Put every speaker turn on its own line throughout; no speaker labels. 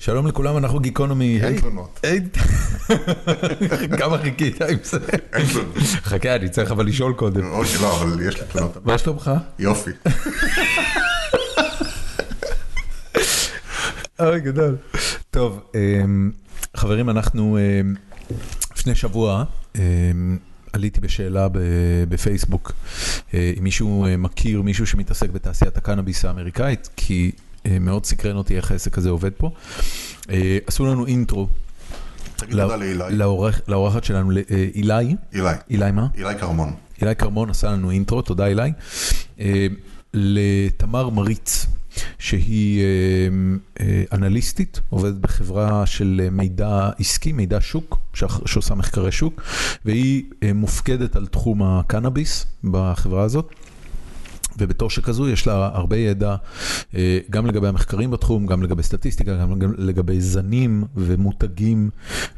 שלום לכולם, אנחנו גיקונומי.
אין תלונות.
כמה חיכית עם זה?
אין תלונות.
חכה, אני צריך אבל לשאול קודם.
או שלא, אבל יש לי תלונות.
מה שלומך?
יופי.
אוי, גדול. טוב, אמ, חברים, אנחנו אמ, לפני שבוע אמ, עליתי בשאלה ב- בפייסבוק, אה, אם מישהו אה, מכיר מישהו שמתעסק בתעשיית הקנאביס האמריקאית, כי אה, מאוד סקרן אותי איך העסק הזה עובד פה. אה, עשו לנו אינטרו
תגיד
לא-
תודה לאילי.
לאורח- לאורחת שלנו, לא- אה, אילי.
אילי.
אילי מה?
אילי כרמון.
אילי כרמון עשה לנו אינטרו, תודה אילי. אה, לתמר מריץ, שהיא אה, אה, אנליסטית, עובדת בחברה של אה, מידע עסקי, מידע שוק, שאח- שעושה מחקרי שוק, והיא אה, מופקדת על תחום הקנאביס בחברה הזאת. ובתור שכזו יש לה הרבה ידע, אה, גם לגבי המחקרים בתחום, גם לגבי סטטיסטיקה, גם גם לגבי זנים ומותגים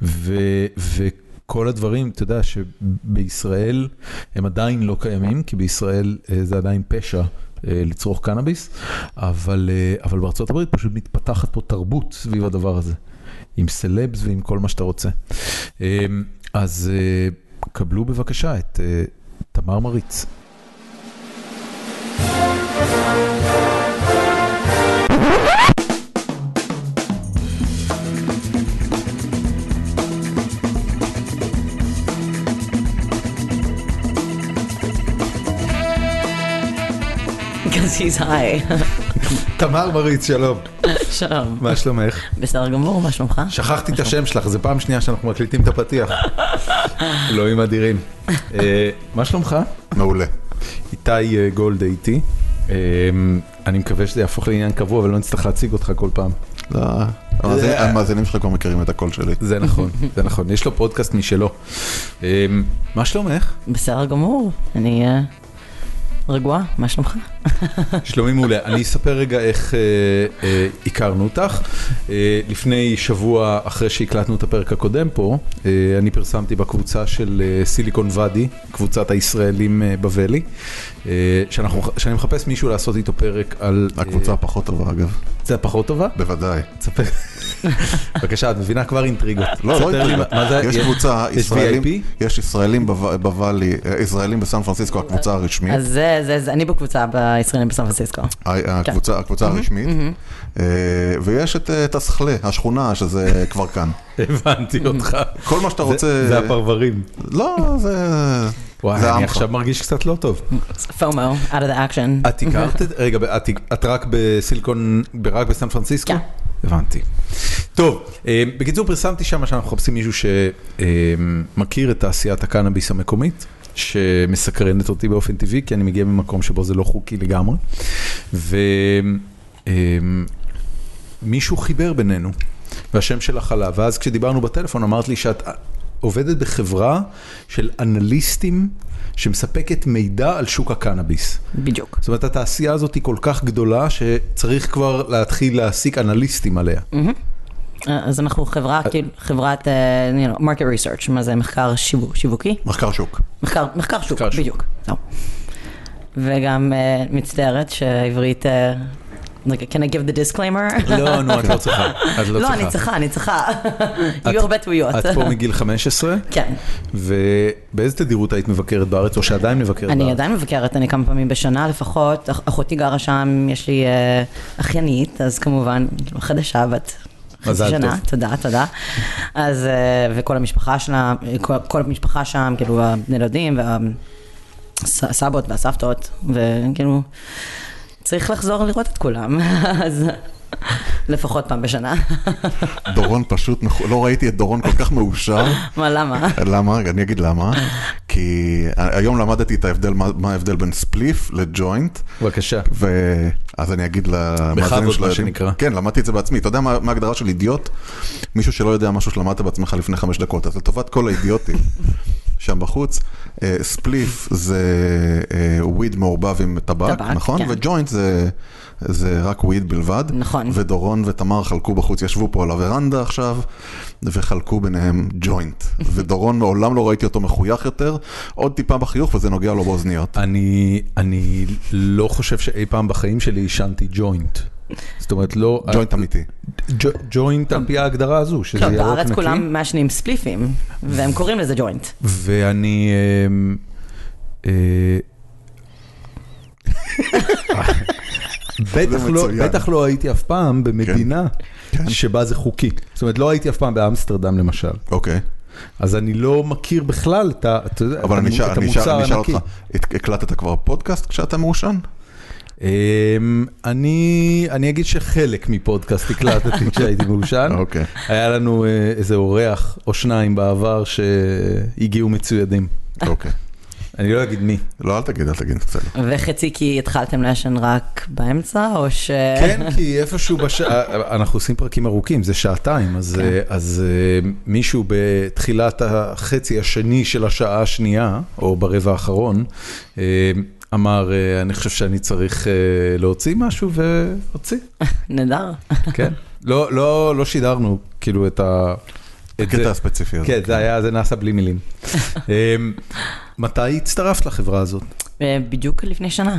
ו... ו... כל הדברים, אתה יודע שבישראל הם עדיין לא קיימים, כי בישראל אה, זה עדיין פשע אה, לצרוך קנאביס, אבל, אה, אבל בארצות הברית פשוט מתפתחת פה תרבות סביב הדבר הזה, עם סלבס ועם כל מה שאתה רוצה. אה, אז אה, קבלו בבקשה את אה, תמר מריץ.
Because he's high.
תמר מריץ, שלום.
שלום.
מה שלומך?
בסדר גמור, מה שלומך?
שכחתי את השם שלך, זו פעם שנייה שאנחנו מקליטים את הפתיח. אלוהים אדירים. אה, מה שלומך?
מעולה.
איתי אה, גולד איתי. אה, אני מקווה שזה יהפוך לעניין קבוע ולא נצטרך להציג אותך כל פעם.
לא, המאזינים-
אה.
המאזינים שלך כבר מכירים את הקול שלי.
זה נכון, זה נכון. יש לו פודקאסט משלו. אה, מה שלומך?
בסדר גמור. אני אה, רגועה, מה שלומך?
שלומי מעולה. אני אספר רגע איך אה, אה, הכרנו אותך. אה, לפני שבוע, אחרי שהקלטנו את הפרק הקודם פה, אה, אני פרסמתי בקבוצה של אה, סיליקון ואדי, קבוצת הישראלים אה, בבלי, אה, שאנחנו, שאני מחפש מישהו לעשות איתו פרק על... אה,
הקבוצה הפחות טובה אגב.
זה הפחות טובה?
בוודאי.
תספר. בבקשה, את מבינה כבר אינטריגות.
לא, לא
תספר לי
איתי.
מה- מה זה-
יש קבוצה,
אה, יש
ישראלים,
VIP?
יש ישראלים בו- בוואלי, אה, ישראלים בסן פרנסיסקו, הקבוצה
כן.
הרשמית.
אז זה, זה, זה, אני בקבוצה בישראלים בסן פרנסיסקו.
ה-
כן.
הקבוצה הקבוצה הרשמית. אה, ויש את אה, תסכלה, השכונה, שזה כבר כאן.
הבנתי אותך.
כל מה שאתה
זה-
רוצה...
זה הפרברים.
לא, זה...
וואי,
זה
אני
עמך.
עכשיו מרגיש קצת לא טוב.
FOMO, out of the action.
את הכרת את, רגע, את, את רק בסיליקון, רק בסן פרנסיסקו?
כן.
הבנתי. טוב, אה, בקיצור פרסמתי שם שאנחנו מחפשים מישהו שמכיר את תעשיית הקנאביס המקומית, שמסקרנת אותי באופן טבעי, כי אני מגיע ממקום שבו זה לא חוקי לגמרי. ומישהו חיבר בינינו, והשם שלך עלה, ואז כשדיברנו בטלפון אמרת לי שאת עובדת בחברה של אנליסטים שמספקת מידע על שוק הקנאביס.
בדיוק.
זאת אומרת, התעשייה הזאת היא כל כך גדולה, שצריך כבר להתחיל להעסיק אנליסטים עליה.
אה, אז אנחנו חברה, כאילו, חברת, אה, you know, market research, מה זה מחקר שיווק, שיווקי?
מחקר שוק.
מחקר, מחקר שוק,
מחקר שוק.
בדיוק. לא. וגם אה, מצטערת שעברית, אה, like, can I give the disclaimer?
לא, נו, את לא צריכה. את
לא, אני צריכה, אני צריכה. יהיו הרבה טעויות.
את פה מגיל 15,
כן.
ובאיזה תדירות היית מבקרת בארץ, או שעדיין מבקרת בארץ?
אני עדיין מבקרת, אני כמה פעמים בשנה לפחות. אח- אחותי גרה שם, יש לי אה, אחיינית, אז כמובן, כאילו, חדשה בת. חצי
מזל
שנה,
טוב.
תודה, תודה. אז, אה, וכל המשפחה שלה, כל, כל המשפחה שם, כאילו, הנלודים והסבות והסבתות, וכאילו, צריך לחזור לראות את כולם, אז לפחות פעם בשנה.
דורון פשוט, מח- לא ראיתי את דורון כל כך מאושר.
מה, למה?
למה? אני אגיד למה. כי היום למדתי את ההבדל, מה מה ההבדל בין ספליף לג'וינט,
בבקשה.
ואז אני אגיד למאזינים
בכבוד,
שלא
מה
יודעים.
שנקרא.
כן, למדתי את זה בעצמי. אתה יודע מה מה ההגדרה של אידיוט? מישהו שלא יודע משהו שלמדת בעצמך לפני חמש דקות. אז לטובת כל האידיוטים שם בחוץ, אה, ספליף זה אה, וויד מעורבב עם טבק,
טבק,
נכון?
כן.
וג'וינט זה... זה רק וויד בלבד,
נכון.
ודורון ותמר חלקו בחוץ, ישבו פה על הוורנדה עכשיו, וחלקו ביניהם ג'וינט. ודורון מעולם לא ראיתי אותו מחוייך יותר, עוד טיפה בחיוך וזה נוגע לו באוזניות.
אני, אני לא חושב שאי פעם בחיים שלי עישנתי ג'וינט. זאת אומרת, לא...
ג'וינט אמיתי.
ג'ו- ג'וינט על פי ההגדרה הזו, שזה
לא,
ירוק נקי.
בארץ כולם מעשנים ספליפים, והם קוראים לזה ג'וינט.
ואני... אמ, אה, בטח,
זה
לא,
מצוין.
בטח לא הייתי אף פעם במדינה
כן.
שבה זה חוקי. זאת אומרת, לא הייתי אף פעם באמסטרדם למשל.
אוקיי.
אז אני לא מכיר בכלל את, ה- אתה יודע, את
אבל אני
המו-
אשאל-
את
אני אשאל
המוצר
אני אשאל
הנקי.
אותך, הת- הקלטת כבר פודקאסט כשאתה מעושן?
אמ, אני, אני אגיד שחלק מפודקאסט הקלטתי כשהייתי מעושן.
אוקיי.
היה לנו אה, איזה אורח או שניים בעבר שהגיעו מצוידים.
אוקיי.
אני לא אגיד מי.
לא, אל תגיד, אל תגיד, בסדר.
וחצי כי התחלתם לעשן רק באמצע, או ש...
כן, כי איפשהו בשעה, אנחנו עושים פרקים ארוכים, זה שעתיים, אז, אה, אז אה, מישהו בתחילת החצי השני של השעה השנייה, או ברבע האחרון, אה, אמר, אה, אני חושב שאני צריך אה, להוציא משהו, והוציא,
נהדר.
כן. לא, לא, לא שידרנו, כאילו, את ה... את
הקטע
זה.
הספציפי הזה.
כן, זה היה, זה נעשה בלי מילים. אה, מתי הצטרפת לחברה הזאת?
אה, בדיוק לפני שנה.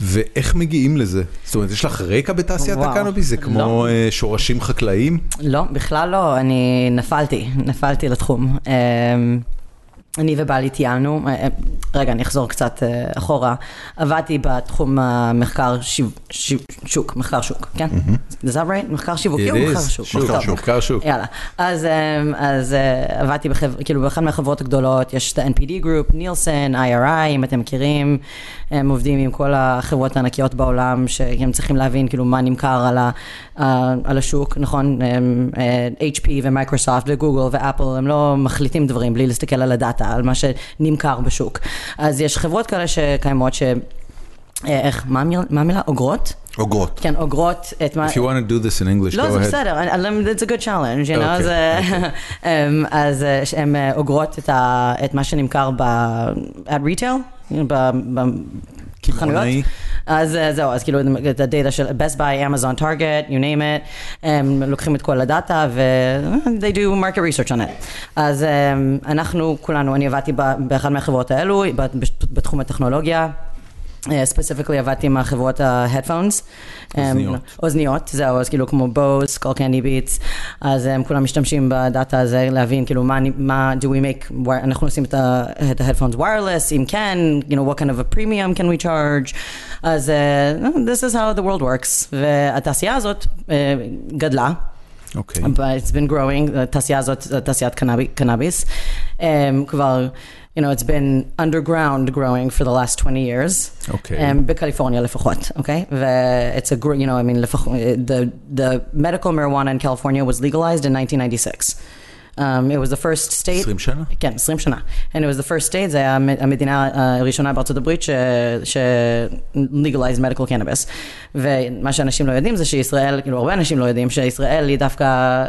ואיך מגיעים לזה? זאת אומרת, יש לך רקע בתעשיית
וואו,
הקנאביס? זה כמו
לא.
אה, שורשים חקלאיים?
לא, בכלל לא, אני נפלתי, נפלתי לתחום. אמ, אני ובעלי טיילנו, אה, אה, רגע, אני אחזור קצת אה, אחורה. עבדתי בתחום המחקר שיו- שיו- שוק, מחקר שוק, כן? Is that right? מחקר שיווקי או
It
אוקיי, מחקר
is.
שוק?
מחקר
טוב.
שוק.
מחקר שוק.
יאללה. אז, אמ, אז אה, עבדתי בחבר, כאילו באחת מהחברות הגדולות, יש את ה-NPD Group, נילסן, IRI, אם אתם מכירים, הם עובדים עם כל החברות הענקיות בעולם, שהם צריכים להבין כאילו מה נמכר על, ה, אה, על השוק, נכון? הם, אה, HP ומייקרוסופט וגוגל ואפל, הם לא מחליטים דברים בלי להסתכל על הדאטה, על מה שנמכר בשוק. אז יש חברות כאלה שקיימות ש... אה, איך, מה המילה- מה המילה? אוגרות?
אוגרות.
כן, אוגרות את מה...
If you want to do this in English,
לא,
go
זה
ahead.
בסדר, I- I- it's a good challenge, you know,
אוקיי,
זה- אמ, אז אה, שהן אה, אוגרות את ה- את מה שנמכר ב... at retail, ב- ב-
קמעונאי.
בחנויות. אז אה, זהו, אז כאילו את הדאטה של best buy, Amazon, Target, you name it, הם לוקחים את כל הדאטה ו... they do market research on it. אז אמ, אנחנו כולנו, אני עבדתי ב- באחת מהחברות האלו, בת- בתחום הטכנולוגיה. ספציפיקלי עבדתי עם החברות ה-Headphones. אמ,
אוזניות.
אוזניות, זהו, אז כאילו כמו בוס, קול קנדי ביטס, אז הם כולם משתמשים בדאטה הזה להבין כאילו מה, אני- מה do we make, wire- אנחנו עושים את ה- את ה-headphones wireless, אם כן, you know, what kind of a premium can we charge, אז אה, this is how the world works, והתעשייה הזאת אה, גדלה.
אוקיי.
But it's been growing, התעשייה הזאת, תעשיית קנאבי- קנאביס, um, כבר, you know, it's been underground growing for the last 20 years.
אוקיי.
Um, בקליפורניה לפחות, אוקיי? ו-it's a, gr- you know, I mean, לפח, the, the medical marijuana in California was legalized in 1996. Um, it was the first state...
20 שנה?
כן, 20 שנה. And it was the first state, זה היה המ- המדינה אה, הראשונה בארצות הברית ש... ש... legalized medical cannabis. ומה שאנשים לא יודעים זה שישראל, כאילו הרבה אנשים לא יודעים, שישראל היא דווקא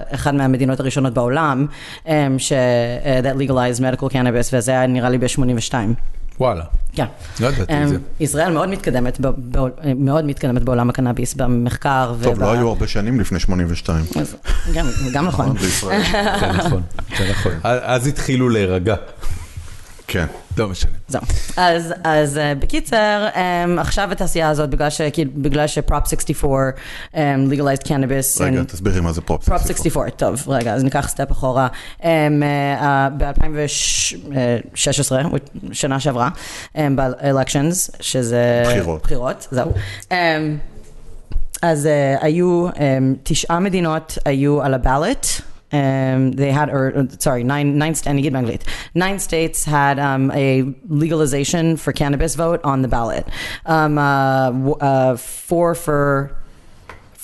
אחת מהמדינות הראשונות בעולם, um, ש... Uh, that legalized medical cannabis, וזה היה נראה לי ב-82.
וואלה.
כן.
לא ידעתי את זה.
אמ, ישראל מאוד מתקדמת, ב- ב- מאוד מתקדמת בעולם הקנאביס, במחקר
טוב, לא היו הרבה שנים לפני 82.
אז גם- גם נכון.
בישראל.
זה נכון, זה נכון. אז
אה,
אז התחילו להירגע.
כן.
לא משנה.
זהו. אז, אז אה, בקיצר, um, עכשיו התעשייה הזאת, בגלל, ש, כאילו, בגלל שפרופ 64, um, legalized cannabis,
רגע,
in-
תסבירי מה זה פרופ
פרופ 64, טוב, רגע, אז ניקח סטפ אחורה. ב-2016, שנה שעברה, ב-elections, שזה...
בחירות.
בחירות, זהו. אמ, אז אה, היו אמ, תשעה מדינות היו על הבלט. Um, they had, or or, sorry, nine, nine, st- אני אגיד באנגלית, nine states had um, a legalization for cannabis vote on the ballot. Um, uh, w- uh, four for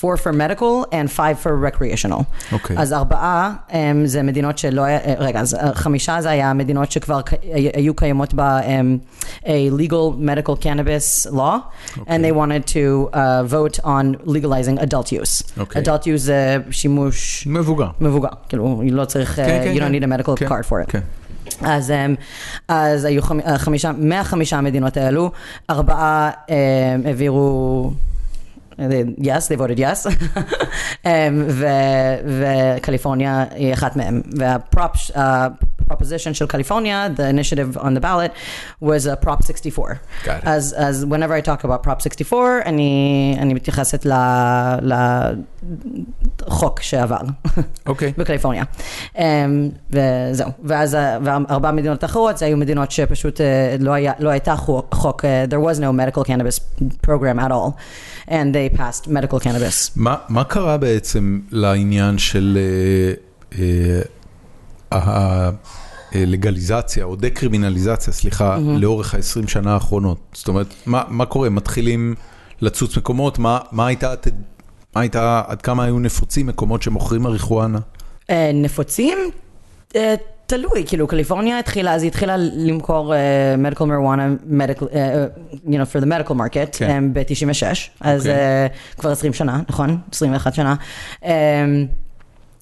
four for medical and five for recreational.
אוקיי.
אז ארבעה הם, זה מדינות שלא היה, אה, רגע, אז אה, חמישה זה היה מדינות שכבר ק- הי- היו קיימות בה um, a legal medical cannabis law, and they wanted to uh, vote on legalizing adult use.
אוקיי.
adult use זה שימוש
מבוגר.
מבוגר, כאילו, לא צריך, אה, you don't need a medical
כן,
card for it.
כן.
אז, אמ, אז היו חמ- אה, חמישה, מהחמישה המדינות האלו, ארבעה אמ, העבירו... yes, they voted yes, אה, אמ, ו- וקליפורניה היא אחת מהם, והפרופ proposition של קליפורניה, the initiative on the ballot, was a Prop 64.
Got it.
אז, אז whenever I talk about Prop 64, אני, אני מתייחסת ל- לחוק שעבר.
אוקיי.
בקליפורניה. Um, וזהו. ואז ה- וארבע מדינות אחרות, זה היו מדינות שפשוט uh, לא, היה, לא הייתה חו- חוק, uh, there was no medical cannabis program at all, and they passed medical cannabis.
מה, מה קרה בעצם לעניין של אה, אה, הלגליזציה או דקרימינליזציה, סליחה, mm-hmm. לאורך ה-20 שנה האחרונות? זאת אומרת, מה, מה קורה? מתחילים לצוץ מקומות? מה, מה הייתה... הת- מה הייתה, עד כמה היו נפוצים מקומות שמוכרים מריחואנה?
אה, נפוצים? אה, תלוי, כאילו קליפורניה התחילה, אז היא התחילה למכור אה, medical marijuana, medical, אה, you know, for the medical market,
כן.
אה, ב-96, אז
אוקיי.
אה, כבר 20 שנה, נכון? 21 שנה. אה,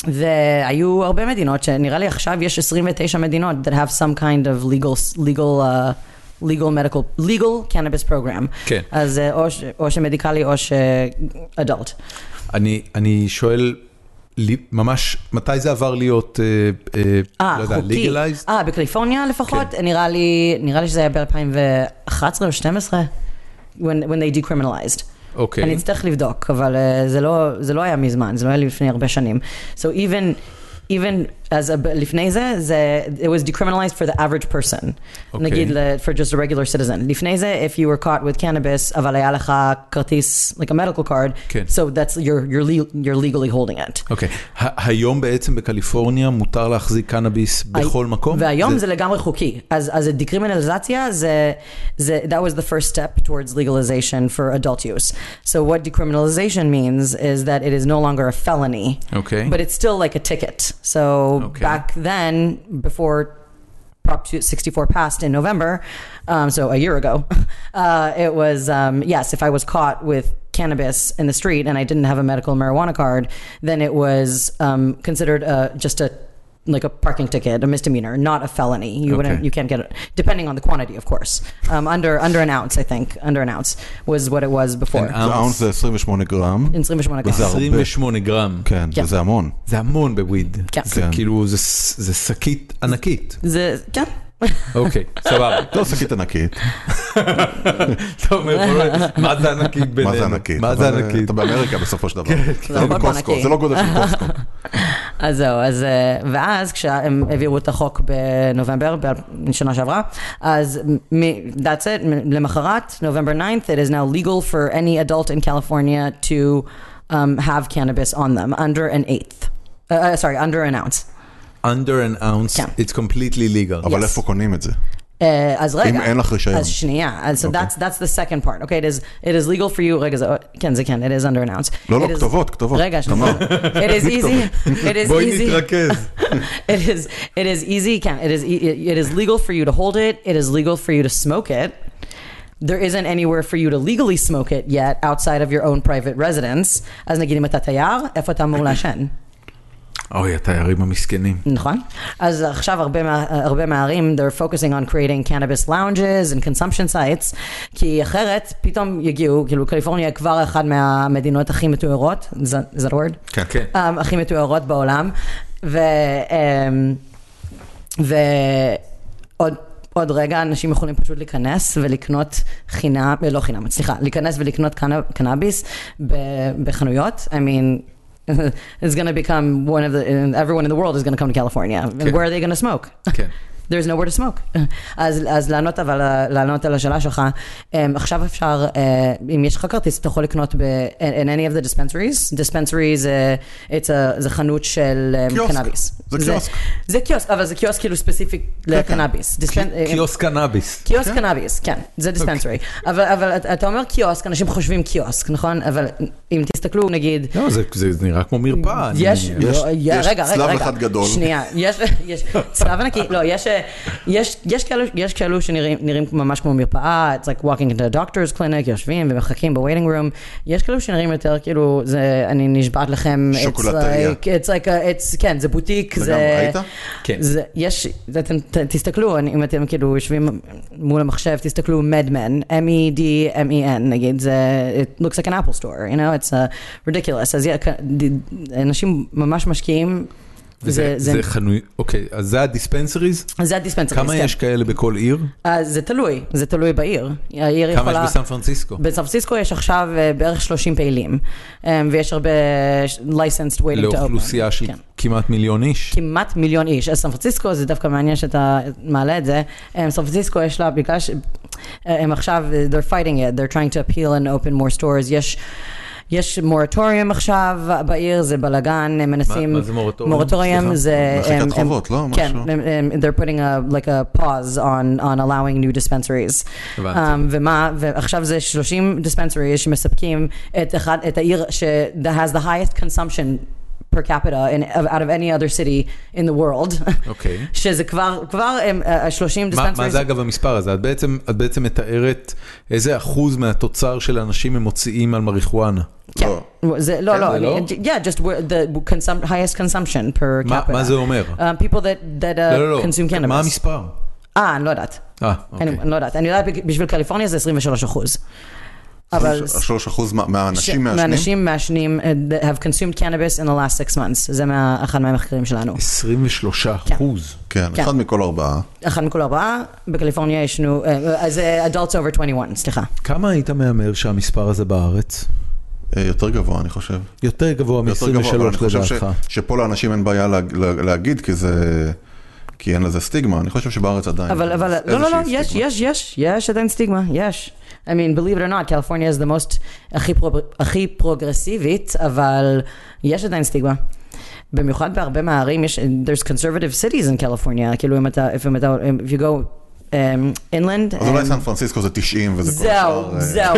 והיו הרבה מדינות, שנראה לי עכשיו יש 29 מדינות that have some kind of legal, legal, uh, legal medical, legal cannabis program.
כן.
אז אה, או, ש- אה, או שמדיקלי או ש-adult.
אני, אני שואל, לי- ממש, מתי זה עבר להיות, אה, אה,
אה,
לא יודע,
חוקי.
legalized?
אה, בקליפורניה לפחות?
כן.
נראה לי, נראה לי שזה היה ב-2011 או 2012, when, when they decriminalized.
אוקיי.
אני אצטרך לבדוק, אבל uh, זה, לא, זה לא היה מזמן, זה לא היה לפני הרבה שנים. So even... Even as a, לפני זה, זה, it was decriminalized for the average person. Okay.
אוקיי.
נגיד ל- for just a regular citizen. לפני זה, if you were caught with cannabis, אבל היה לך כרטיס, like a medical card,
כן.
so that's, you're, you're, le- you're legally holding it.
אוקיי. ה- היום בעצם בקליפורניה מותר להחזיק קנאביס בכל מקום?
והיום זה, זה לגמרי חוקי. אז, אז דקרימינליזציה זה, זה, that was the first step towards legalization for adult use. So what decriminalization means is that it is no longer a felony,
אוקיי.
but it's still like a ticket. So
Okay.
back then, before Prop 64 passed in November, um, so a year ago, uh, it was, um, yes, if I was caught with cannabis in the street and I didn't have a medical marijuana card, then it was um, considered uh just a like a parking ticket, a misdemeanor, not a felony. You wouldn't,
Okay.
you can't get it, depending on the quantity, of course. Um, under under an ounce, I think, under an ounce was what it was before.
An
זה
ounce.
אאונס זה 28 גרם,
in 28
וזה
grams.
הרבה.
28 גרם.
כן,
כן.
וזה המון.
זה המון בוויד.
כן.
זה
כן.
כאילו, זה ס- זה שקית ענקית.
זה- כן.
אוקיי, סבבה.
לא שקית ענקית,
אתה אומר, "בוא, מה זה ענקית בינינו?
מה זה ענקית?
מה זה
אבל, אה,
ענקית?
אתה באמריקה בסופו של דבר.
זה
זה לא
הכל
בקוסקו,
בענקי.
זה לא גודל של קוסקו.
אז זהו, אז, אה, ואז כשהם העבירו את החוק בנובמבר, בשנה שעברה, אז מ- that's it, מ- למחרת, נובמבר 9th, it is now legal for any adult in California to um, have cannabis on them, under an eighth. Uh, Uh, sorry, under an ounce.
under an ounce,
כן.
it's completely legal.
אבל
Yes.
איפה קונים את זה?
Uh, אז רגע.
אם אין לך רישיון.
אז שנייה, אז so
אוקיי.
that's, that's the second part, okay? It is, it is legal for you, רגע, זה, כן, זה כן, it is under an ounce.
לא, לא,
It is-
כתובות, כתובות.
רגע, שנייה.
תמר.
It is easy, it is easy.
בואי נתרכז.
it is it is easy can it is e- it is legal for you to hold it it is legal for you to smoke it there isn't anywhere for you to legally smoke it yet outside of your own private residence אז נגיד אם אתה תייר איפה אתה אמור לעשן
אוי, התיירים המסכנים.
נכון אז עכשיו הרבה, מה- הרבה מהערים they're focusing on creating cannabis lounges and consumption sites כי אחרת פתאום יגיעו כאילו קליפורניה כבר אחת מהמדינות הכי מתוארות is that- is that a word?
כן, כן.
um, הכי מתוארות בעולם. ו... Um, ועוד עוד רגע אנשים יכולים פשוט להיכנס ולקנות חינם, לא חינם, סליחה, להיכנס ולקנות קנ... קנאביס ב... בחנויות. I mean, it's going to become one of the, everyone in the world is going to come to California. And
כן.
where are they going to smoke?
כן.
There's nowhere to smoke. אז, אז לענות, אבל, לענות על השאלה שלך, um, עכשיו אפשר, uh, אם יש לך כרטיס, אתה יכול לקנות ב... in- in any of the dispensaries. dispensary זה, it's a, זה חנות של um,
קיוסק.
קנאביס.
זה קיוסק.
זה קיוסק, אבל זה קיוסק כאילו ספציפי לקנאביס. Dispen- אה,
קיוסק קנאביס.
קיוסק
כן.
קנאביס, כן, זה דיספנסרי. אבל, אבל אתה- אתה אומר קיוסק, אנשים חושבים קיוסק, נכון? אבל אם תסתכלו, נגיד,
לא, זה- זה נראה כמו מרפאה. אני
יש,
מניח.
יש-
לא, יא-
יש
רגע, רגע,
צלב
רגע.
אחד גדול.
שנייה, יש, יש צלב ענקי, לא, יש, אה, יש, יש כאלו, יש כאלו שנראים נראים ממש כמו מרפאה, it's like walking into a doctor's clinic, יושבים ומחכים ב-waiting room, יש כאלו שנראים יותר כאילו, זה, אני נשבעת לכם, it's
שוקולטריה.
like- it's like, a- it's, כן, זה בוטיק,
לגמרי,
זה...
ראית?
כן.
זה, יש, אתם ת, תסתכלו, אני, אם אתם כאילו יושבים מול המחשב, תסתכלו מדמן, E M-E-D-M-E-N, נגיד, זה, it looks like an Apple store, you know, it's uh, ridiculous. אז yeah, כ- ד- אנשים ממש משקיעים
וזה
זה-
זה חנוי, אוקיי, אז זה הדיספנסריז?
זה הדיספנסריסט.
כמה יש כאלה בכל עיר?
זה תלוי, זה תלוי בעיר. העיר
כמה יש
יכולה...
בסן פרנסיסקו?
בסן פרנסיסקו יש עכשיו אה, בערך 30 פעילים, אה, ויש הרבה ש- licensed waiting to open.
לאוכלוסייה של
כן.
כמעט מיליון איש?
כמעט מיליון איש. אז סן פרנסיסקו, זה דווקא מעניין שאתה מעלה את זה. אמ, סן פרנסיסקו יש לה, בגלל ש- אה, הם עכשיו, they're fighting it, they're trying to appeal and open more stores. יש... יש מורטוריום עכשיו בעיר, זה בלאגן, הם מנסים...
מה זה מורטוריום?
מורטוריום
סליחה?
זה...
מחיקת
הם- הם-
חובות, לא?
כן,
משהו.
הם- הם- um, they're putting a, like a pause on, on allowing new dispensaries.
הבנתי.
Um, ומה, ועכשיו זה 30 dispensaries שמספקים את, אחד, את העיר ש- that has the highest consumption per capita in, out of any other city in the world.
אוקיי.
שזה כבר, כבר הם, ה-30
מה, מה
dispensaries,
זה אגב המספר הזה? את בעצם, את בעצם מתארת איזה אחוז מהתוצר של האנשים הם מוציאים על מריחואנה.
כן,
לא.
זה, לא,
כן,
לא,
זה
אני,
לא?
yeah, just where the consum, highest consumption per
מה-
capita.
מה זה אומר?
Um, people that, that uh,
לא, לא,
consume
לא.
cannabis.
מה המספר?
אה, אני לא יודעת.
אה,
אני,
אוקיי.
אני לא יודעת. אני יודעת בג- בשביל קליפורניה זה 23 אחוז. אבל...
3% מה- מהאנשים מעשנים?
מהאנשים מעשנים, uh, that have consumed cannabis in the last six months. זה מה- אחד מהמחקרים שלנו.
23 אחוז.
כן,
כן.
אחד מכל ארבעה.
אחד מכל ארבעה, בקליפורניה ישנו, אה, אז אה, adults over 21, סליחה.
כמה היית מהמר שהמספר הזה בארץ?
אה, יותר גבוה, אני חושב.
יותר גבוה
יותר גבוה, אבל אני
מ-23
חושב ש-
לדעתך.
שפה לאנשים אין בעיה להג- לה- להגיד, כי זה... כי אין לזה סטיגמה, אני חושב שבארץ עדיין.
אבל, אבל,
איזושהי
לא, לא, לא,
סטיגמה.
יש, יש, יש, יש עדיין סטיגמה, יש. I mean, believe it or not, California is the most הכי, פרו, הכי פרוגרסיבית, אבל יש עדיין סטיגמה. במיוחד בהרבה מהערים, יש, there's conservative cities in California, כאילו אם אתה, if אתה, if you go um, inland.
אז אולי
um,
סן פרנסיסקו זה 90 וזה כל השאר...
זהו,
אה,
זהו,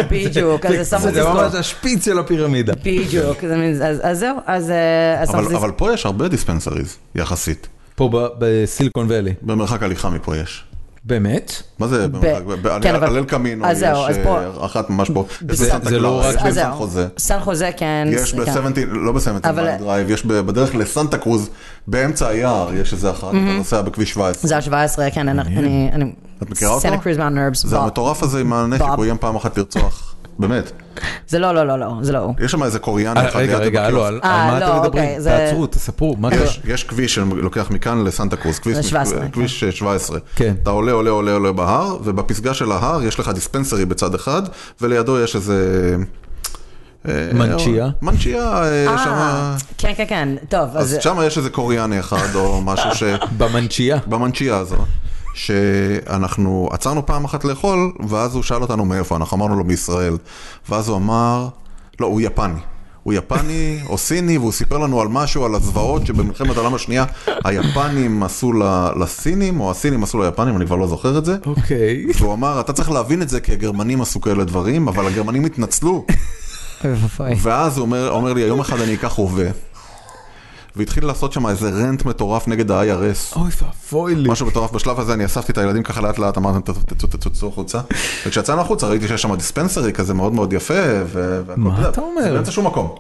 בדיוק, אז זה סן פרנסיסקו.
השפיץ של הפירמידה.
בדיוק, אז אני- אז אז זהו, אז אה, אז סן
אבל- לא
פרנסיסקו.
אבל פה יש הרבה דיספנסריז, יחסית.
פה ב- בסיליקון ואלי.
במרחק הליכה מפה יש.
באמת?
מה זה במרחק? ב- על
כן, אבל-
על אל קמינו
אז
יש
זהו, אז פה-
אה, אחת ממש פה. יש
זה-
בסנטה
זה לא
קלרה,
רק-
יש
אז
בסן
זהו.
חוזה.
סן חוזה, כן.
יש
כן.
ב-17, לא ב-17
אבל-
דרייב, יש ב- בדרך לסנטה קרוז, באמצע היער, יש איזה אחת, אתה נוסע בכביש 17.
זה ה-17, כן, אני- אני... אני-
את מכירה אותו?
Santa Cruz Mountain Herbs.
זה
בוא.
המטורף הזה עם הנשק,
בוא.
הוא איים פעם אחת לרצוח. באמת.
זה לא, לא, לא, לא, זה לא הוא.
יש שם איזה קוריאן
אה,
אחד
רגע,
ליד
רגע, הלו,
בקיוסק.
על על
אה,
מה
לא,
אתם מדברים?
אוקיי, זה- אה.
תעצרו, תספרו, מה קרה?
יש, יש כביש שלוקח מכאן לסנטה קרוז, כביש,
זה 17,
כביש 17.
כן.
אתה עולה, עולה, עולה, עולה בהר, ובפסגה של ההר יש לך דיספנסרי בצד אחד, ולידו יש איזה... אה,
מנצ'יה.
מנצ'יה, אה,
אה,
שמה...
כן, כן, כן, טוב,
אז
אז
שם יש איזה קוריאני אחד, או משהו ש...
במנצ'ייה.
במנצ'יה הזו, שאנחנו עצרנו פעם אחת לאכול, ואז הוא שאל אותנו מאיפה, אנחנו אמרנו לו מישראל, ואז הוא אמר, לא, הוא יפני. הוא יפני או סיני, והוא סיפר לנו על משהו, על הזוועות שבמלחמת העולם השנייה היפנים עשו ל- לסינים, או הסינים עשו ליפנים, אני כבר לא זוכר את זה.
אוקיי.
והוא אמר, אתה צריך להבין את זה כי הגרמנים עשו כאלה דברים, אבל הגרמנים התנצלו.
אוי ואבוי.
ואז הוא אומר, אומר לי, יום אחד אני אקח הווה. והתחיל לעשות שם איזה רנט מטורף נגד ה-IRS.
אוי ואבוי לי.
משהו מטורף בשלב הזה, אני אספתי את הילדים ככה לאט לאט, אמרתם "תצאו, תצאו תצאו תצאו החוצה. וכשיצאנו החוצה ראיתי שיש שם דיספנסרי כזה מאוד מאוד יפה, ו... והכל,
מה
יודע,
אתה אומר?
זה באמצע שום מקום.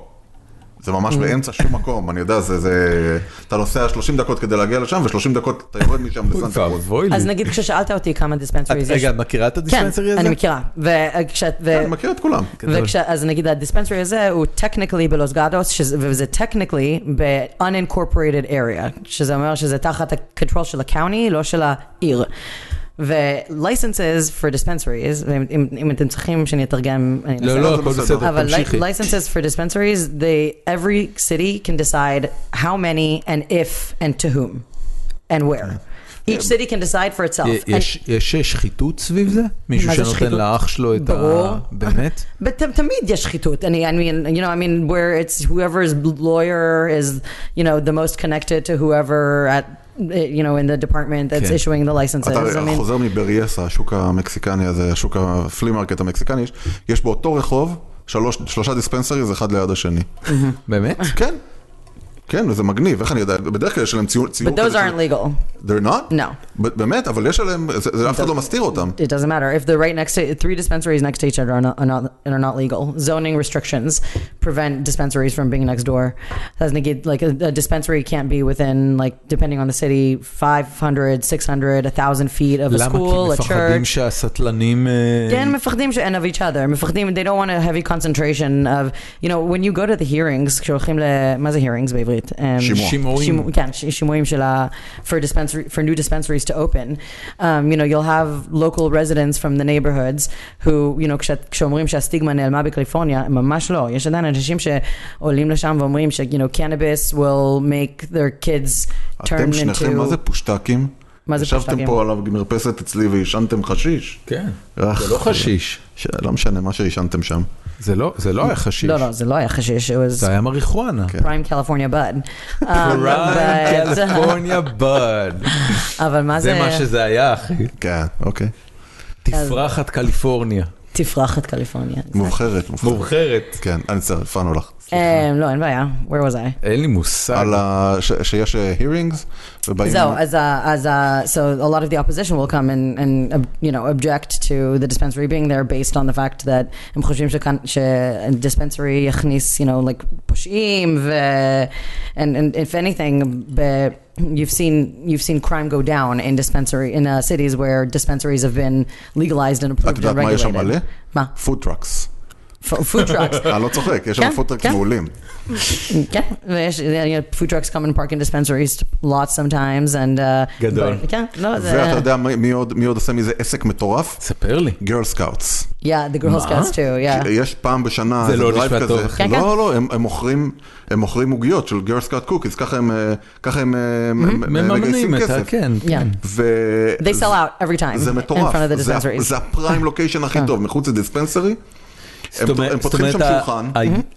זה ממש באמצע שום מקום, אני יודע, זה, זה... אתה נוסע 30 דקות כדי להגיע לשם, ו-30 דקות אתה יורד משם
אוי
לסנטה קרוז.
ואבוי לי.
אז נגיד כששאלת אותי כמה דיספנסריז
את-
יש...
רגע, את מכירה את הדיספנסרי
כן,
הזה? כן,
אני מכירה. וכש...
כן, אני מכיר את כולם.
וכש... אז נגיד הדיספנסרי הזה הוא technically בלוס גדוס, שזה- וזה technically ב-unincorporated area, שזה אומר שזה תחת ה-control של ה-county, לא של העיר. ו-licenses for dispensaries, ואם אם- אם אתם צריכים שאני אתרגם, אני אנסה.
לא, לא, הכל
בסדר.
בסדר,
אבל לא
תמשיכי.
li- licenses for dispensaries, they every city can decide how many and if and to whom and where. Each city can decide for itself.
י- יש- יש שחיתות סביב זה? מישהו
מה זה
שנותן
שחיתות?
לאח שלו את
ברור.
ה... באמת?
But ת- תמיד יש שחיתות. אני, I mean, you know, I mean, where it's whoever's lawyer is, you know, the most connected to whoever at, you know, in the department that's
כן.
issuing the licenses. I
אתה
mean,
חוזר מבריאסה, השוק המקסיקני הזה, השוק הפלי מרקט המקסיקני, יש- יש באותו רחוב שלוש- שלושה דיספנסריז אחד ליד השני.
באמת?
כן. כן, וזה מגניב, איך אני יודע? בדרך כלל יש להם ציור... ציור
but those
כזה של-
aren't legal.
They're not?
No.
ב- באמת, אבל יש עליהם, זה- זה אף אחד לא מסתיר אותם.
It doesn't matter if they're right next to three dispensaries next to each other are not, are not and are not legal. Zoning restrictions prevent dispensaries from being next door. That's negate like a, a dispensary can't be within like depending on the city 500, 600, 1000 feet of a
למה?
school,
כי
a
מפחדים
church. כן,
שהסטלנים... אה,
Again, מפחדים ש- and of each other. מפחדים, they don't want a heavy concentration of, you know, when you go to the hearings, כשהולכים ל... מה זה hearings בעברית? Um,
שימוע.
שימועים.
שימו, כן, ש- שימועים של ה... for, dispensary, for new dispensaries to open. Um, you know, you'll have local residents from the neighborhoods who, you know, כש, כשאומרים שהסטיגמה נעלמה בקליפורניה, ממש לא. יש עדיין אנשים שעולים לשם ואומרים ש, you know, cannabis will make their kids turn
אתם שניכם, מה זה
into...
פושטקים?
מה זה
ישבתם
פושטקים?
פה על המרפסת אצלי ועישנתם חשיש?
כן.
אך,
זה לא חשיש.
ש- לא משנה מה שעישנתם שם.
זה לא זה לא היה כן. חשיש.
לא, לא, זה לא היה חשיש, it was
זה היה מריחואנה.
prime California bud. Um,
Prime
but-
California bud.
אבל מה
זה
זה,
מה שזה היה, אחי.
כן, אוקיי.
תפרחת קליפורניה.
תפרחת קליפורניה.
מאוחרת, מאוחרת.
מאוחרת.
כן, אני מצטער, הפרענו לך.
אמ, לא, אין בעיה, where was I?
אין לי מושג.
על ה... ש- שיש אה, hearings, ובאים...
So as a, as a, so a lot of the opposition will come and, and uh, you know object to the dispensary being there based on the fact that הם חושבים שכאן- שהדיספנסרי יכניס you know like פושעים ו and, and if anything ב- you've seen you've seen crime go down in dispensary in uh, cities where dispensaries have been legalized and
את
approved
יודעת
and
מה יש שם
regulated.
מלא?
מה?
פוד טראקס.
F- food trucks.
אני לא צוחק, יש שם
כן,
פוד טראקס
כן.
מעולים.
Yeah, ויש, you know, food trucks come and park in dispensaries lots sometimes, and uh,
גדול.
but- כן, לא, זה-
ואתה יודע מי- מי עוד- מי עוד עושה מזה עסק מטורף?
ספר לי.
גרל סקאוטס.
yeah, the girls
מה?
scouts too, yeah.
יש פעם בשנה
זה
איזה
לא
דרייב
נשמע
כזה.
טוב, אחי.
כן, כן.
לא, לא, הם- הם מוכרים- הם מוכרים עוגיות של גרל סקאוט קוקיס, ככה הם אה, ככה הם, אה,
Mm-hmm.
מ- מ-
מממנים
מגייסים
את ה...
כסף.
כן.
Yeah.
ו-
They sell out every time
זה
in
מטורף,
front of the
זה ה-
dispensaries. אה.
זה הפריים לוקיישן הכי טוב, מחוץ לדיספנסרי. הם- הם פותחים שם
ה-
שולחן.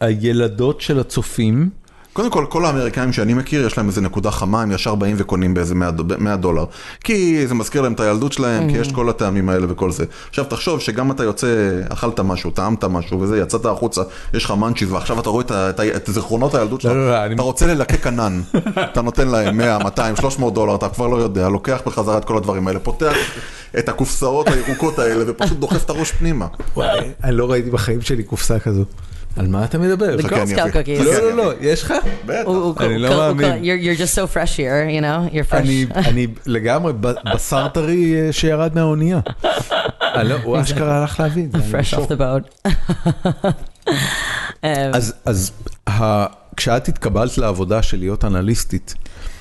ה- הילדות של הצופים,
קודם כל, כל האמריקאים שאני מכיר, יש להם איזה נקודה חמה, הם ישר באים וקונים באיזה 100 דו- 100 דולר. כי זה מזכיר להם את הילדות שלהם, כי יש
Mm.
כל הטעמים האלה וכל זה. עכשיו, תחשוב שגם אתה יוצא, אכלת משהו, טעמת משהו וזה, יצאת החוצה, יש לך מאנצ'יז, ועכשיו אתה רואה את ה- את ה- את זיכרונות הילדות שלך,
לא, לא, לא, אני-
אתה רוצה ללקק ענן, אתה נותן להם 100, 200, 300 דולר, אתה כבר לא יודע, לוקח בחזרה את כל הדברים האלה, פותח את הקופסאות הירוקות האלה, ופשוט דוחף את הראש פנימה. אוקיי,
וואי, אני לא ראיתי בחיים שלי קופסה כזו. על מה אתה מדבר?
The
חכה,
Girl
אני
Scout
אביא.
cookies.
לא,
חכה,
לא,
אני
לא,
אביא.
יש לך?
בטח.
הוא- הוא-
אני לא
הוא- הוא-
מאמין.
You're you're just so fresh here, you know? You're fresh.
אני, אני לגמרי ב- בשר טרי אה, שירד מהאונייה. אני לא- הוא אשכרה הלך להביא את זה. אני
fresh off
בשוק.
the boat. אמ,
אז, אז ה... כשאת התקבלת לעבודה של להיות אנליסטית,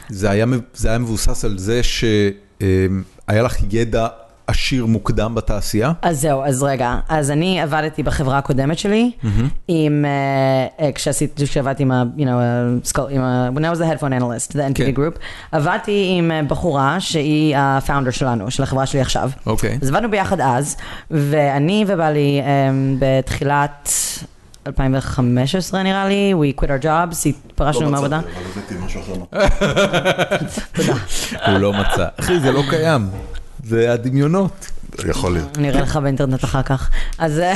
זה היה, מב- זה היה מבוסס על זה שהיה לך ידע עשיר מוקדם בתעשייה?
אז זהו, אז רגע, אז אני עבדתי בחברה הקודמת שלי,
Mm-hmm.
עם, אה, אה, כשעשיתי, כשעבדתי עם ה, you know, ה- skull- עם ה, when I was the headphone analyst, the NPD
כן.
group, עבדתי עם אה, בחורה שהיא ה-founder שלנו, של החברה שלי עכשיו.
אוקיי.
אז עבדנו ביחד אז, ואני ובעלי אמ, בתחילת 2015 נראה לי, we quit our jobs,
לא
התפרשנו
מצאתי,
מהעבודה.
אבל הבאתי משהו אחר.
הוא לא מצא. אחי, זה לא קיים. זה הדמיונות.
יכול להיות.
אני אראה לך באינטרנט אחר כך. אז אה,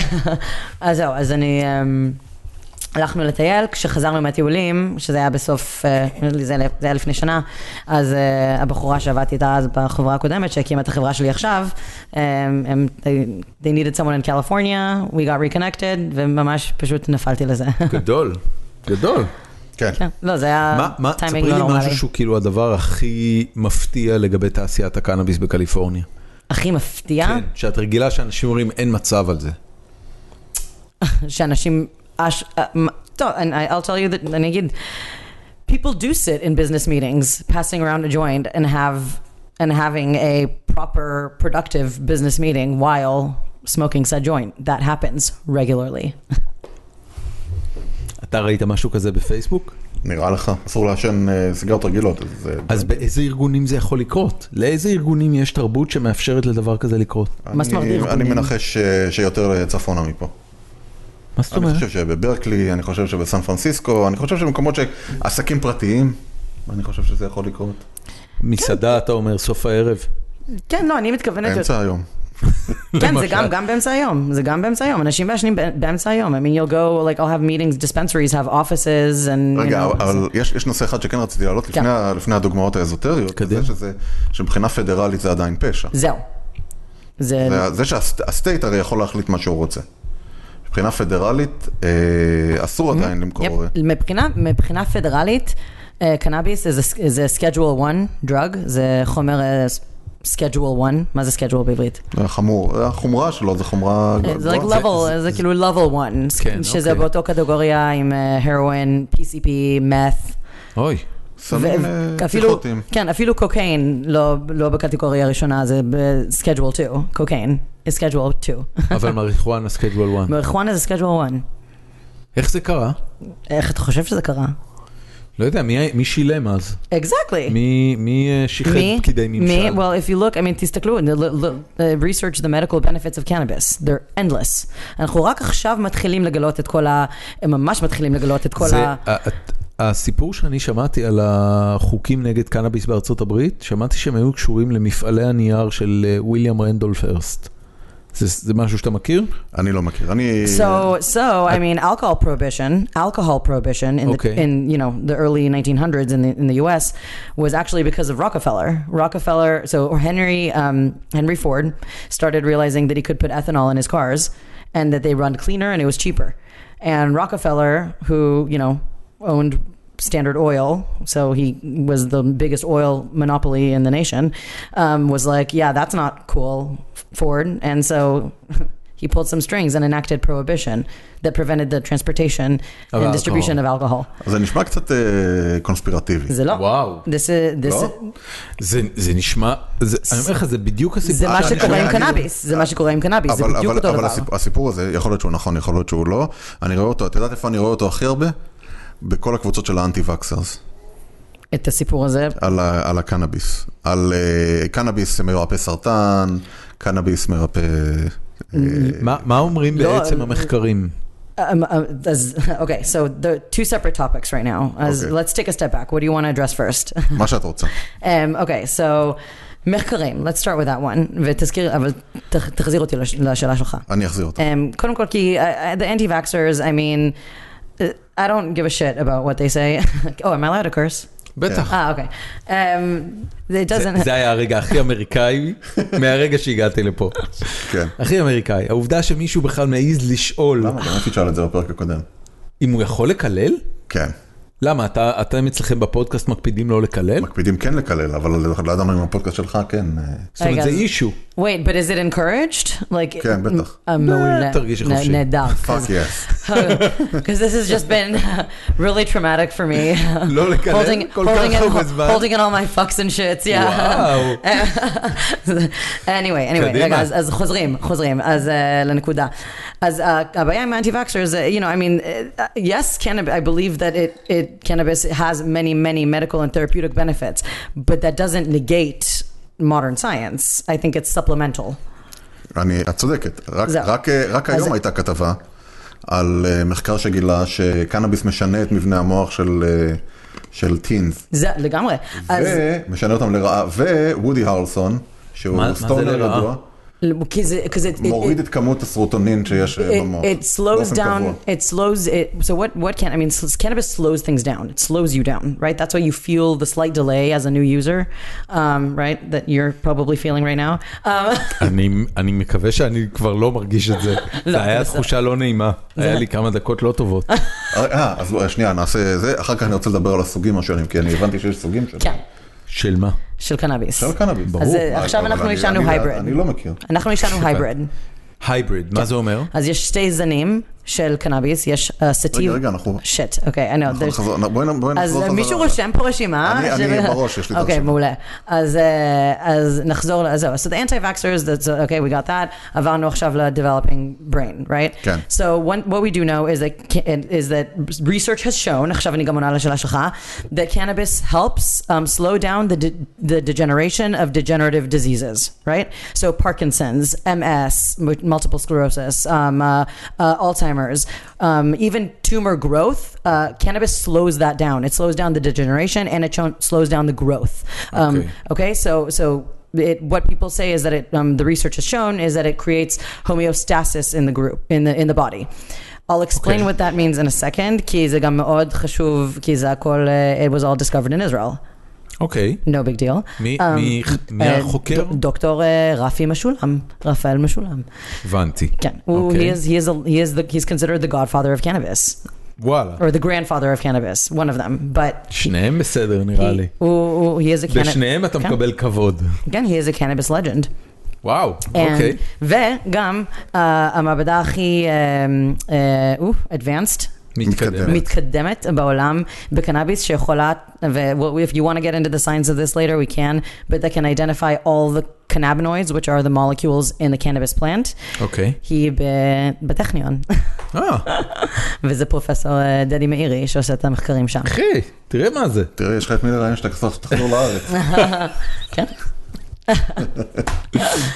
אז זהו, אז אני... אמ, הלכנו לטייל, כשחזרנו מהטיולים, שזה היה בסוף, אה, זה היה- זה היה לפני שנה, אז אה, הבחורה שעבדתי איתה אז בחברה הקודמת, שהקימה את החברה שלי עכשיו, אמ, הם, they- they needed someone in California, we got reconnected, וממש פשוט נפלתי לזה.
גדול. גדול.
כן.
כן, לא, זה היה
מה, מה, ספרי
טיימינג
לי
לא נורמלי.
משהו שהוא כאילו הדבר הכי מפתיע לגבי תעשיית הקנאביס בקליפורניה.
הכי מפתיע,
כן, שאת רגילה שאנשים אומרים אין מצב על זה.
שאנשים... אש- אה, מ- טוב, and I- I'll tell you that, אני אגיד, people do sit in business meetings, passing around a joint and have, and having a proper productive business meeting while smoking said joint. That happens regularly.
אתה ראית משהו כזה בפייסבוק?
נראה לך, אסור לעשן אה, סיגריות רגילות, אז זה-
אז באיזה ארגונים זה יכול לקרות? לאיזה ארגונים יש תרבות שמאפשרת לדבר כזה לקרות?
מה זאת אומרת
אני-
ארגונים?
אני מנחש ש- שיותר צפונה מפה.
מה זאת
אני
אומרת?
חושב שבברקלי, אני חושב שבסן פרנסיסקו, אני חושב שבמקומות שעסקים פרטיים, אני חושב שזה יכול לקרות.
מסעדה, אתה אומר, סוף הערב.
כן, לא, אני מתכוונת...
באמצע היום.
כן, זה
למשל.
גם, גם באמצע היום, זה גם באמצע היום, אנשים מעשנים בא- באמצע היום. I mean, you'll go, like, I'll have meetings, dispensaries have offices, and,
רגע,
you know,
אבל יש יש נושא אחד שכן רציתי להעלות לפני ה- לפני הדוגמאות האזוטריות,
קדימה.
זה שזה- שמבחינה פדרלית זה עדיין פשע.
זהו. זה,
זה- זה שהסטייט הרי יכול להחליט מה שהוא רוצה. מבחינה פדרלית אה, אסור
Mm-hmm.
עדיין למכור. אה,
יפ, מבחינה, מבחינה פדרלית, אה, קנאביס זה- זה schedule 1 drug, זה חומר אה, schedule 1, מה זה schedule בעברית?
זה חמור, החומרה שלו לא, זה חומרה
אה, זה like
גבוהה.
level, זה כאילו level 1,
כן,
שזה
אוקיי.
באותו קטגוריה עם אה, הרואין, PCP, מת.
אוי,
סמים אה,
אפילו,
פסיכוטיים.
כן, אפילו קוקיין לא, לא בקטגוריה הראשונה, זה ב-schedule 2, קוקיין, is schedule 2.
אבל מריחואנה סקייג'ואל 1.
מריחואנה זה schedule 1.
איך זה קרה?
איך אתה חושב שזה קרה?
לא יודע, מי- מי שילם אז?
Exactly.
מי מי, אה, שיחד
Me?
פקידי
Me?
ממשל?
Well, if you look, I mean, תסתכלו, the- the- the- uh, research the medical benefits of cannabis, they're endless. אנחנו רק עכשיו מתחילים לגלות את כל ה... הם ממש מתחילים לגלות את כל
זה, אה,
ה...
ה- הת- הסיפור שאני שמעתי על החוקים נגד קנאביס בארצות הברית, שמעתי שהם היו קשורים למפעלי הנייר של אה, וויליאם רנדולף הרסט. זה, זה משהו שאתה מכיר?
אני לא מכיר. אני...
So, so I mean, alcohol prohibition, alcohol prohibition in
Okay.
the in you know the early 1900s in the in the U.S. was actually because of Rockefeller. Rockefeller, so Henry um, Henry Ford started realizing that he could put ethanol in his cars and that they run cleaner and it was cheaper. And Rockefeller, who you know owned Standard Oil, so he was the biggest oil monopoly in the nation, um, was like, yeah, that's not cool, Ford, and so. He pulled some strings and enacted prohibition that prevented the transportation
Of
and distribution of alcohol.
זה נשמע קצת אה, קונספירטיבי.
זה לא.
וואו.
This is, this
לא?
זה, זה נשמע, זה, אני אומר לך, זה בדיוק הסיפור.
זה מה
שאני
שקורה
שומע.
עם
אני-
קנאביס, זה מה שקורה עם קנאביס, זה
אבל,
בדיוק
אבל,
אותו
אבל
דבר.
הסיפור, הסיפור הזה, יכול להיות שהוא נכון, יכול להיות שהוא לא. אני רואה אותו, את יודעת איפה אני רואה אותו הכי הרבה? בכל הקבוצות של האנטי-וקסרס,
את הסיפור הזה,
על, ה- על הקנאביס. על uh, קנאביס מרפא סרטן, קנאביס מרפא... אה,
מה, מה אומרים
לא,
בעצם
אה,
המחקרים?
um, uh, as, okay, so the two separate topics right now. As,
Okay.
Let's take a step back. What do you want to address first?
מה שאת רוצה.
um, okay, so מחקרים, let's start with that one, ותזכיר, אבל תח- תחזיר אותי לש- לשאלה שלך.
אני אחזיר אותה.
Um, קודם כל, כי uh, the anti-vaxxers, I mean, uh, I don't give a shit about what they say. oh, am I allowed to curse?
בטח.
Ah, okay. Um, it
זה,
doesn't.
זה היה הרגע הכי אמריקאי מהרגע שהגעתי לפה.
כן.
הכי אמריקאי. העובדה שמישהו בכלל מעז לשאול
למה? באמת תשאל את זה בפרק הקודם.
אם הוא יכול לקלל?
כן.
למה, אתה, אתם אצלכם בפודקאסט מקפידים לא לקלל?
מקפידים כן לקלל, אבל לא ידענו אם הפודקאסט שלך, כן. אה,
זאת אומרת,
רגע,
זה
אז-
אישו.
Wait, but is it encouraged? Like,
כן, בטח.
אה, מעולה.
תרגישי
נ-
חופשי.
נהדר.
fuck yes.
Because this has just been really traumatic for me.
לא לקלל
holding,
כל
holding,
כך
in,
הרבה זמן.
holding in all my fucks and shits, yeah.
וואו.
anyway, anyway,
קדימה.
רגע, אז, אז חוזרים, חוזרים, אז uh, לנקודה. אז uh, הבעיה עם האנטי-vaxxers, uh, you know, I mean, uh, yes, cannabis, I believe that it, it, cannabis has many, many medical and therapeutic benefits, but that doesn't negate modern science. I think it's supplemental.
אני, את צודקת. רק,
זהו.
רק, אה, רק
אז-
היום הייתה כתבה על אה, מחקר שגילה שקנאביס משנה את מבנה המוח של, אה, של טינס.
זה לגמרי. אז...
ומשנה אותם לרעה, וודי הרלסון,
מה- מה
שהוא
זה
סטונר
לרעה?
ידוע,
Because it, because it, it,
מוריד
it,
את כמות הסרוטונין שיש אה, במוח.
it, it slows
באופן קבוע.
down. It slows it. So what? What can I mean? s- Cannabis slows things down. It slows you down, right? That's why you feel the slight delay as a new user, um, right? That you're probably feeling right now. Um,
אני, אני מקווה שאני כבר לא מרגיש את זה. זה היה
בסדר.
תחושה לא נעימה. היה לי כמה דקות לא טובות.
אה, אז בוא, שנייה, נעשה זה, אחר כך אני רוצה לדבר על הסוגים השונים, כי אני הבנתי שיש סוגים של...
כן,
של מה?
של קנאביס.
של קנאביס.
ברור. אז,
אה,
מה,
עכשיו
אבל
אנחנו
אני-
נשארנו
אני-
hybrid.
אני לא מכיר.
אנחנו נשארנו הייברד.
הייבריד,
כן.
מה זה אומר?
אז יש שתי זנים של קנאביס, יש אה, סטיב.
רגע, רגע, אנחנו...
שיט, אוקיי, I know.
אנחנו
there's-
נחזור- בואי נ- בואי
אז
נחזור חזרה.
מישהו רושם פה רשימה?
אני- אני בראש, יש לי את
אוקיי,
הרשימה.
מעולה. אז, אה, אז נחזור לזה. So the anti-vaxxers, that's, okay, we got that. עברנו עכשיו ל-developing brain, right?
כן.
So one, what we do know is that, is that research has shown, עכשיו אני גם עונה לשאלה שלך, that cannabis helps um, slow down the, de- the degeneration of degenerative diseases, right? So Parkinson's, MS, mu- multiple sclerosis, um, uh, uh, Alzheimer's, um, even tumor growth, uh, cannabis slows that down. It slows down the degeneration and it cho- slows down the growth. Um,
Okay.
okay, so so it, what people say is that it, um, the research has shown is that it creates homeostasis in the group, in the, in the body. I'll explain
אוקיי.
what that means in a second, כי זה גם מאוד חשוב, כי זה הכל, uh, it was all discovered in Israel.
אוקיי.
No big deal.
מי-
Um,
מי- מי
אה,
החוקר?
ד- דוקטור אה, רפי משולם, רפאל משולם.
הבנתי.
כן, הוא,
אוקיי.
he is, he is, a, he is the, he's considered the godfather of cannabis,
וואלה.
or the grandfather of cannabis, one of them, but
שניהם בסדר נראה לי.
he, הוא, הוא, he is a cannabis,
בשניהם אתה
כן.
מקבל כבוד.
כן, he is a cannabis legend.
וואו,
And,
אוקיי.
וגם uh, המעבדה הכי um, אדוונסט,
מתקדמת.
מתקדמת.
מתקדמת בעולם בקנאביס שיכולה, ו- well, if you want to get into the science of this later we can, but that can identify all the cannabinoids which are the molecules in the cannabis plant.
אוקיי.
היא ב- בטכניון,
אה,
וזה פרופסור אה, דדי מאירי שעושה את המחקרים שם.
אחי, תראה מה זה.
תראה, יש לך את מי לראיין שאתה קצת תחזור לארץ.
כן.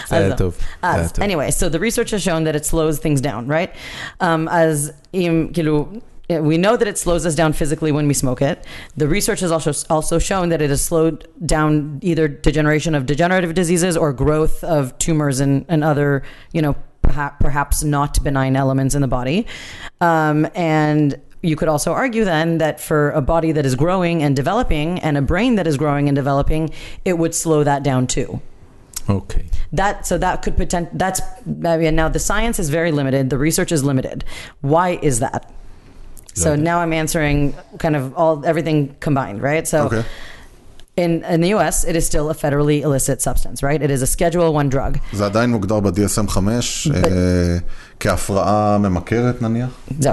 זה היה טוב. זה היה
לא. אז,
טוב.
anyway, so the research has shown that it slows things down, right? Um, אז אם, כאילו, eh, we know that it slows us down physically when we smoke it. The research has also also shown that it has slowed down either degeneration of degenerative diseases or growth of tumors and, and other, you know, perha- perhaps not benign elements in the body. Um, and you could also argue then that for a body that is growing and developing and a brain that is growing and developing, it would slow that down too
אוקיי.
that so that could potent that's I mean, now the science is very limited the research is limited why is that so
Okay.
now i'm answering kind of all everything combined right so
אוקיי.
in in the us it is still a federally illicit substance right it is a schedule 1 drug
זה עדיין מוגדר ב-DSM 5 אה, כהפרעה ממכרת נניח,
so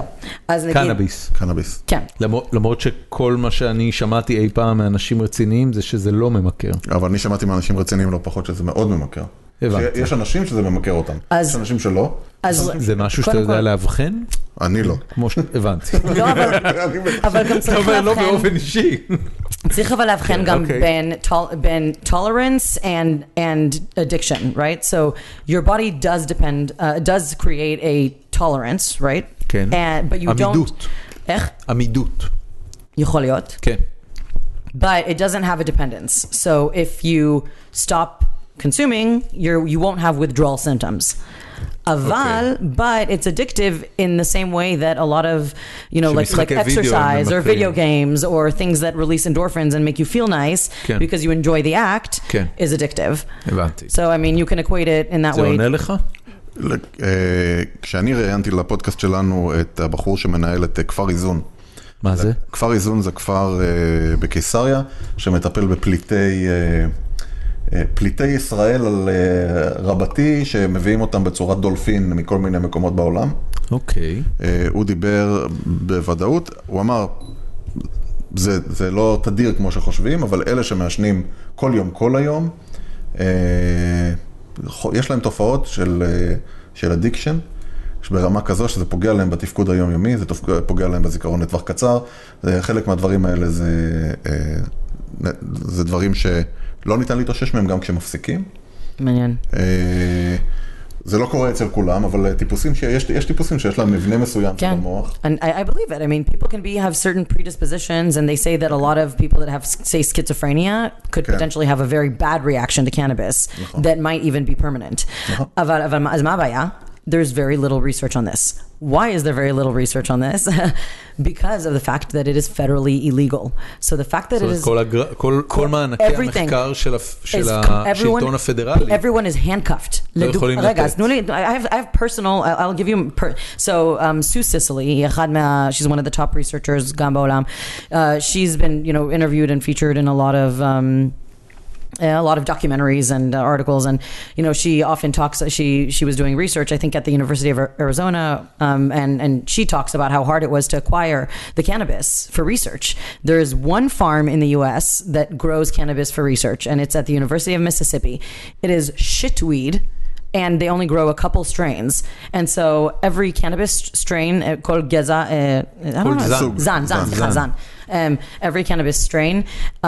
as an
קנאביס.
קנאביס.
כן.
למרות- למרות שכל מה שאני שמעתי אי פעם מאנשים רציניים זה שזה לא ממכר.
אבל אני שמעתי מאנשים רציניים לא פחות שזה מאוד ממכר.
הבנתי.
יש אנשים שזה ממכר אותם,
אז-
יש אנשים שלא,
אז
זה משהו שאתה
קודם
יודע
כל-
לאבחן?
אני לא.
כמו ש... הבנתי.
לא, אבל- אבל גם
אתה
צריך
אומר לא
לאבחן
באופן אישי.
צריך אבל לאבחן גם
אוקיי.
בין, tol- בין tolerance and, and addiction, right? So your body does depend, uh, does create a tolerance, right?
כן.
And, but you don't... eh?
עמידות.
איך?
עמידות.
יכול להיות.
כן.
But it doesn't have a dependence. So if you stop consuming, you're, you won't have withdrawal symptoms. אבל, but it's addictive in the same way that a lot of, you know, like,
שמשחקי
like
וידאו הם
exercise or
ממכרים.
video games or things that release endorphins and make you feel nice
כן.
because you enjoy the act
כן.
is addictive.
הבנתי.
So, I mean, you can equate it in that
זה
way.
עונה לך?
לק- אה, כשאני ראיינתי לפודקאסט שלנו את הבחור שמנהל את אה, כפר איזון.
מה זה?
כפר איזון זה כפר אה, בקיסריה שמטפל בפליטי... אה, אה, פליטי ישראל על אה, רבתי שמביאים אותם בצורת דולפין מכל מיני מקומות בעולם.
אוקיי.
אה, הוא דיבר בוודאות, הוא אמר, זה, זה לא תדיר כמו שחושבים, אבל אלה שמעשנים כל יום, כל היום, אה, חו- יש להם תופעות של, אה, של אדיקשן. ברמה כזו שזה פוגע להם בתפקוד היומיומי, זה תופג- פוגע להם בזיכרון לטווח קצר. זה- חלק מהדברים האלה זה, אה, נ- זה דברים שלא ניתן להתאושש מהם גם כשמפסיקים.
מעניין.
אה, זה לא קורה אצל כולם, אבל אה, טיפוסים שיש, יש טיפוסים שיש להם מבנה מסוים של
Yeah.
המוח.
And I, I believe it. I mean, people can be have certain predispositions, and they say that a lot of people that have, say, schizophrenia could
Okay.
potentially have a very bad reaction to cannabis that might even be permanent. אבל- אבל מה- אז מה הבעיה? There's very little research on this. Why is there very little research on this? because of the fact that it is federally illegal. So the fact that
זאת
it
אומרת,
is
כל הגר- כל- כל מענקי
everything
המחקר של הפ- של
is-
השלטון
everyone-
הפדרלי.
Everyone is handcuffed.
לא
לדו-
יכולים לתת.
רגע, אז תנו לי, I have, I have personal, I'll, I'll give you, per, so um, Sue Sicily, היא אחד מה, she's one of the top researchers גם בעולם. Uh, she's been, you know, interviewed and featured in a lot of... Um, a lot of documentaries and uh, articles, and you know, she often talks. She she was doing research, I think, at the University of Ar- Arizona, um, and and she talks about how hard it was to acquire the cannabis for research. There is one farm in the U.S. that grows cannabis for research, and it's at the University of Mississippi. It is shitweed. And they only grow a couple strains, and so every cannabis strain uh, called geza, uh, I don't
Called
know,
zan.
zan,
Zan.
zan, zan, zan. Um, every cannabis strain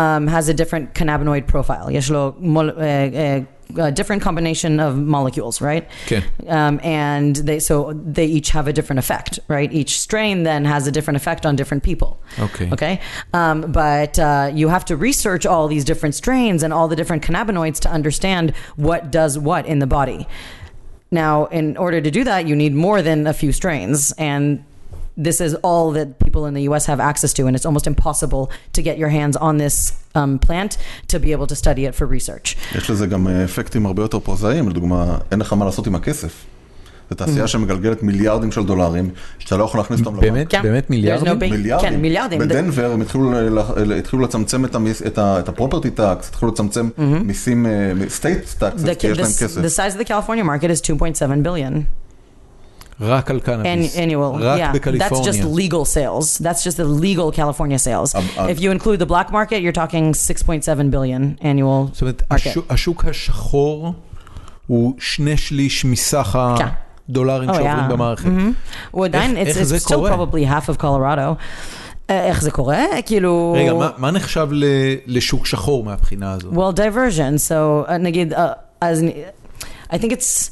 um, has a different cannabinoid profile. יש לו מול, uh, uh, a different combination of molecules, right?
כן.
Um, and they so they each have a different effect, right? Each strain then has a different effect on different people.
אוקיי.
Okay. Um, but uh, you have to research all these different strains and all the different cannabinoids to understand what does what in the body. Now, in order to do that, you need more than a few strains. And this is all that people in the US have access to. And it's almost impossible to get your hands on this um, plant to be able to study it for research.
יש לזה גם אה, אפקטים הרבה יותר פרוזאיים, לדוגמה, אין לך מה לעשות עם הכסף. זו
Mm.
תעשייה שמגלגלת מיליארדים של דולרים, שאתה לא יכול להכניס אותם לבנק.
באמת? באמת מיליארדים?
כן. big-
מיליארדים.
כן, מיליארדים.
בדנבר הם התחילו, ל- ל- התחילו לצמצם את, המיס, את, ה, את הפרופרטי טאקס, התחילו לצמצם מיסים, אה, סטייט טאקס,
Mm-hmm. The,
כי יש
the,
להם כסף.
the size of the California market is 2.7 billion
רק על
an,
קנאביס.
annual.
רק
yeah, that's
בקליפורניה.
just legal sales. That's just the legal California sales.
Um, um,
if you include the black market, you're talking 6.7 billion annual.
זאת אומרת,
אוקיי.
השוק- השוק השחור הוא שני שליש מסך
כן.
הדולרים
Oh,
שעוברים
yeah.
במערכת.
הוא עדיין,
איך-
it's,
איך זה
it's still
קורה?
probably half of Colorado. Uh, אה, איך זה קורה? כאילו...
רגע, מה- מה נחשב ל- לשוק שחור מהבחינה הזאת?
Well, diversion. So, uh, נגיד, uh, אז נ- I think it's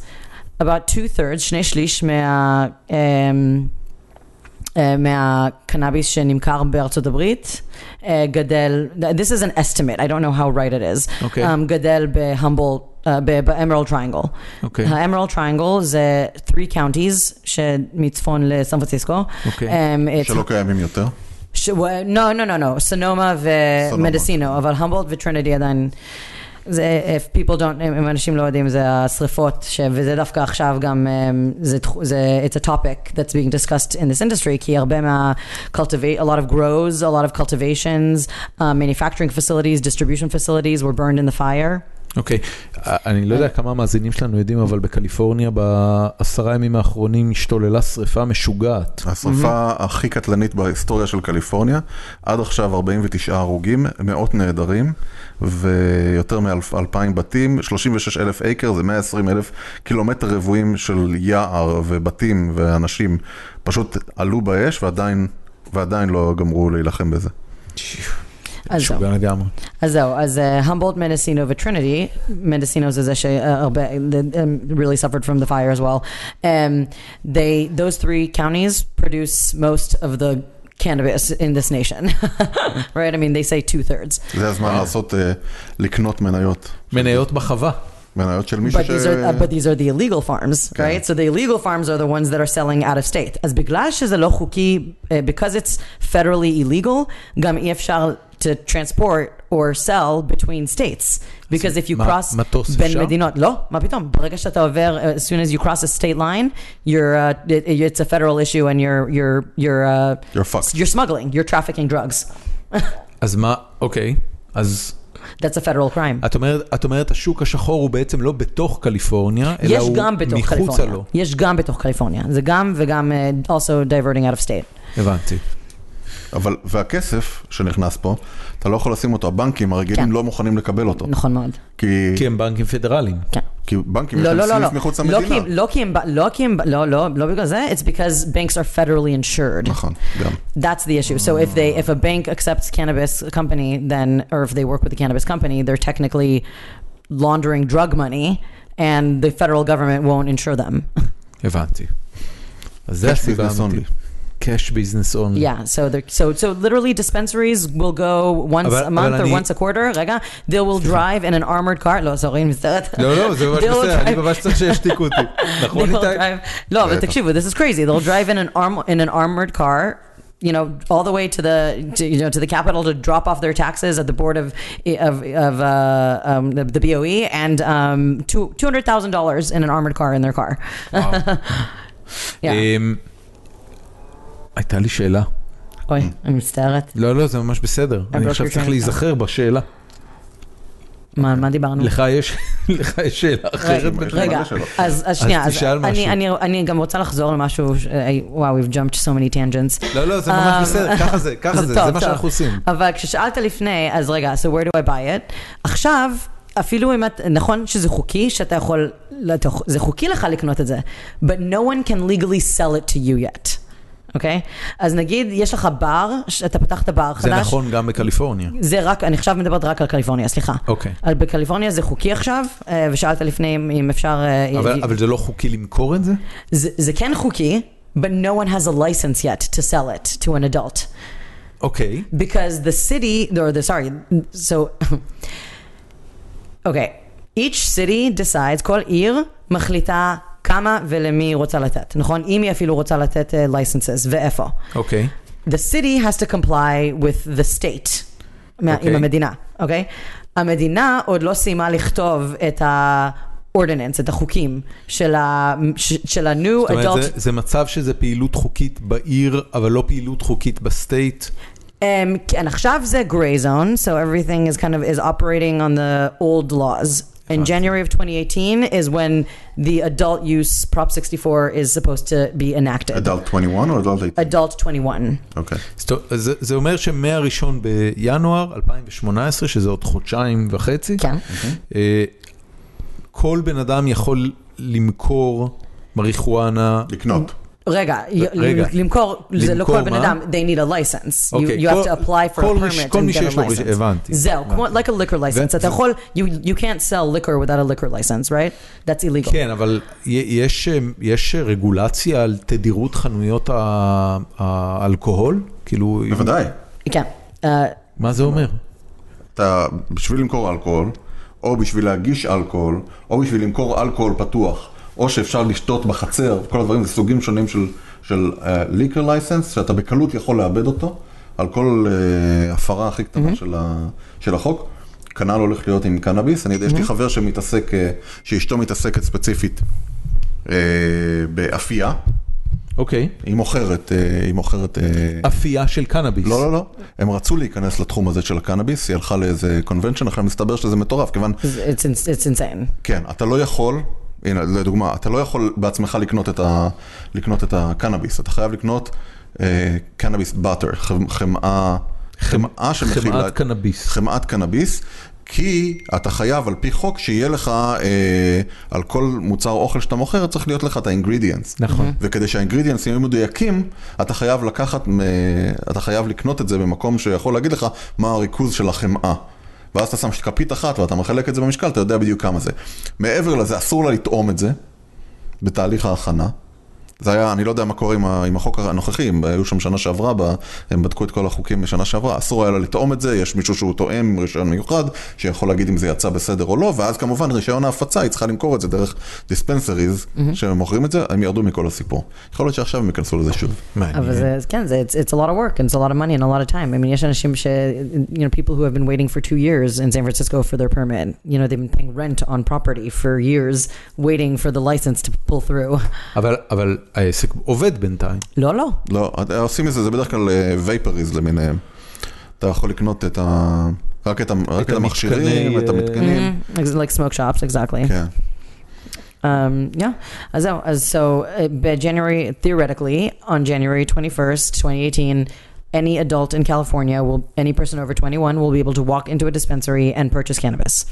about two-thirds, שני שליש מה... Um, eh, מהקנאביס שנמכר בארצות הברית אה, גדל, Eh, this is an estimate, I don't know how right it is,
אוקיי.
um, גדל בהמבול, באמרל טריינגל.
אוקיי.
האמרל טריינגל זה 3 uh, counties שמצפון לסן פרנסיסקו.
אוקיי.
Um, it's
שלא קיימים יותר.
ש... ו- לא, לא, לא, לא, סונומה
סונומה.
ומדיסינו, אבל המבולט וטרינידי עדיין, זה, if people don't, אם אם אנשים לא יודעים, זה השריפות, ש... וזה דווקא עכשיו גם, אמ, זה, תח- זה, it's a topic that's being discussed in this industry, כי הרבה מה, cultivate, a lot of grows, a lot of cultivations, uh, manufacturing facilities, distribution facilities were burned in the fire.
אוקיי, אני לא יודע כמה מאזינים שלנו יודעים, אבל בקליפורניה בעשרה ימים האחרונים השתוללה שריפה משוגעת.
השרפה הכי קטלנית בהיסטוריה של קליפורניה, עד עכשיו 49 הרוגים, מאות נעדרים, ויותר מ-2,000 בתים, 36 אלף אייקר, זה 120 אלף קילומטר רבועים של יער ובתים ואנשים פשוט עלו באש ועדיין, ועדיין לא גמרו להילחם בזה.
אז זהו.
משוגע לגמרי.
אז זהו, אז המבולט, מנסינו וטריניטי, מנסינו זה זה שהרבה, they, um, really suffered from the fire as well. Um, they, those three counties produce most of the cannabis in this nation, right? I mean, they say two thirds.
זה הזמן לעשות, אה, לקנות מניות.
מניות בחווה.
מניות של מישהו
But
ש...
these, are, uh, but these are the illegal farms,
כן.
right? So the illegal farms are the ones that are selling out of state. אז בגלל שזה לא חוקי, uh, because it's federally illegal, גם אי אפשר to transport or sell between states. Because if you
מה-
cross
מטוס
בין
אפשר?
מדינות, לא, מה פתאום? ברגע שאתה עובר, uh, as soon as you cross a state line, you're, uh, it- it's a federal issue and you're, you're, you're, uh,
You're fucked.
you're smuggling, you're trafficking drugs.
אז מה, אוקיי, אז
That's a federal crime.
את אומרת, את אומרת השוק השחור הוא בעצם לא בתוך קליפורניה, אלא
יש
הוא
גם בתוך
מחוצה
קליפורניה.
לו.
יש גם בתוך קליפורניה. זה גם וגם אה, also diverting out of state.
הבנתי.
אבל, והכסף שנכנס פה, אתה לא יכול לשים אותו, הבנקים הרגילים
כן.
לא מוכנים לקבל אותו.
נכון מאוד.
כי...
כי הם בנקים פדרליים.
כן.
כי בנקים יש
לא,
להם
לא, לא, לא.
סניף מחוץ
לא כי
למדינה.
הם- לא כי הם, לא כי הם, לא, לא, לא בגלל זה, it's because banks are federally insured.
נכון, גם.
That's the issue. So if they, if a bank accepts cannabis company, then, or if they work with a cannabis company, they're technically laundering drug money, and the federal government won't insure them.
הבנתי. אז זה
Cash
הסיבה
business
האמיתית. קאש ביזנס אונלי.
Yeah, so they're so so literally dispensaries will go once
אבל-
a month
אבל
or
אני-
once a quarter. רגע, they will drive in an armored car. לא, סורי, אני מצטערת.
לא, לא, זה ממש
They will
בסדר, אני
drive-
ממש צריך שישתיקו אותי.
They
נכון,
will
איתי?
drive. לא, אבל
בטח.
תקשיבו, this is crazy. They'll drive in an arm in an armored car. You know, all the way to the to, you know to the capital to drop off their taxes at the board of of, of uh, um, the, the BOE and um, two two hundred thousand dollars in an armored car in their car. אה. Yeah.
אמ, הייתה לי שאלה.
אוי, אני מצטערת.
לא, לא, זה ממש בסדר. אני
broke
עכשיו
your
צריך
train.
להיזכר בשאלה.
אה. מה מה דיברנו?
לך יש לך יש שאלה אחרת.
רגע,
בכלל?
רגע,
מלא שאלות.
אז אז שנייה, אז
תשאל משהו.
אני- אני- אני גם רוצה לחזור למשהו, ש- אה, וואו, we've jumped so many tangents.
לא, לא, זה
אה,
ממש בסדר, ככה זה, ככה
זה
זה,
טוב,
זה מה
טוב.
שאנחנו עושים.
אבל כששאלת לפני, אז רגע, so where do I buy it? עכשיו, אפילו אם את, נכון שזה חוקי, שאתה יכול, לא, אתה- זה חוקי לך לקנות את זה, but no one can legally sell it to you yet. אוקיי? אז נגיד, יש לך בר, ש- אתה פתחת בר חדש.
זה נכון גם בקליפורניה.
זה רק, אני עכשיו מדברת רק על קליפורניה, סליחה.
אוקיי.
על בקליפורניה זה חוקי עכשיו, אה, ושאלת לפני אם- אם אפשר... אה,
אבל, אבל זה לא חוקי למכור את זה?
זה, זה כן חוקי, but no one has a license yet to sell it to an adult.
אוקיי.
Because the city, or the, sorry, so, okay, each city decides, כל עיר מחליטה כמה ולמי היא רוצה לתת, נכון? אם היא אפילו רוצה לתת אה, licenses, ואיפה.
אוקיי.
The city has to comply with the state, מה-
אוקיי.
עם המדינה, אוקיי? המדינה עוד לא סיימה לכתוב את ה... ordinance, את החוקים של ה... ש- של ה-new
זאת אומרת,
adult
זה, זה מצב שזה פעילות חוקית בעיר, אבל לא פעילות חוקית בסטייט.
Um, and עכשיו זה gray zone, so everything is kind of is operating on the old laws. In
Fine.
January of 2018 is when the adult use Prop 64 is supposed to be enacted.
אדלט 21 או אדלט 18?
Adult 21.
אוקיי.
זאת- זה, זה אומר שמהראשון בינואר 2018, שזה עוד חודשיים וחצי,
כן.
אה, כל בן אדם יכול למכור מריחואנה.
לקנות.
רגע, י-
רגע.
למכור, זה לא
למכור
כל בן
מה?
אדם, they need a license. You,
אוקיי,
you have
כל-
to apply for a
כל מי ש-
permit
כל
and
מי
get
שיש
a
לו ריש-
license.
הבנתי.
זהו, כמו, like a liquor license.
ו-
אתה
ו-
יכול, you, you can't sell liquor without a liquor license, right? That's illegal.
כן, אבל י- יש, אה, יש רגולציה על תדירות חנויות ה- האלכוהול? כאילו, אם-
בוודאי.
כן. אה,
מה זה אומר?
אתה, בשביל למכור אלכוהול, או בשביל להגיש אלכוהול, או בשביל למכור אלכוהול פתוח, או שאפשר לשתות בחצר, כל הדברים, זה סוגים שונים של, של ליקר לייסנס, שאתה בקלות יכול לאבד אותו, על כל uh, הפרה הכי קטנה mm-hmm. של, ה, של החוק. כנ"ל הולך להיות עם קנאביס, אני, mm-hmm. יש לי חבר שמתעסק, אה, שאשתו מתעסקת ספציפית אה, באפייה,
אוקיי.
היא מוכרת, אה, היא מוכרת... אה,
אפייה של קנאביס.
לא, לא, לא. הם רצו להיכנס לתחום הזה של הקנאביס, היא הלכה לאיזה קונבנשן, אחרי מסתבר שזה מטורף, כיוון,
It's, ins- it's insane.
כן, אתה לא יכול, הנה, לדוגמה, אתה לא יכול בעצמך לקנות את, ה, לקנות את הקנאביס, אתה חייב לקנות אה, קנאביס באטר, חמאה, חמאה שמכילה...
חמאת קנאביס.
חמאת קנאביס. כי אתה חייב על פי חוק שיהיה לך, אה, על כל מוצר אוכל שאתה מוכר, צריך להיות לך את האינגרידיאנס.
נכון.
וכדי שהאינגרידיאנס יהיו מדויקים, אתה חייב לקחת, מ- אתה חייב לקנות את זה במקום שיכול להגיד לך מה הריכוז של החמאה. ואז אתה שם כפית אחת ואתה מחלק את זה במשקל, אתה יודע בדיוק כמה זה. מעבר לזה, אסור לה לטעום את זה בתהליך ההכנה. זה היה, אני לא יודע מה קורה עם, ה, עם החוק הנוכחי, הם היו שם שנה שעברה, ב, הם בדקו את כל החוקים בשנה שעברה, אסור היה לה לטעום את זה, יש מישהו שהוא תואם עם רישיון מיוחד, שיכול להגיד אם זה יצא בסדר או לא, ואז כמובן רישיון ההפצה, היא צריכה למכור את זה דרך דיספנסריז, mm-hmm. שמוכרים את זה, הם ירדו מכל הסיפור. יכול להיות שעכשיו הם ייכנסו לזה שוב.
אבל
מעניין.
זה, כן, זה, it's, it's a lot of work, and it's a lot of money, and a lot of time. I mean, יש אנשים ש, you know, people who have been waiting for two years in San Francisco for their permit. You know, they've been paying rent on property for years, waiting for the license to pull through.
אבל, אבל העסק עובד בינתיים.
לא, לא.
לא, עושים את זה, זה בדרך כלל וייפריז למיניהם. אתה יכול לקנות את ה... רק את, ה, רק את המכשירים,
המתקני,
את
אה,
המתקנים.
Mm-hmm. Ex- Like smoke shops, exactly.
כן.
Um, yeah. As so, as so uh, by January, theoretically, on January 21st, 2018, any adult in California will, any person over 21 will be able to walk into a dispensary and purchase cannabis.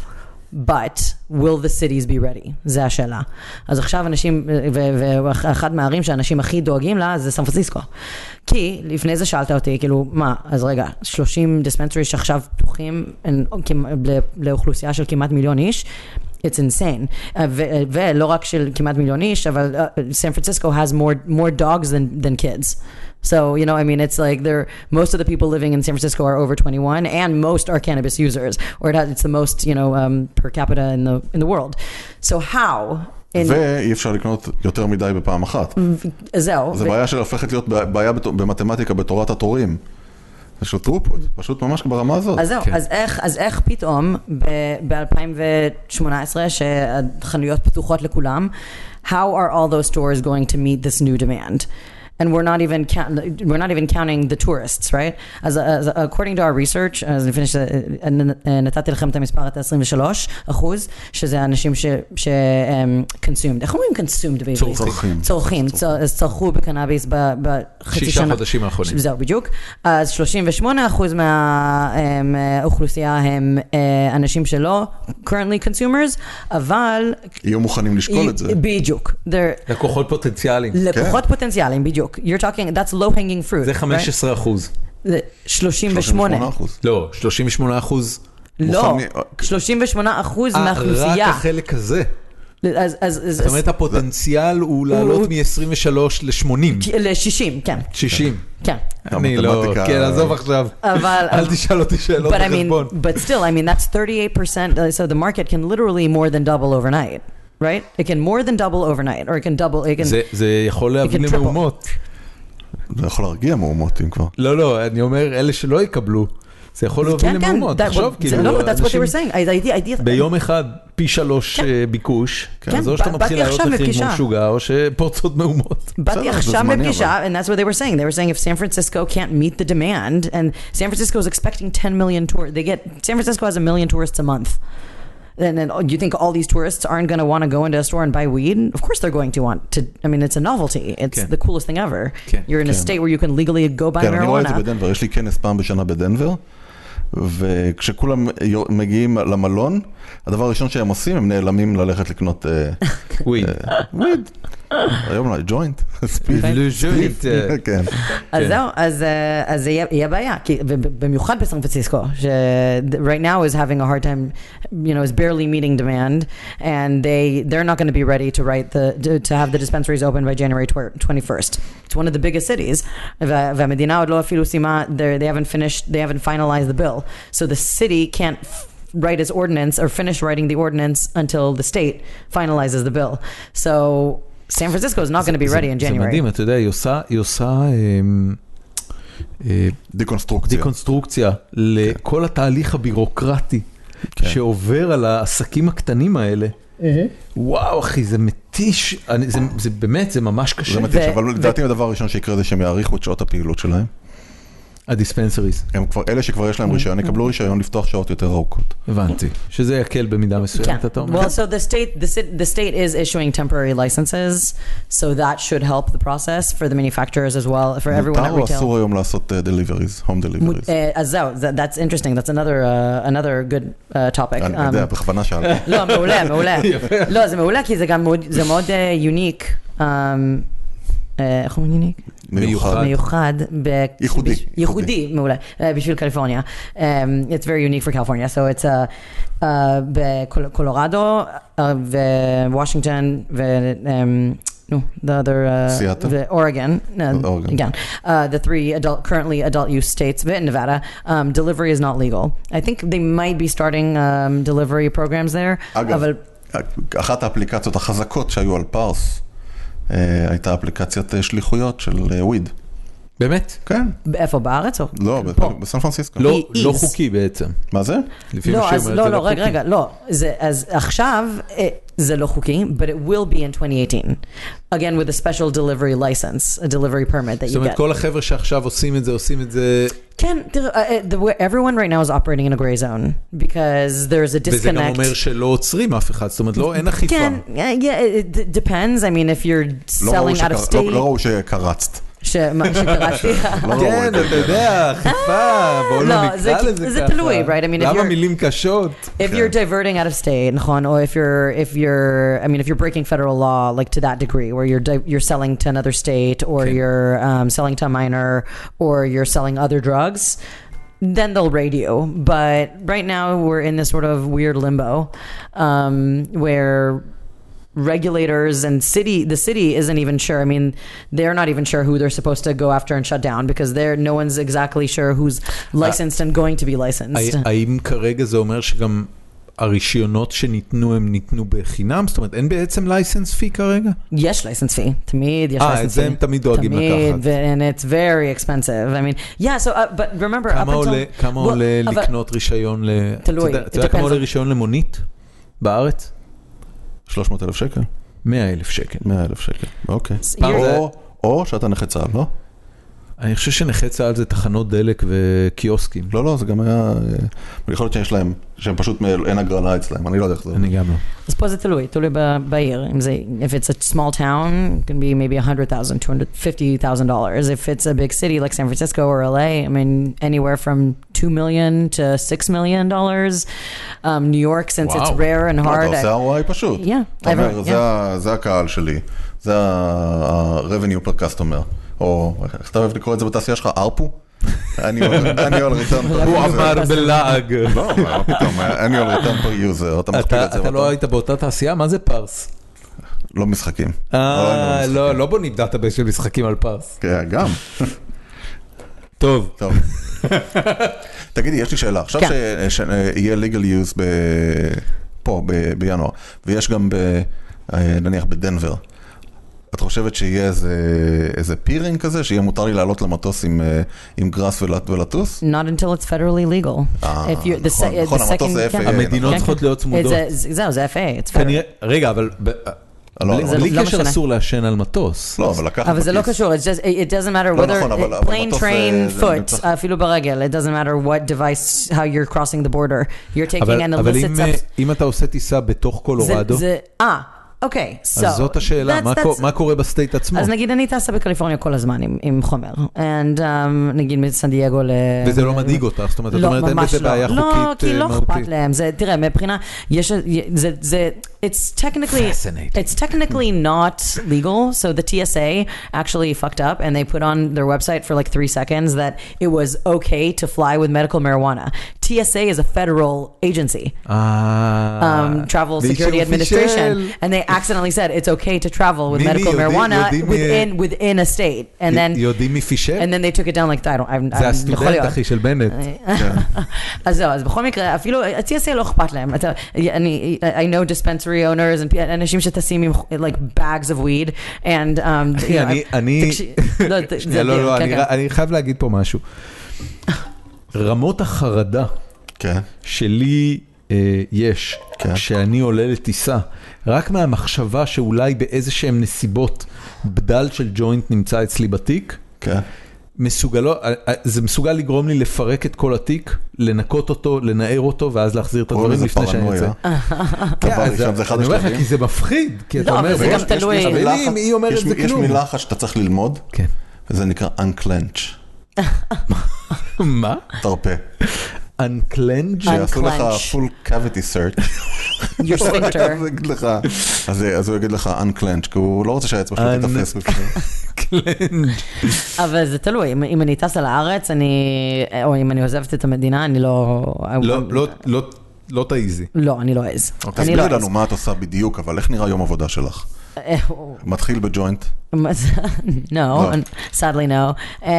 But will the cities be ready? זה השאלה. אז עכשיו אנשים, ואחת מהערים שאנשים הכי דואגים לה זה סן פרנסיסקו. כי לפני זה שאלת אותי, כאילו, מה, אז רגע, 30 דיספנסרי שעכשיו פתוחים הן כמע- ל- לאוכלוסייה של כמעט מיליון איש, It's insane. Uh, ו- ולא רק של כמעט מיליון איש, אבל uh, San Francisco has more, more dogs than, than kids. So, you know, I mean, it's like they're, most of the people living in San Francisco are over 21 and most are cannabis users, or it has, it's the most, you know, um, per capita in the, in the world. So how? In,
ואי אפשר לקנות יותר מדי בפעם אחת.
זהו.
זו
ו-
בעיה שהופכת להיות בעיה בת- במתמטיקה בתורת התורים. פשוט טרופות, פשוט ממש ברמה הזאת.
אז זהו,
כן.
אז איך, אז איך פתאום ב-2018 שהחנויות פתוחות לכולם, how are all those stores going to meet this new demand? And we're not even count, we're not even counting the tourists, right? אז, אז according to our research, אז לפני שנתתי לכם את המספר, את ה-23 אחוז, שזה האנשים ש... ש um, consumed, איך אומרים consumed בעברית?
צורכים.
צורכים, צור- אז צרכו בקנאביס ב- בחצי שנה.
שישה חודשים האחרונים.
זהו, בדיוק. אז 38% מהאוכלוסייה אמ, אה, הם אה, אנשים שלא currently consumers, אבל...
יהיו מוכנים לשקול את זה. כן.
בדיוק. They're
לקוחות פוטנציאליים.
לקוחות פוטנציאליים, בדיוק. בדיוק. You're talking, that's low hanging fruit.
זה
right?
15 אחוז.
זה 38.
38 אחוז.
לא, 38 אחוז.
לא,
מוכנים-
38 אחוז
אה, רק
מהאוכלוסייה.
החלק הזה.
אז, אז, אז,
זאת אומרת, הפוטנציאל הוא לעלות מ-23 ל-80.
ל-60, כן,
60.
כן.
אני לא...
המתמטיקה-
כן, עזוב עכשיו.
אבל...
אל תשאל אותי שאלות
But I mean,
בחשבון.
but still, I mean, that's 38%. uh, So the market can literally more than double overnight, right? It can more than double overnight, or it can double, it כן. can...
זה- זה יכול להביא
triple.
למהומות.
זה יכול להרגיע מהומות אם כבר.
לא, לא, אני אומר, אלה שלא יקבלו, זה יכול להוביל
כן, כן,
למהומות.
that-
תחשוב,
זה-
כאילו,
לא, that's what they
אנשים
were saying. I- I- I- I-
ביום אחד פי שלוש אה, ביקוש,
כן,
אז או שאתה
בא-
מתחיל
באתי
לעלות
עכשיו
מחירים כמו
לפגישה.
משוגע, או שפורצות מהומות.
באתי
בסדר, זה
עכשיו
זמני,
לפגישה, and that's what they were saying. They were saying if San Francisco can't meet the demand, and San Francisco is expecting 10 million tourists, they get, San Francisco has a million tourists a month. And then oh, you think all these tourists aren't going to want to go into a store and buy weed? Of course they're going to want to. I mean, it's a novelty. It's
כן.
the coolest thing ever.
כן,
You're in a
כן.
state where you can legally go buy
כן, אני רואה את זה
marijuana.
בדנבר, יש לי כנס פעם בשנה בדנבר, וכשכולם יו- מגיעים למלון, הדבר הראשון שהם עושים, הם נעלמים ללכת לקנות אה,
וויד.
אה, וויד. היום לא, ג'וינט. ספיף.
אוקיי.
כן.
אז
כן.
זהו, אז, אה, אז זה יהיה, יהיה בעיה, כי, ובמיוחד בסן פרנסיסקו, ש- right now is having a hard time, you know, is barely meeting demand, and they, they're not going to be ready to write the, to, to have the dispensaries open by January twer- 21st. It's one of the biggest cities, וה- והמדינה עוד לא אפילו סיימה, they're- they haven't finished, they haven't finalized the bill, so the city can't f- write its ordinance or finish writing the ordinance until the state finalizes the bill. So San Francisco is not going to be
זה-
ready in
זה
January.
מדהים, אתה יודע, היא עושה- היא עושה אמ, אה,
דיקונסטרוקציה.
דקונסטרוקציה לכל התהליך הבירוקרטי
כן.
שעובר על העסקים הקטנים האלה. וואו, אחי, זה מתיש. אני- זה- זה באמת, זה ממש קשה.
זה מתיש,
ו-
אבל
ו-
לדעתי הדבר הראשון שיקרה זה שהם יעריכו את שעות הפעילות שלהם.
הדיספנסריז,
הם כבר, אלה שכבר יש להם רישיון, יקבלו רישיון לפתוח שעות יותר ארוכות.
הבנתי.
כן.
שזה יקל במידה מסוימת, אתה
Yeah.
אומר?
כן. Well, so the state the, sit- the state is issuing temporary licenses, so that should help the process for the manufacturers as well for everyone
מותר
at
או
retail.
אסור היום לעשות אה, deliveries, home
Mut-
deliveries?
eh, אז זהו, that- that's interesting, that's another, uh, another good uh, topic.
אני
Um,
יודע, בכוונה שאלתי.
לא, מעולה, מעולה. לא, זה מעולה כי זה גם מאוד, זה מאוד יוניק, um, איך אומרים יוניק?
מיוחד.
מיוחד.
מיוחד. ב-
ייחודי,
בש- ייחודי,
ייחודי.
מעולה, אה, בשביל קליפורניה. Um, It's very unique for California, so it's uh, uh, בקולורדו uh, ווושינגטון ו... Um, no, the other... Uh,
Seattle?
The Oregon. No,
Oregon.
Again, uh, the three adult currently adult use states, but in Nevada, um, delivery is not legal. I think they might be starting um, delivery programs there.
אגב,
אבל
אחת האפליקציות החזקות שהיו על פארס, אה, הייתה אפליקציית אה, שליחויות של אה, וויד.
באמת?
כן,
איפה בארץ? או-
לא, ב-
פה.
בסן פרנסיסקו.
לא
היא
לא
is.
חוקי בעצם.
מה זה?
לפי מה
לא,
שהיא
אז
אומרת,
לא,
זה
לא, רגע,
חוקי.
רגע, לא. זה, אז עכשיו אה, זה לא חוקי, but it will be in 2018. Again, with a special delivery license, a delivery permit that
זאת
you
אומרת,
get.
כל החבר'ה שעכשיו עושים את זה, עושים את זה,
כן, תראו, אה, אה, uh, the way- everyone right now is operating in a gray zone, because there's a
וזה גם
disconnect.
אומר שלא עוצרים אף אחד, זאת אומרת, לא, אין אכיפה.
כן, אה, yeah, it d- depends, I mean, if you're
לא ראו
selling out of
שקר- לא- לא
state,
ראו שקרצת.
ש- מה שקראתי.
לא ראו
כן,
את זה.
אתה יודע, אכיפה, בואו
לא,
לא נקרא
זה-
לזה ככה.
זה תלוי, right? I mean, if
למה
you're-
מילים קשות?
If
Okay.
you're diverting out of state, נכון, or if you're if you're I mean if you're breaking federal law like to that degree where you're di- you're selling to another state or
Okay.
you're um, selling to a minor or you're selling other drugs, then they'll raid you. But right now we're in this sort of weird limbo um, where regulators and city the city isn't even sure i mean they're not even sure who they're supposed to go after and shut down because they're no one's exactly sure who's licensed and going to be licensed
הא- האם כרגע זה אומר שגם הרישיונות שניתנו, הם ניתנו בחינם? זאת אומרת, אין בעצם לייסנס פי כרגע?
יש license fee. תמיד יש license fee.
אה, את זה הם תמיד דואגים
תמיד,
לקחת.
ו- and it's very expensive. I mean, yeah, so, uh, but remember, up
כמה עולה-
until...
כמה
Well,
עולה
אבל-
לקנות רישיון ל...
תלוי,
אתה יודע-
it
אתה יודע כמה
depends
עולה
on-
רישיון למונית בארץ?
300 אלף שקל?
100 אלף שקל.
100 אלף שקל, אוקיי.
It's-
פעם
you're-
זה-
או- או שאתה נכה צה"ל, לא?
אני חושב שנכי צה"ל זה תחנות דלק וקיוסקים.
לא, לא, זה גם היה... אה, יכול להיות שיש להם, שהם פשוט, מ- אין הגרלה אצלהם, אני לא יודע איך זה עובד.
אני גם לא.
אז פה זה תלוי, תלוי ב- בעיר. אם זה, if it's a small town, it can be maybe 100,000, 250,000 dollars. If it's a big city like San Francisco or LA, I mean, anywhere from 2 million to 6 million dollars. Um, New York, since it's
וואו.
rare
לא,
and hard.
אתה עושה ROI פשוט.
Yeah,
אתה אומר,
everyone,
"זה
yeah.
ה- זה הקהל שלי, זה ה-revenue per customer. או איך אתה אוהב לקרוא את זה בתעשייה שלך, ארפו? annual return per
הוא
user.
אמר בלעג.
לא, מה פתאום, annual return per user, אתה מכפיל את
אתה
זה.
אתה לא
ואתה-
היית באותה תעשייה? מה זה פרס?
לא משחקים. לא היינו
אה,
במשחקים.
לא, לא בונים דאטאבייס של משחקים על פרס.
כן, גם.
טוב.
טוב. תגידי, יש לי שאלה. עכשיו
כן.
שיהיה legal use ב- פה, ב- בינואר, ויש גם, ב- אה, נניח, בדנבר. את חושבת שיהיה איזה, איזה פירינג כזה, שיהיה מותר לי לעלות למטוס עם, אה, עם גראס ולט- ולטוס?
Not until it's federally legal.
Ah,
אה,
If you- the
נכון,
se-
נכון,
the
המטוס
second-
זה
כן.
FAA,
המדינות
כן,
צריכות
כן.
להיות צמודות.
זה- זה- זהו, זה FA, it's federal.
כנראה, רגע, אבל ב-
לא,
בלי-
אבל-
בלי
לא
קשר
משנה.
אסור לעשן על מטוס.
לא, אבל לקחת
אבל זה לא
בכיס.
קשור, it's just, it doesn't matter
לא,
whether,
נכון, אבל- אבל
plane,
מטוס, אה,
train,
זה
foot,
נצח.
אפילו ברגל, it doesn't matter what device, how you're crossing the border, you're taking
אבל
an
אבל
illicit
אם, אה,
substance.
אם אתה עושה טיסה בתוך
זה-
קולורדו,
זה- אה, אוקיי, so.
אז זאת השאלה,
that's-
מה
that's-
קו- מה קורה בסטייט עצמו?
אז נגיד אני טסה בקליפורניה כל הזמן עם- עם חומר, and um, נגיד מסן דייגו ל...
וזה לא מדאיג אותך, זאת אומרת, את
לא,
אומרת, אין
ממש
בזה
לא.
בעיה
לא,
חוקית
כי
אה,
לא אכפת
מהותית.
להם. זה, תראה, מבחינה, יש, זה, זה, it's technically,
Fascinating.
it's technically not legal, so the TSA actually fucked up and they put on their website for like three seconds that it was okay to fly with medical marijuana. TSA is a federal agency.
Ah. אה,
Um, travel
מישהו
Security Administration,
פישל.
and they accidentally said it's okay to travel with
Mimi,
medical
יודעים-
marijuana
יודעים, אה,
within within a state, and
י-
then
יודעים מי פישל?
and אה, נכון, then they took it down like I don't.
זה
I'm, I'm, יכול
הסטודנט,
להיות.
אחי, של בנט.
אה, אז זהו, אז בכל מקרה, אפילו ה-TSA לא אכפת להם. אתה, אני, I know dispensary owners, and אנשים שטסים עם like bags of weed, and... Um,
אחי, אני- אני...
לא, זה-
שנייה,
זה
לא, לא,
כן,
אני
כן.
ר- אני חייב להגיד פה משהו. רמות החרדה
כן.
שלי אה, יש,
כן.
כשאני עולה לטיסה, רק מהמחשבה שאולי באיזה שהן נסיבות בדל של ג'וינט נמצא אצלי בתיק,
כן.
מסוגלו, אה, אה, זה מסוגל לגרום לי לפרק את כל התיק, לנקות אותו, לנער אותו, ואז להחזיר את
קוראים
הדברים
לזה
לפני שאני
פרנויה.
יוצא. כן,
דבר
אז
ראשון, זה אחד
אני אומר לך,
השלבים.
כי זה מפחיד, כי אתה
לא,
אומר,
אבל זה
"רגע,
גם
יש- יש
תלוי.
מילה
אבל
אחת-
אם היא אומרת
יש-
זה
יש
כלום.
מילה אחת שאתה צריך ללמוד,
כן.
וזה נקרא unclench,
מה?
תרפה.
Unclench?
שיעשו לך
Unclench.
full cavity search.
Your sphincter.
אז הוא יגיד לך- אז אה, אז הוא יגיד לך unclench, כי הוא לא רוצה שהאצבע שלו
Un-
תתפס בפנים.
אוקיי. אבל זה תלוי, אם, אם אני טסה לארץ, אני... או אם אני עוזבת את המדינה, אני לא...
לא, אוקיי, לא, לא, לא תעיזי.
לא, אני לא אעז. אה, אני לא
תסבירי לנו מה את עושה בדיוק, אבל איך נראה יום עבודה שלך?
אעז.
מתחיל בג'וינט,
לא.
no, un- sadly no. Um, uh,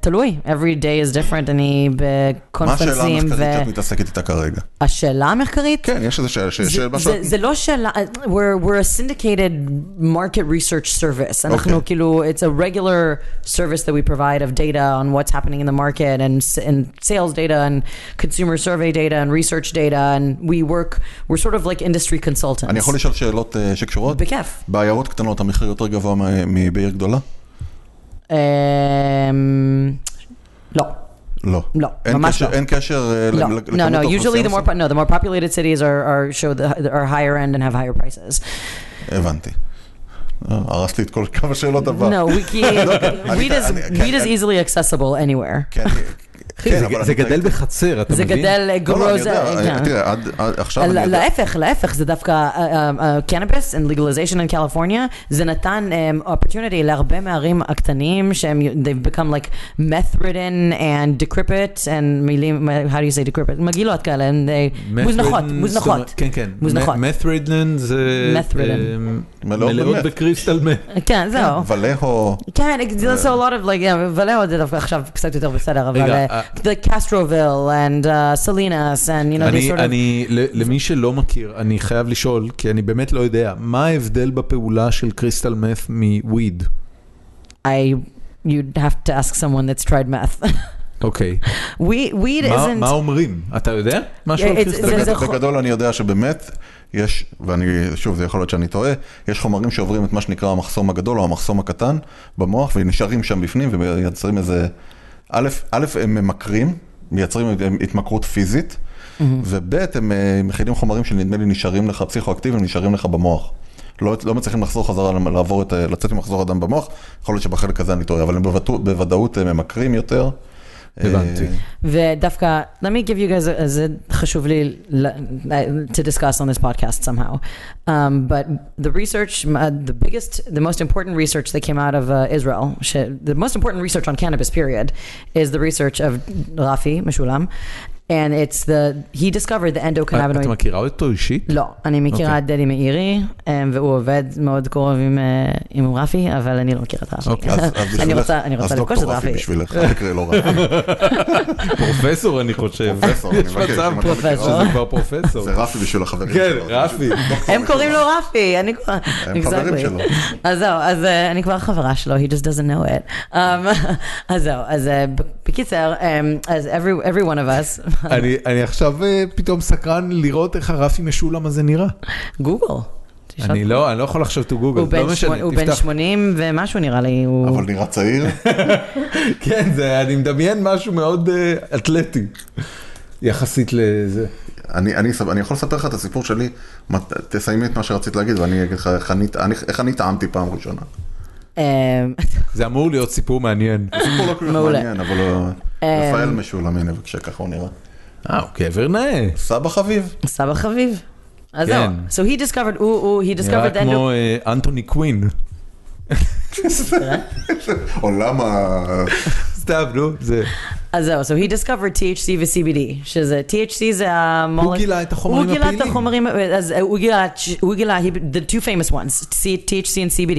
תלוי, every day is different, אני
מה השאלה
בקונפרנסים.
המחקרית
ו-
שאת מתעסקת איתה כרגע?
השאלה המחקרית?
כן, יש איזה שאלה,
זה-
שאלה
זה- זה לא שאלה, we're, we're a syndicated market research service. אנחנו
אוקיי.
כאילו, it's a regular service that we provide of data on what's happening in the market and, s- and sales data and consumer survey data and research data and we work, we're sort of like industry consultants.
אני יכול לשאול שאלות אה, שקשורות?
בכיף.
בעיירות קטנות המחיר יותר גבוה מ- מבעיר גדולה?
אמ, Um, לא.
לא.
לא,
אין
ממש
קשר-
לא.
אין קשר אה,
No,
לכמות
no, no.
האוכלוסייה
Usually, the more
מסוימת?
po- no, the more populated cities are, are show the are higher end and have higher prices.
הבנתי. אה, הרסת לי את כל כמה שאלות הבא.
No, we
לא, אני-
weed is
אני- כן,
weed is
כן.
easily accessible anywhere.
כן,
אחי,
כן,
זה-
אבל
זה
אני-
גדל בחצר, אתה
זה
מבין?
גדל אה,
לא, לא, אני
גרוז...
יודע,
אה, כן.
אה, תראה, עד- עד- עכשיו אני
לה-
יודע.
להפך, להפך, זה דווקא אה, קנאביס and legalization in California, זה נתן um, opportunity להרבה מהערים הקטנים שהם, they've become like meth ridden and decrepit and מילים, how do you say decrepit? מגעילות כאלה, הם, they-
Meth ridden,
מוזנחות,
זאת אומרת-
מוזנחות.
כן, כן.
מוזנחות.
מת'רידן זה...
Meth ridden.
אמ,
מלאות
מלאות
במת'.
בקריסטל מת.
כן, זהו.
ולהו,
כן, there's a
אה.
lot of like, yeah, ולאו זה דווקא עכשיו קצת יותר בסדר, אבל...
רגע,
אה, The Castroville and uh, Salinas and you know, they
אני,
sort of...
אני, ל- למי שלא מכיר, אני חייב לשאול, כי אני באמת לא יודע, מה ההבדל בפעולה של קריסטל מת מוויד?
I... You'd have to ask someone that's tried meth.
אוקיי.
We, weed
מה-
isn't...
מה אומרים? אתה יודע? משהו על
אה,
קריסטל
זה-
מת?
זה-
בגד- בגדול אני יודע שבאמת יש, ואני, שוב, זה יכול להיות שאני טועה, יש חומרים שעוברים את מה שנקרא המחסום הגדול או המחסום הקטן במוח ונשארים שם בפנים ומייצרים איזה, א', א', הם ממכרים, מייצרים את- הם התמכרות פיזית, וב', הם אה, מכילים חומרים שנדמה לי נשארים לך, פסיכואקטיביים, נשארים לך במוח. לא, לא מצליחים לחזור חזרה, לעבור את, ה- לצאת ממחזור הדם במוח, יכול להיות שבחלק הזה אני טועה, אבל הם בוודאו- בוודאות אה, ממכרים יותר.
הבנתי.
אה,
ודווקא, let me give you guys, a- זה חשוב לי ל- eh, to discuss on this podcast somehow. Um, but the research, uh, the biggest, the most important research that came out of uh, Israel, ש- the most important research on cannabis period, is the research of Rafi Meshulam, and it's the, he discovered the endocannabinoid.
את מכירה אותו אישית?
לא, אני מכירה
אוקיי.
את דדי מאירי, אה, והוא עובד מאוד קרוב עם, אה, עם רפי, אבל אני לא מכירה את רפי.
אוקיי,
אז- אז
אני
בשבילך-
רוצה אני
אז
רוצה לפגוש את
דוקטור רפי
רפי.
בשבילך, אל תקראי לו רפי.
פרופסור, אני חושב.
פרופסור, אני
יש
מבקש,
מצב
אם את לא מכירה,
פרופסור.
שזה כבר פרופסור.
זה רפי בשביל החברים
כן,
שלו.
רפי.
דוקטור
הם קוראים לו רפי, אני כבר...
הם חברים
Exactly.
שלו.
אז זהו, אז אה, אני כבר חברה שלו, he just doesn't know it. Um, אז זהו, אז אה, ב- בקיצר, um, אז every, every one of us,
אני אני עכשיו אה, פתאום סקרן לראות איך הרפי משולם הזה נראה.
גוגל.
אני לא, אני לא יכול לחשוב to
הוא
google,
בן
לא משנה,
שמונה- הוא בן
תפתח.
80 ומשהו נראה לי, הוא...
אבל נראה צעיר,
כן, זה- אני מדמיין משהו מאוד אה, אתלטי, יחסית לזה.
אני, אני, סב- אני יכול לספר לך את הסיפור שלי, מה- תסיימי את מה שרצית להגיד ואני אגיד לך איך אני, אני- איך אני טעמתי פעם ראשונה.
אמ,
זה אמור להיות סיפור מעניין.
סיפור לא כל כך
מעולה.
מעניין, אבל לא-
אה.
רפאל משולם, הנה בבקשה, ככה הוא נראה.
אה, הוא גבר נאה.
סבא חביב.
סבא חביב. אז זהו,
כן.
so he discovered, הוא, הוא, he
נראה
discovered the
כמו אה, אנטוני קווין.
עולם ה...
סתם, נו, זה...
אז זהו, so he discovered THC ו-CBD, שזה, THC זה המולק...
הוא גילה את החומרים
הוא גילה את
הפעילים.
החומרים, אז הוא גילה, את- הוא גילה, he- the two famous ones, THC and CBD.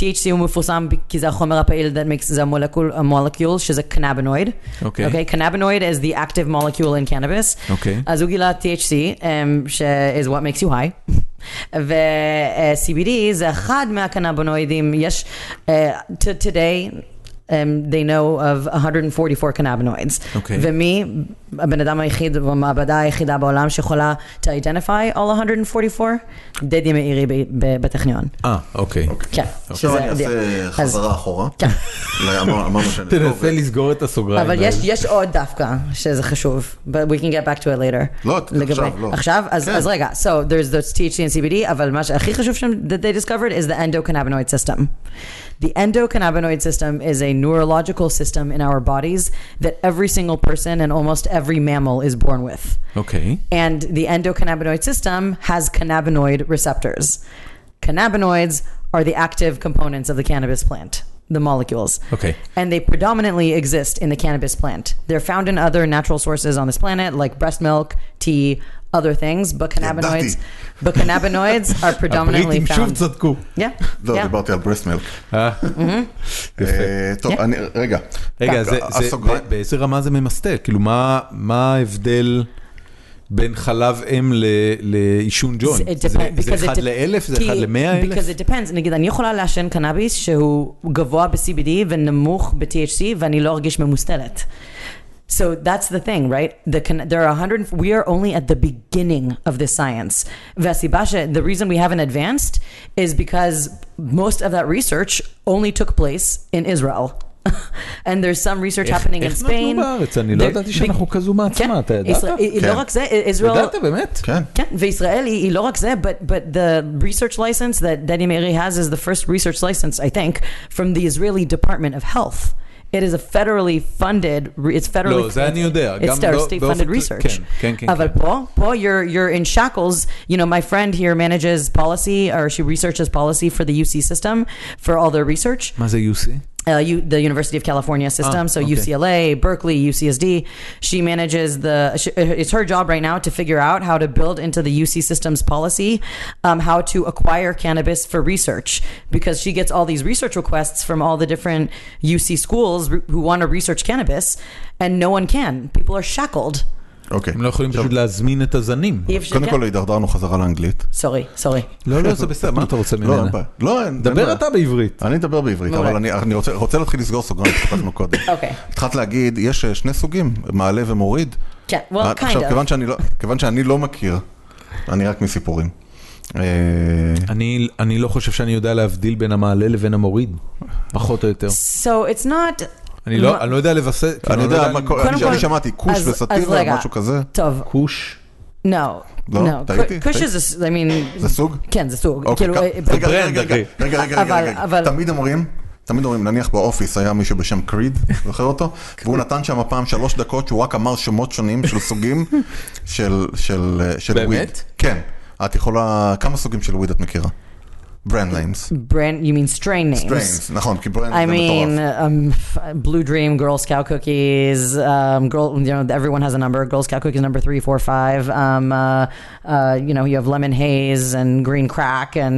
THC הוא מפורסם כי זה החומר הפעיל, that makes, זה המולקול, המולקול, שזה קנאבינויד.
אוקיי.
אוקיי, קנאבינויד is the active molecule in cannabis.
אוקיי.
אז הוא גילה THC, um, ש- is what makes you high. uh, ו-CBD זה אחד מהקנאבינואידים, יש, uh, to today, um, they know of 144 cannabinoids.
אוקיי.
ומי הבן אדם היחיד במעבדה היחידה בעולם שיכולה to identify all 144? דדי מאירי ב- ב- בטכניון.
אה, אוקיי.
כן.
עכשיו
שזה-
אני אעשה
אז-
חזרה אחורה.
כן.
לא, אמר- אמרנו שאני...
תנסה לסגור את הסוגריים.
אבל
האלה.
יש, יש עוד דווקא שזה חשוב, but we can get back to it later.
לא, את-
לגבי-
עכשיו, לא.
עכשיו? אז,
כן.
אז רגע, so there's the THC and CBD, אבל מה שהכי חשוב שם, that they discovered is the endocannabinoid system. The endocannabinoid system is a neurological system in our bodies that every single person and almost every mammal is born with.
אוקיי.
And the endocannabinoid system has cannabinoid receptors. Cannabinoids are the active components of the cannabis plant, the molecules.
Okay.
And they predominantly exist in the cannabis plant. They're found in other natural sources on this planet, like breast milk, tea, other things, but cannabinoids
Yadati.
but cannabinoids are predominantly
הבריטים שוב
found.
צדקו.
Yeah.
לא,
yeah.
דיברתי על ברסט מילק.
אה, יפה.
טוב,
כן.
אני... רגע. אה,
רגע, זה- זה-
הסוגריים-
ב- באיזה רמה זה ממסטל? כאילו, מה מה ההבדל בין חלב אם ל- לעישון ג'וינט? זה-
It depends,
זה
because it
אחד
de-
לאלף? זה
כי-
אחד למאה אלף?
Because it depends, נגיד אני יכולה לעשן קנאביס שהוא גבוה ב-CBD ונמוך ב-THC ואני לא ארגיש ממוסטלת. So that's the thing, right? The can- there are 100 we are only at the beginning of this science. והסיבה ש- the reason we haven't advanced is because most of that research only took place in Israel. and there's some research
איך-
happening in
איך
Spain.
נתנו בארץ? אני לא
There-
ידעתי
be-
שאנחנו כזו
כן,
מעצמה, אתה ידעת?
ישראל- לא
כן.
רק זה, Israel
ידעת באמת?
כן.
כן, וישראל היא, היא לא רק זה, but, but the research license that Danny Meiri has is the first research license, I think, from the Israeli Department of Health. It is a federally funded, re- it's federally
לא, זה אני יודע.
It's
גם
federally
לא-
state
באופן
funded
כל-
research. Uh,
כן, כן, כן,
אבל
כן.
פה, פה you're, you're in shackles. You know, my friend here manages policy, or she researches policy for the UC system for all their research.
מה זה UC?
uh, U- the University of California system,
Ah,
so
okay.
UCLA, Berkeley, UCSD. She manages the. She, it's her job right now to figure out how to build into the UC system's policy um, how to acquire cannabis for research because she gets all these research requests from all the different UC schools r- who want to research cannabis, and no one can. People are shackled.
אוקיי.
הם לא יכולים
עכשיו,
פשוט להזמין את הזנים.
If she
קודם
can-
כל הידרדרנו חזרה לאנגלית.
sorry, sorry.
לא, לא, זה בסדר, מה אתה רוצה
לא, אין
ממנה?
בעיה. לא, אין. אין
דבר
בעיה.
אתה לא, בעברית.
אני אדבר בעברית,
מעולה.
אבל אני- אני רוצה- רוצה להתחיל לסגור סוגריים שפתחנו קודם.
אוקיי.
התחלת להגיד, יש אה, שני סוגים, מעלה ומוריד.
Yeah, כן, well, kind
עכשיו,
of.
כיוון שאני לא- כיוון שאני לא מכיר, אני רק מסיפורים. אה,
אני, אני לא חושב שאני יודע להבדיל בין המעלה לבין המוריד, פחות או יותר.
So it's not.
אני לא, אני לא יודע לבסס, כאילו,
אני
לא
יודע, מה קורה-
קודם
אני
כל-
שמעתי כוש
אז- אז
וסאטירה,
רגע.
משהו כזה.
טוב,
כוש.
no,
לא,
no.
טעיתי,
Kush
טעיתי.
is, a s- I mean,
זה סוג?
כן, זה סוג.
אוקיי,
כאילו,
כ-
אה,
רגע, רגע,
ברנד,
רגע,
אחי.
רגע, רגע, רגע,
אבל-
רגע,
אבל-
תמיד אומרים, תמיד אומרים, נניח באופיס היה מישהו בשם קריד, זוכר אותו? והוא נתן שם פעם שלוש דקות שהוא רק אמר שמות שונים של סוגים של של של
באמת?
וויד. כן. את יכולה, כמה סוגים של וויד את מכירה? ברנד ליימס.
Brand, you mean strain names?
סטריינס, נכון, כי ברנד
I
זה
mean,
מטורף.
um, f- Blue Dream, Girl Scout cookies. Um, girl, you know, everyone has a number. Girl Scout cookies number three, four, five. Um, uh, uh, you know, you have lemon haze and green crack and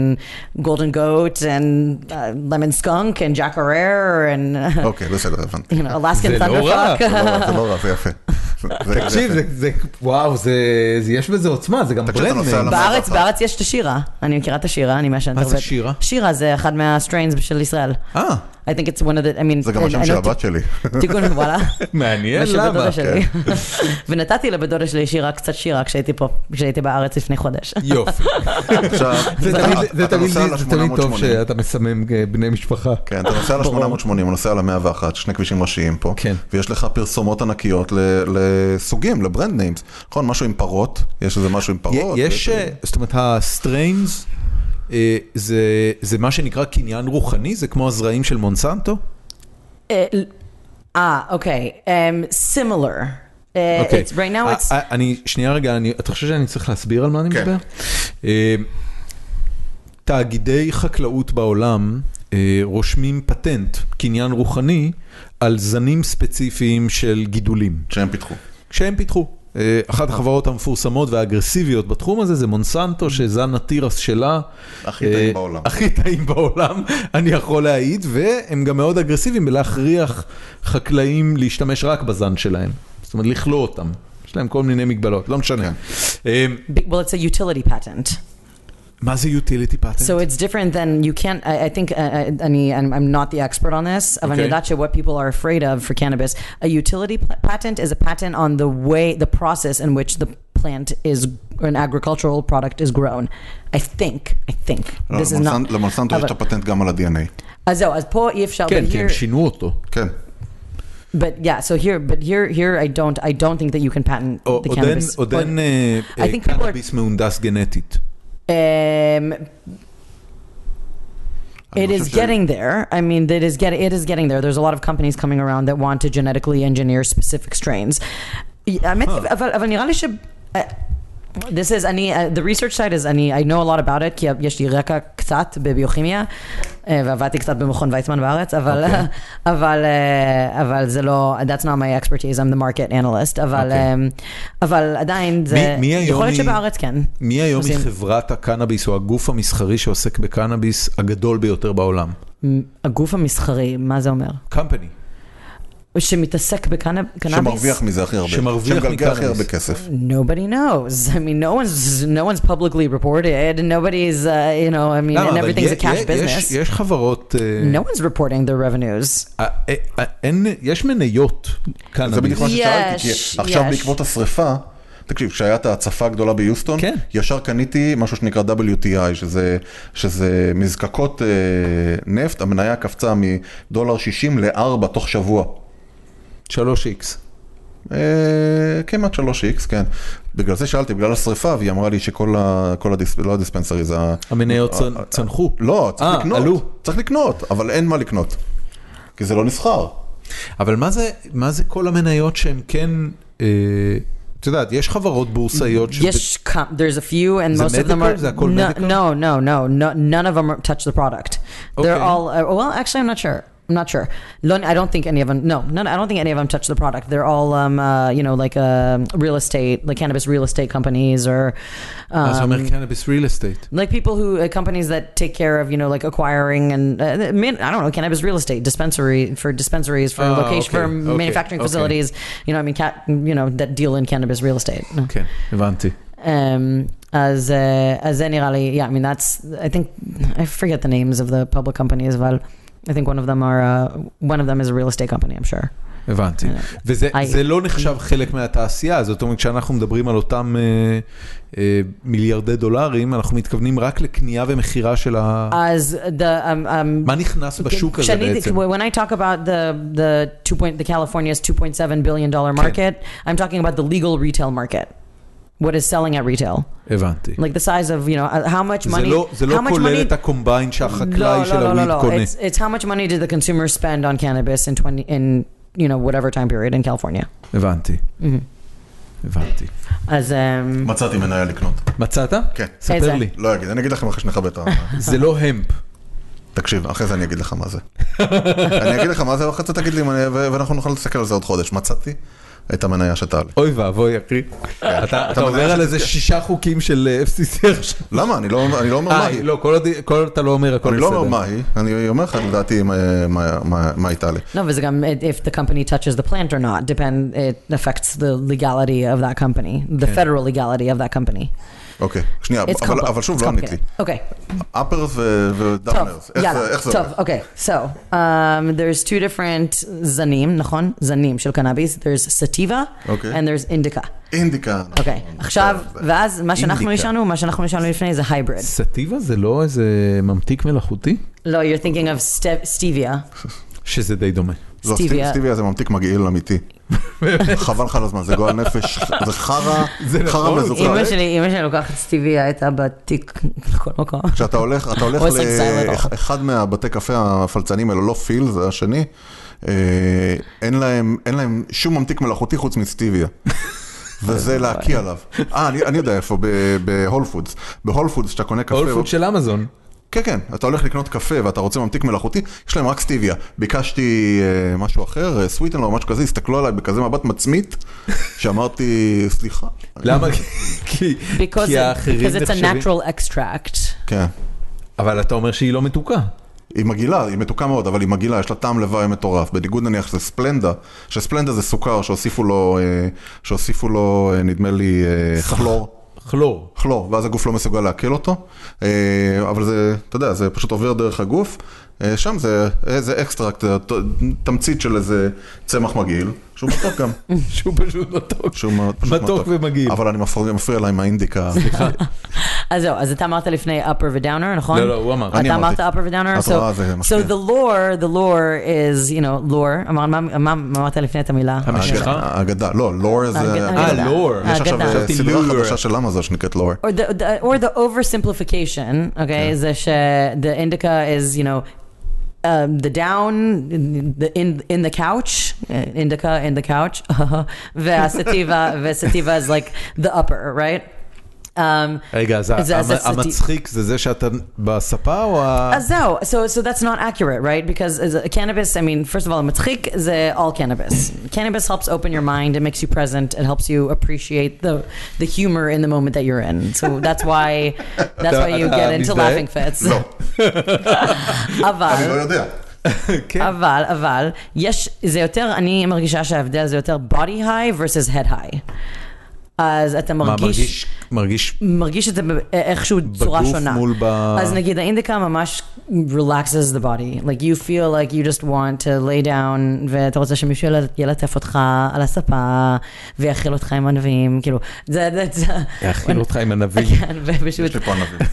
golden goat and uh, lemon skunk and jackarare and uh,
אוקיי, בסדר, הבנתי.
you know
כן,
Alaskan
זה לא רע.
זה
thunderfuck.
לא רע, זה לא רע, זה יפה. זה- זה
תקשיב,
יפה.
זה- זה, וואו, זה, זה- יש בזה עוצמה, זה גם
תקשיב, אתה
ברנדמן.
נוסע למ-
בארץ, בארץ יש את השירה. אני מכירה את השירה, אני מעשנת
מה
הרבה.
זה שירה?
שירה זה אחד מהסטריינס של ישראל.
אה,
I think it's one of the, I mean,
זה גם
I-
השם
I
של
know-
הבת שלי.
תיקון, וואלה.
מעניין
ושל
למה.
בדודה שלי. ונתתי לבת דודה שלי שירה, קצת שירה, כשהייתי פה, כשהייתי בארץ לפני חודש.
יופי.
עכשיו,
זה
אתה-
תמיד- זה
אתה
תמיד-
נוסע על
זה תמיד טוב
ה-880.
שאתה מסמם אה, בני משפחה.
כן, אתה נוסע על ה-880, הוא נוסע על ה-101, שני כבישים ראשיים פה,
כן.
ויש לך פרסומות ענקיות ל- לסוגים, לברנד ניימס, נכון? משהו עם פרות, יש איזה משהו עם פרות.
יש, אה, זאת אומרת, הסטריינס, אה, זה- זה מה שנקרא קניין רוחני? זה כמו הזרעים של מונסנטו?
אה, אה, אוקיי. אמ, similar. אה,
אוקיי.
it's- Right now
אה,
it's...
אה, אני, שנייה רגע, אני- אתה חושב שאני צריך להסביר על מה אני
כן.
מדבר? אה, תאגידי חקלאות בעולם אה, רושמים פטנט, קניין רוחני, על זנים ספציפיים של גידולים.
שהם פיתחו.
כשהם פיתחו. אה, אחת החברות המפורסמות והאגרסיביות בתחום הזה זה מונסנטו, שזן התירס שלה.
הכי טעים
אה,
בעולם.
הכי טעים בעולם, אני יכול להעיד, והם גם מאוד אגרסיביים בלהכריח חקלאים להשתמש רק בזן שלהם. זאת אומרת, לכלוא אותם. יש להם כל מיני מגבלות, לא משנה. אה,
big- Well, it's a utility patent.
מה זה utility patent?
So it's different than you can't. I, I think uh, I, I mean, I'm, I'm not the expert on this. אבל אני
Okay.
יודעת what people are afraid of for cannabis. A utility pl- patent is a patent on the way, the process in which the plant is, or an agricultural product is grown. I think. I think.
Oh,
לא,
this is not.
למונסנ- למונסנטו יש
אבל-
את הפטנט גם על ה-DNA.
אז זהו, אז פה אי אפשר.
כן,
but
כי הם
here-
שינו אותו.
כן.
But yeah, so here, but here, here, I don't, I don't think that you can patent
או-
the
עוד אין-
cannabis.
עוד אין אה,
I
אה,
think people are-
קנאביס מהונדס גנטית.
Um,
אני
it
חושב
is
ש-
getting there. I mean, it is getting it is getting there. There's a lot of companies coming around that want to genetically engineer specific strains. האמת, אבל אבל נראה לי ש... uh, This is, אני, uh, the research side is, אני, I know a lot about it, כי יש לי רקע קצת בביוכימיה, אה, ועבדתי קצת במכון ויצמן בארץ, אבל,
אוקיי.
אבל, אה, אבל זה לא, that's not my expertise, I'm the market analyst, אבל,
אוקיי.
אמ, אבל עדיין זה,
מי- מי היום
יכול להיות
היא-
שבארץ כן.
מי היום היא
עושים-
חברת הקנאביס או הגוף המסחרי שעוסק בקנאביס הגדול ביותר בעולם?
מ- הגוף המסחרי, מה זה אומר?
company.
שמתעסק בקנאביס?
שמרוויח מזה הכי הרבה.
שמרוויח
שמגלגל הכי
מקנאביס.
הרבה כסף.
Nobody knows. I mean, no one's no one's publicly reported. Nobody's, uh, you know, I mean,
למה?
and
לא, אבל
everything's a
יה-
cash
יה-
business.
יש- יש חברות... אה,
No one's reporting their revenues.
אה, אה, אה, אין, יש מניות
זה בדיוק
קנאביס.
מה ששאלתי, כי
יש,
עכשיו
יש.
בעקבות השריפה, תקשיב, כשהיה את ההצפה הגדולה ביוסטון,
כן.
ישר קניתי משהו שנקרא WTI, שזה, שזה מזקקות אה, נפט, המניה קפצה מדולר 60 ל-4 תוך שבוע.
3x.
אה, כמעט 3x, כן. בגלל זה שאלתי, בגלל השריפה, והיא אמרה לי שכל ה... כל הדיס... לא הדיספנסרי, זה ה...
המניות
אה,
צנ-
אה,
צנחו.
לא, צריך
אה,
לקנות.
עלו.
צריך לקנות, אבל אין מה לקנות. כי זה לא נסחר.
אבל מה זה, מה זה כל המניות שהן כן... אה, את יודעת, יש חברות בורסאיות ש...
Yes, com- there's a few, and
Is it
most of them
medical?
are
Is that called
no,
medical?
no, no, no, no, none of them are, touch the product. They're
Okay.
all uh, well. Actually, I'm not sure. I'm not sure. Lo- I don't think any of them. No, none, I don't think any of them touch the product. They're all, um, uh, you know, like um real estate, like cannabis real estate companies, or
מה זה
um,
אומר קנאביס real estate?
like people who uh, companies that take care of you know like acquiring and uh, I mean, I don't know cannabis real estate dispensary for dispensaries for
Ah,
location for
okay, okay,
manufacturing
okay.
facilities you know I mean cat you know that deal in cannabis real estate
כן, הבנתי.
um, as uh, as any rally yeah I mean that's I think I forget the names of the public companies well I think one of them are uh, one of them is a real estate company I'm sure
הבנתי. וזה
אה, I-
זה לא נחשב חלק מהתעשייה, זאת אומרת, כשאנחנו מדברים על אותם אה, אה, מיליארדי דולרים, אנחנו מתכוונים רק לקנייה ומכירה של ה...
as the um, um,
מה נכנס בשוק הזה
Shani,
בעצם?
when I talk about the the two point the California's two point seven billion dollar market, I'm talking about the legal retail market. what is selling at retail.
הבנתי.
Like the size of, you know, uh, how much
זה
money...
לא- זה
how
לא
much
כולל
money-
את הקומביין
לא,
שהחקלאי של
לא, לא, לא,
הוויד
לא.
קונה.
It's, it's how much money did the consumer spend on cannabis in 20, in, you know, whatever time period in California.
הבנתי,
Mhm.
הבנתי.
אז... אמ,
מצאתי מניה לקנות.
מצאת?
כן.
ספר
איזה?
לי.
לא אגיד, אני אגיד לכם אחרי שנכבה את ה...
זה לא המפ.
תקשיב, אחרי זה אני אגיד לך מה זה. אני אגיד לך מה זה, ואחרי זה תגיד לי, אם אני- ו- ואנחנו נוכל להסתכל על זה עוד חודש. מצאתי את המניה שאתה עלי.
אוי ואבוי, אחי. אתה- כן. אתה עובר על איזה שישה חוקים של אה, FCC עכשיו.
למה? אני לא אני לא אומר מה
אה,
היא.
לא, כל עוד- כל עוד אתה לא אומר הכל
אני
בסדר.
לא אומר מה היא, אני אומר לך לדעתי מה- מה- מה- מה הייתה לי.
No, וזה גם it- if the company touches the plant or not, depend, it affects the legality of that company, the federal legality of that company.
אוקיי, שנייה,
It's
אבל-
compli-
אבל שוב
it's
לא ענית לי.
complicated. Okay,
אפרס ודאונרס,
טוב, יאללה,
איך זה
טוב,
הולך?
okay. So, um, there's two different זנים, נכון? זנים של קנאביס. There's sativa
אוקיי.
and there's indica.
אינדיקה.
אוקיי,
נכון,
עכשיו,
זה- זה-
ואז מה שאנחנו
אינדיקה.
נשארנו, מה שאנחנו נשארנו לפני זה hybrid.
סטיבה זה לא איזה ממתיק מלאכותי?
לא, you're thinking of ste- stevia.
שזה די דומה.
לא, סטיב-
סטיביה.
סטיביה זה ממתיק מגעיל אמיתי. חבל לך על הזמן, זה גועל נפש, זה חרא,
זה
חרא
נכון.
מזוכר.
אמא שלי, אמא שלי לוקחת סטיביה, הייתה בתיק לכל מקום.
כשאתה הולך, אתה הולך
או סנסייל לבן.
לאחד מהבתי קפה הפלצנים האלו, לא פיל, זה השני, אה, אין להם, אין להם שום ממתיק מלאכותי חוץ מסטיביה. וזה להקיא עליו. אה, אני אני יודע איפה, ב- בהול פודס. בהול פודס, כשאתה קונה קפה...
אולפוד של אמזון.
כן, כן, אתה הולך לקנות קפה ואתה רוצה ממתיק מלאכותי, יש להם רק סטיביה. ביקשתי אה, משהו אחר, סוויטנר או משהו כזה, הסתכלו עליי בכזה מבט מצמית, שאמרתי, סליחה.
למה? כי
Because
כי
it-
האחרים
because it's a
נחשבים...
natural extract.
כן.
אבל אתה אומר שהיא לא מתוקה.
היא מגעילה, היא מתוקה מאוד, אבל היא מגעילה, יש לה טעם לוואי מטורף. בניגוד נניח שזה ספלנדה, שספלנדה זה סוכר שהוסיפו לו, אה, שהוסיפו לו, אה, נדמה לי, אה, כלור.
כלור.
כלור, ואז הגוף לא מסוגל לעכל אותו, אה, אבל זה, אתה יודע, זה פשוט עובר דרך הגוף, אה, שם זה איזה אקסטרקט, זה ת- תמצית של איזה צמח מגעיל, שהוא מתוק גם,
נכון.
שהוא פשוט לא מתוק.
שהוא מאוד- פשוט
מתוק ומגעיל.
אבל אני מפריע, מפריע לה עם האינדיקה,
אז זהו, אז אתה אמרת לפני upper ודאונר, נכון?
לא, לא, הוא אמר.
אני
אתה אמרת
אמרתי.
upper ודאונר?
את רואה, זה משפיע.
So the lore, the lore is, you know, lore, אמר- מה מה- מה אמרת לפני את המילה?
המשך.
האג- האגדה, לא, לור זה,
האגדה.
אה, לור.
יש עכשיו
האגדה.
אה,
חשבתי
סדרה
לור.
חדשה של אמזון שנקראת לור.
Or the, the, or the oversimplification, okay, is that uh, the indica is, you know, um, the down, the in in the couch, uh, indica in the couch, vasativa, vasativa is like the upper, right? Um,
רגע, אז
זה-
המ-
זה סטי-
המצחיק זה זה שאתה בספה או ה...
אז זהו, so, so that's not accurate, right? Because as a cannabis, I mean, first of all, מצחיק זה all cannabis. cannabis helps open your mind, it makes you present, it helps you appreciate the, the humor in the moment that you're in. So that's why, that's why you
אתה-
get
אתה
into
מזדהה?
laughing fits.
לא, אני לא
אבל,
יודע.
כן.
אבל, אבל, יש, זה יותר, אני מרגישה שההבדל זה יותר body high versus head high. אז אתה
מה,
מרגיש...
מרגיש... מרגיש...
מרגיש את זה ב- איכשהו צורה
בגוף
שונה.
מול ב-
אז נגיד האינדיקה ממש relaxes the body. Like you feel like you just want to lay down, ואתה רוצה שמישהו יל- ילטף אותך על הספה, ויאכיל אותך עם ענבים, כאילו, זה, זה, זה,
יאכיל אותך עם ענבים.
כן, ופשוט,
יש לי פה ענבים.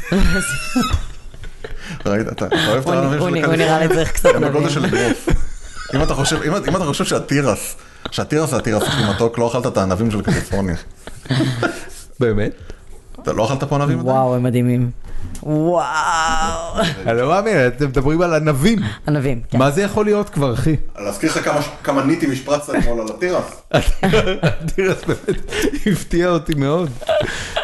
ראית, אתה אתה אוהב את
הוא-
לא,
הענבים
הוא
של
הוא נראה לי צריך קצת
הם בגודל של
ענבים.
אגרוף. אם אתה חושב, אם, אם אתה חושב שהתירס, שהתירס זה התירס הכי מתוק, לא אכלת את הענבים של קליפורניה.
באמת?
אתה לא אכלת פה ענבים? עדיין?
וואו, הם מדהימים. וואו,
אני לא מאמין, אתם מדברים על ענבים.
ענבים, כן.
מה זה יכול להיות כבר, אחי?
להזכיר לך כמה, כמה ניטים השפרצת אתמול על התירס?
התירס באמת הפתיע אותי מאוד.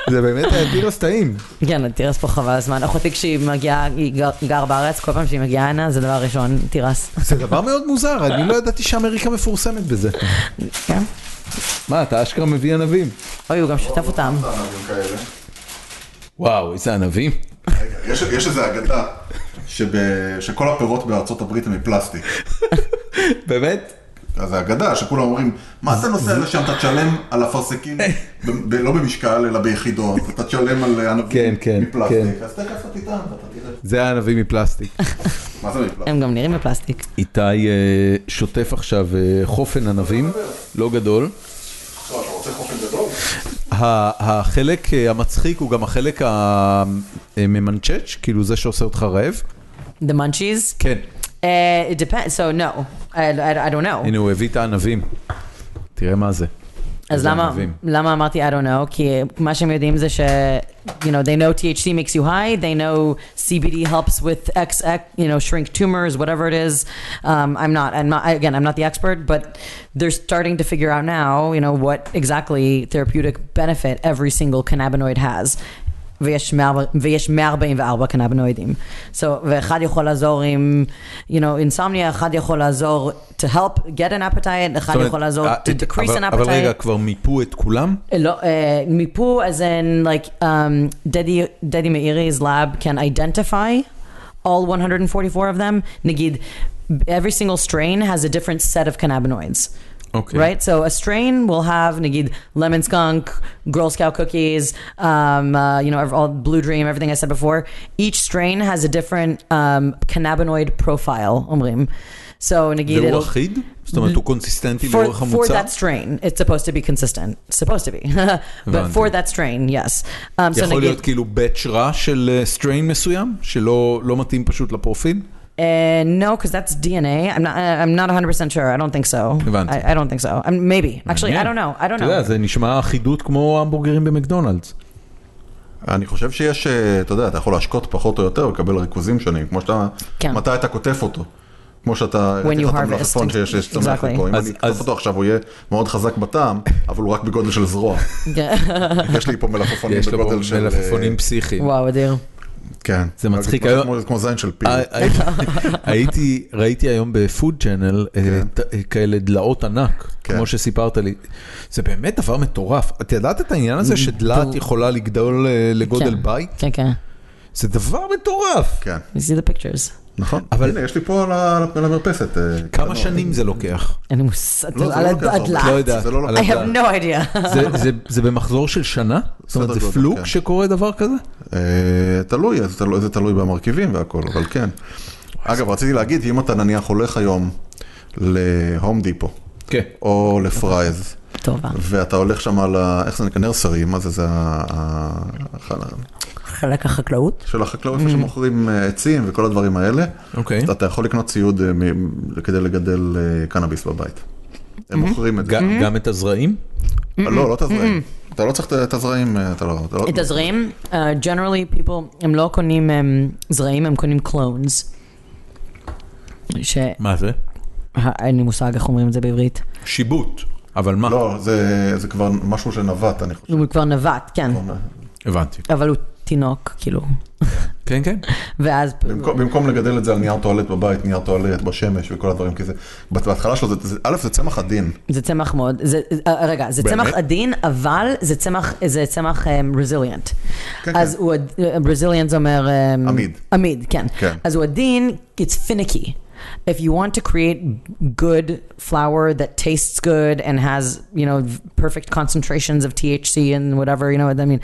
זה באמת היה תירס טעים.
כן, תירס פה חבל הזמן. אחותי כשהיא מגיעה, היא גר- גר בארץ, כל פעם שהיא מגיעה הנה, זה דבר ראשון, תירס.
זה דבר מאוד מוזר, אני לא ידעתי שאמריקה מפורסמת בזה.
כן.
מה, אתה אשכרה מביא ענבים.
אוי, הוא גם שיתף אותם.
ענבים כאלה.
וואו, איזה ענבים.
רגע, יש, יש איזו אגדה שב, שכל הפירות בארצות הברית הם מפלסטיק.
באמת?
אז זה אגדה שכולם אומרים, מה אתה נוסע לשם, אתה תשלם על אפרסקים, ב- ב- לא במשקל אלא ביחידות, אתה תשלם על ענבים
כן, כן,
מפלסטיק,
כן.
אז תכף אתה תטעם ואתה תראה.
זה היה ענבים מפלסטיק.
מה זה מפלסטיק?
הם גם נראים בפלסטיק.
איתי אה, שוטף עכשיו אה, חופן ענבים, לא גדול.
לא, אתה רוצה חופן גדול?
ה- החלק אה, המצחיק הוא גם החלק הממנצ'ץ', כאילו זה שעושה אותך רעב.
The munchies?
כן,
Uh, it depends. So no, I, I, I don't know.
הנה הוא הביא את הענבים. תראה מה זה.
אז
איזה
למה,
ענבים.
למה אמרתי I don't know? כי מה שהם יודעים זה ש, you know, they know THC makes you high, they know CBD helps with X, you know, shrink tumors, whatever it is. Um, I'm not, I'm not, again, I'm not the expert, but they're starting to figure out now, you know, what exactly therapeutic benefit every single cannabinoid has. ויש 100 ויש 144 קנבינואידים. So, ואחד יכול לעזור עם, you know, insomnia, אחד יכול לעזור to help get an appetite, אחד
זאת אומרת,
יכול לעזור
אה,
to decrease
אבל-
an appetite.
אבל רגע, כבר מיפו את כולם?
Lo- uh, Mipu, as in like um, Dedi Dedi Meiri's lab can identify all 144 of them. Nagid, every single strain has a different set of cannabinoids.
אוקיי.
Right, so a strain will have nagid lemon skunk, Girl Scout cookies, um, uh, you know, ev- all Blue Dream, everything I said before. Each strain has a different um, cannabinoid profile. Omrim. So nagid
והוא
it'll-
אחיד? זאת אומרת, הוא קונסיסטנטי
Mm-hmm. for,
לאורך
for
המוצר?
that strain, it's supposed to be consistent. It's supposed to be. but for that strain, yes. Um, so
יכול
נגיד,
להיות כאילו batch רע של סטריין מסוים, שלא לא מתאים פשוט לפרופיל?
uh, no, because that's DNA. I'm not. I- I'm not 100 percent sure. I don't think so.
הבנתי.
I, I don't think so. Um, maybe. Actually, I
מעניין.
don't know. I don't
אתה יודע,
know.
זה נשמע אחידות כמו המבורגרים במקדונלדס.
אני חושב שיש, אה, אתה יודע, אתה יכול להשקות פחות או יותר ולקבל ריכוזים שונים, כמו שאתה,
כן.
מתי אתה קוטף אותו. כמו שאתה,
When you
את
harvest,
המלפפון שיש שיש צומח
exactly.
לפה, אם
אז-
אני
אז-
אקטוף אותו עכשיו הוא יהיה מאוד חזק בטעם, אבל הוא רק בגודל של זרוע. יש לי פה מלפפונים
יש לו
בגודל של... אה,
מלפפונים פסיכיים.
וואו, אדיר.
כן.
זה מצחיק,
כמו-
היום- אה,
כמו- כמו זין של פיל.
הייתי, ראיתי היום בפוד צ'אנל אה, כאלה דלעות ענק,
כן.
כמו שסיפרת לי. זה באמת דבר מטורף. את ידעת את העניין הזה שדלעת יכולה לגדול אה, לגודל
כן.
בית?
כן, כן.
זה דבר מטורף.
כן,
You see the pictures.
נכון.
אבל-
הנה, יש לי פה על ה- על המרפסת. אה,
כמה
קטנות.
שנים זה לוקח?
אין לי מושג.
לא, זה
על
לא לוקח הרבה.
הדלעת.
את לא יודעת.
זה לא
על
לוקח.
I have
הדעת.
no idea.
זה- זה- זה במחזור של שנה? זאת אומרת,
סדר
זה
גודל,
פלוק
כן.
שקורה דבר כזה?
אה, תלוי, אז תלוי- זה תלוי במרכיבים והכל, אבל כן. אגב, רציתי להגיד, אם אתה נניח הולך היום להום דיפו,
כן.
או לפרייז,
טובה.
ואתה הולך שם על ה... איך זה נקרא? נרסרי, מה זה? זה ה- ה... ה-
חלק החקלאות?
של החקלאות, איפה שמוכרים אה, עצים וכל הדברים האלה.
אוקיי.
אז אתה יכול לקנות ציוד אה, מ- כדי לגדל אה, קנאביס בבית. הם מוכרים את זה.
ג- גם את הזרעים?
לא, לא תזרעים. אתה לא צריך את הזרעים, אה, אתה לא... אתה לא-
את הזרעים, uh, generally people, הם לא קונים הם, זרעים, הם קונים clones. ש...
מה זה?
אין לי מושג איך אומרים את זה בעברית.
שיבוט. אבל מה?
לא, זה זה כבר משהו שנווט, אני חושב.
הוא כבר נווט, כן.
נכון.
הבנתי.
אבל הוא תינוק, כאילו.
כן, כן.
ואז...
במקום, במקום לגדל את זה על נייר טואלט בבית, נייר טואלט בשמש וכל הדברים כזה, בת- בהתחלה שלו, זה, זה, א', זה צמח עדין,
זה צמח מאוד, זה, אה, רגע, זה
באמת?
צמח עדין, אבל זה צמח, זה צמח רזיליאנט.
כן,
אז
כן.
הוא, רזיליאנט זה אומר... אמ,
עמיד.
עמיד, כן.
כן.
אז הוא עדין, it's finicky. If you want to create good flour that tastes good and has, you know, perfect concentrations of THC and whatever, you know what I mean,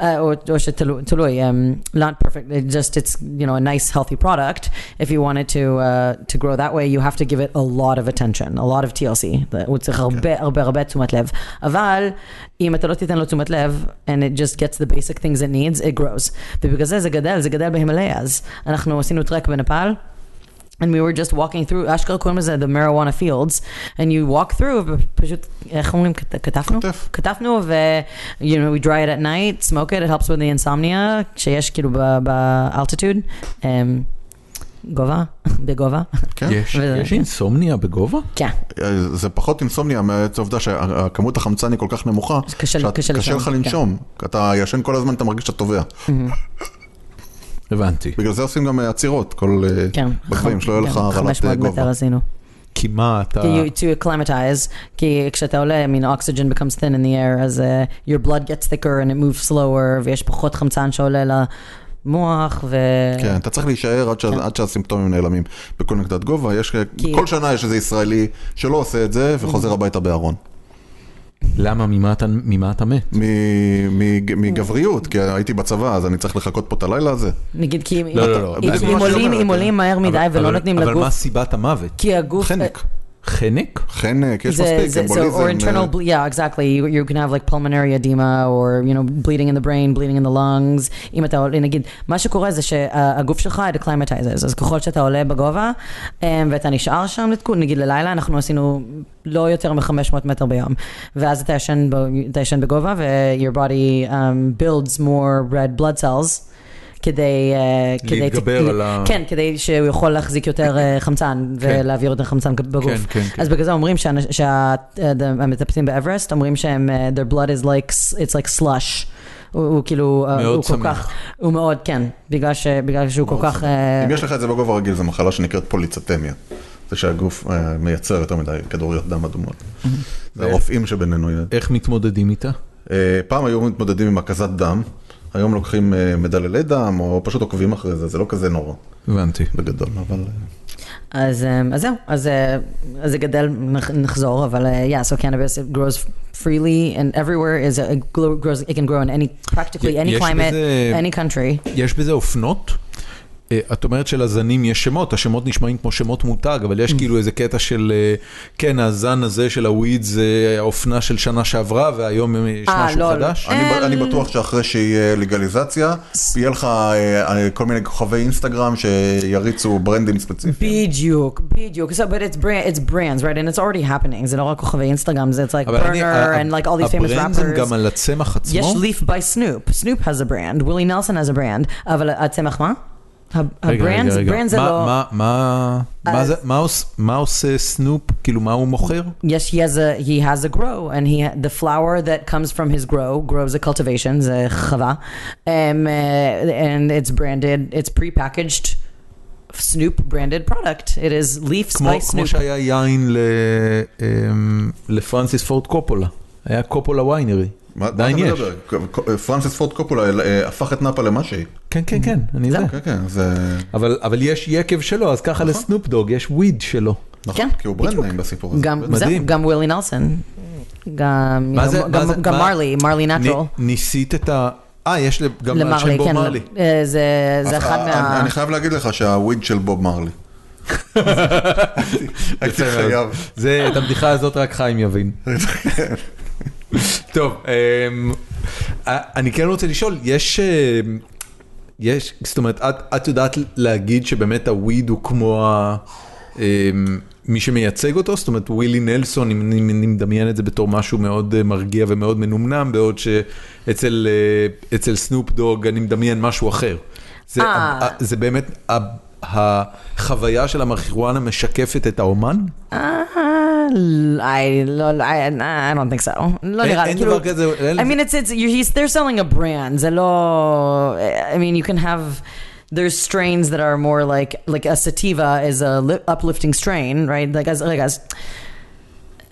uh, or, or שתלו- תלוי, um, not perfect, it just it's, you know, a nice healthy product. If you want it to uh, to grow that way, you have to give it a lot of attention, a lot of TLC. זה- הוא צריך הרבה הרבה הרבה תשומת לב. אבל אם אתה לא תיתן לו תשומת לב, and it just gets the basic things it needs, it grows. ובגלל זה זה גדל, זה גדל בהימלייאז. אנחנו עשינו טרק בנפאל. And we were just walking through, אשכרה קוראים לזה the marijuana fields, and you eh, walk through, ופשוט, איך אומרים, כת- כתפנו?
כתף.
כתפנו, ו- you know, we dry it at night, smoke it, it helps with the insomnia, שיש כאילו ב-altitude, אמ, גובה, בגובה,
כן?
יש
וזה-
יש אינסומניה בגובה?
כן,
אה, זה פחות אינסומניה, מעט העובדה שהכמות החמצן היא כל כך נמוכה,
קשה-
שאת- קשה
קשה לישון,
לך
כן.
לנשום, אתה ישן כל הזמן, אתה מרגיש שאתה טובע,
הבנתי.
בגלל זה עושים גם אה, עצירות, כל אה,
כן.
בגבהים, שלא יהיה לך הרעלת אה,
500 מטר
גובה. אה.
עשינו.
כי מה אתה...
כי you- to acclimatize, כי כשאתה עולה, I mean, oxygen becomes thin in the air, אז uh, your blood gets thicker and it moves slower, ויש פחות חמצן שעולה למוח, ו...
כן, אתה צריך להישאר עד, שה,
אה. כן.
עד שהסימפטומים נעלמים. בכל נקודת גובה, יש, אה,
כי- Mm-hmm.
כל שנה יש איזה ישראלי שלא עושה את זה וחוזר הביתה בארון.
למה? ממה אתה- ממה אתה מת?
מ-
Mm-hmm.
מ- מגבריות, כי הייתי בצבא, אז אני צריך לחכות פה את הלילה הזה.
נגיד, כי אם-
לא, לא, לא,
אם-
בעצם
אם
מה שהיא
עולים-
אומרת,
אם עולים מהר מדי
אבל-
ולא
אבל-
נותנים
אבל מה
לגוף,
סיבת המוות?
כי הגוף...
חנק.
חנק?
חנק, יש
The-
מספיק,
the- so, or
אמבוליזם.
uh,
internal,
אה,
ble- yeah, exactly. You, you can have like pulmonary edema, or you know, bleeding in the brain, bleeding in the lungs. אם אתה עולה, נגיד, מה שקורה זה שהגוף שלך it acclimatizes, אז ככל שאתה עולה בגובה, אמ, ואתה נשאר שם לתקופה, נגיד ללילה, אנחנו עשינו לא יותר מ-500 מטר ביום, ואז אתה ישן, ב, אתה ישן בגובה, ו- your body um, builds more red blood cells. כדי... אה, כדי-
להתגבר על ה-
כן, כדי שהוא יכול להחזיק יותר אה, חמצן
כן.
ולהעביר יותר חמצן בגוף.
כן, כן, כן.
אז בגלל זה אומרים שהמטפסים באברסט, אומרים שהם, אה, their blood is like, s- it's like slush. הוא, הוא כאילו, אה,
מאוד
הוא כל
סמיך.
כך, הוא מאוד, כן, בגלל, ש, בגלל שהוא כל כך, אה,
אם יש לך את זה בגובה רגיל, זו מחלה שנקראת פוליצטמיה. זה שהגוף אה, מייצר יותר מדי כדוריות דם אדומות.
Mm-hmm.
זה הרופאים שבינינו. אה,
איך מתמודדים איתה?
אה, פעם היו מתמודדים עם הקזת דם, היום לוקחים אה, מדללי דם, או פשוט עוקבים אחרי זה, זה לא כזה נורא,
הבנתי.
בגדול, אבל... אה,
אז, אה, אז זהו, אז, אה, אז זה גדל, נח- נחזור, אבל, אה, yeah, so cannabis it grows freely and everywhere is, a, it glo- grows, it can grow in any, practically any
יש
climate,
בזה-
any country.
יש בזה אופנות? אה, את אומרת שלזנים יש שמות, השמות נשמעים כמו שמות מותג, אבל
Mm.
יש כאילו איזה קטע של, אה, כן, הזן הזה של הוויד זה האופנה של שנה שעברה, והיום יש
אה,
משהו
לא, לא.
חדש?
אני ב- אני בטוח שאחרי שיהיה לגליזציה, יהיה לך אה, אה, כל מיני כוכבי אינסטגרם שיריצו ברנדים ספציפיים.
בדיוק, בדיוק. So, but it's, brand, it's brands, right? And it's already happening. זה לא רק כוכבי אינסטגרם, זה it's like
אבל אני-
burner
ה-
and like all these famous
הברנד זה
rappers.
גם על הצמח עצמו?
יש leaf by סנופ, סנופ has a brand, ווילי נלסון has a brand, אבל הצמח מה? ה-
רגע, רגע,
הברנד
רגע.
ברנד זה
מה-
לא, אה,
מה- מה- מה
אז-
זה- מה עוש- מה עושה סנופ? כאילו, מה הוא מוכר?
יש, he has a, he has a grow, and he, the flower that comes from his grow, grows a cultivation, זה חווה, um, uh, and it's branded, it's pre-packaged סנופ branded product, it is leaf
כמו,
by
כמו
סנופ.
שהיה יין ל, אמ, לפרנסיס פורד קופולה. היה קופולה וויינרי.
מה- מה
עדיין
אתה
יש.
מדבר? ק- ק- פרנסיס פורד קופולה אה, הפך את נאפה למה שהיא.
כן, כן, כן,
Mm-hmm.
אני יודע.
כן, כן, זה...
אבל, אבל יש יקב שלו, אז ככה לסנופ דוג, יש וויד שלו.
נכון,
כן,
כי הוא ברנד
בדיוק.
נעים בסיפור הזה.
גם,
מדהים.
זהו, גם ווילי נלסון. גם,
מה זה-
גם-
מה
גם-
זה-
גם
מה-
מרלי, מרלי נטרל.
נ- ניסית את ה... אה, יש ל- גם על שם
למרלי,
בוב
כן.
מרלי.
אה, זה זה
אז
אחד
אה,
ה-
מה...
אני- אני חייב להגיד לך שהוויד של בוב מרלי. הייתי
יפה מאוד.
חייב.
זה, את הבדיחה הזאת רק חיים יבין. טוב, אמ, א- אני כן רוצה לשאול, יש... אמ, יש, זאת אומרת, את, את יודעת להגיד שבאמת הוויד הוא כמו ה, אמ, מי שמייצג אותו? זאת אומרת, ווילי נלסון, אם אני אני מדמיין את זה בתור משהו מאוד אה, מרגיע ומאוד מנומנם, בעוד שאצל אה, אצל סנופ דוג אני מדמיין משהו אחר. זה,
אה.
ה- ה- זה באמת ה, החוויה של המריחואנה משקפת את האומן?
אה, Uh, I לא- I- I don't think so. לא
אין-
נראה לי,
אין
כאילו...
דבר כזה, אין-
I mean, it's, it's, you- he's- they're selling a brand, זה לא... I mean, you can have... There's strains that are more like, like a sativa is a li- uplifting strain, right? Like, as, uh, רגע, אז...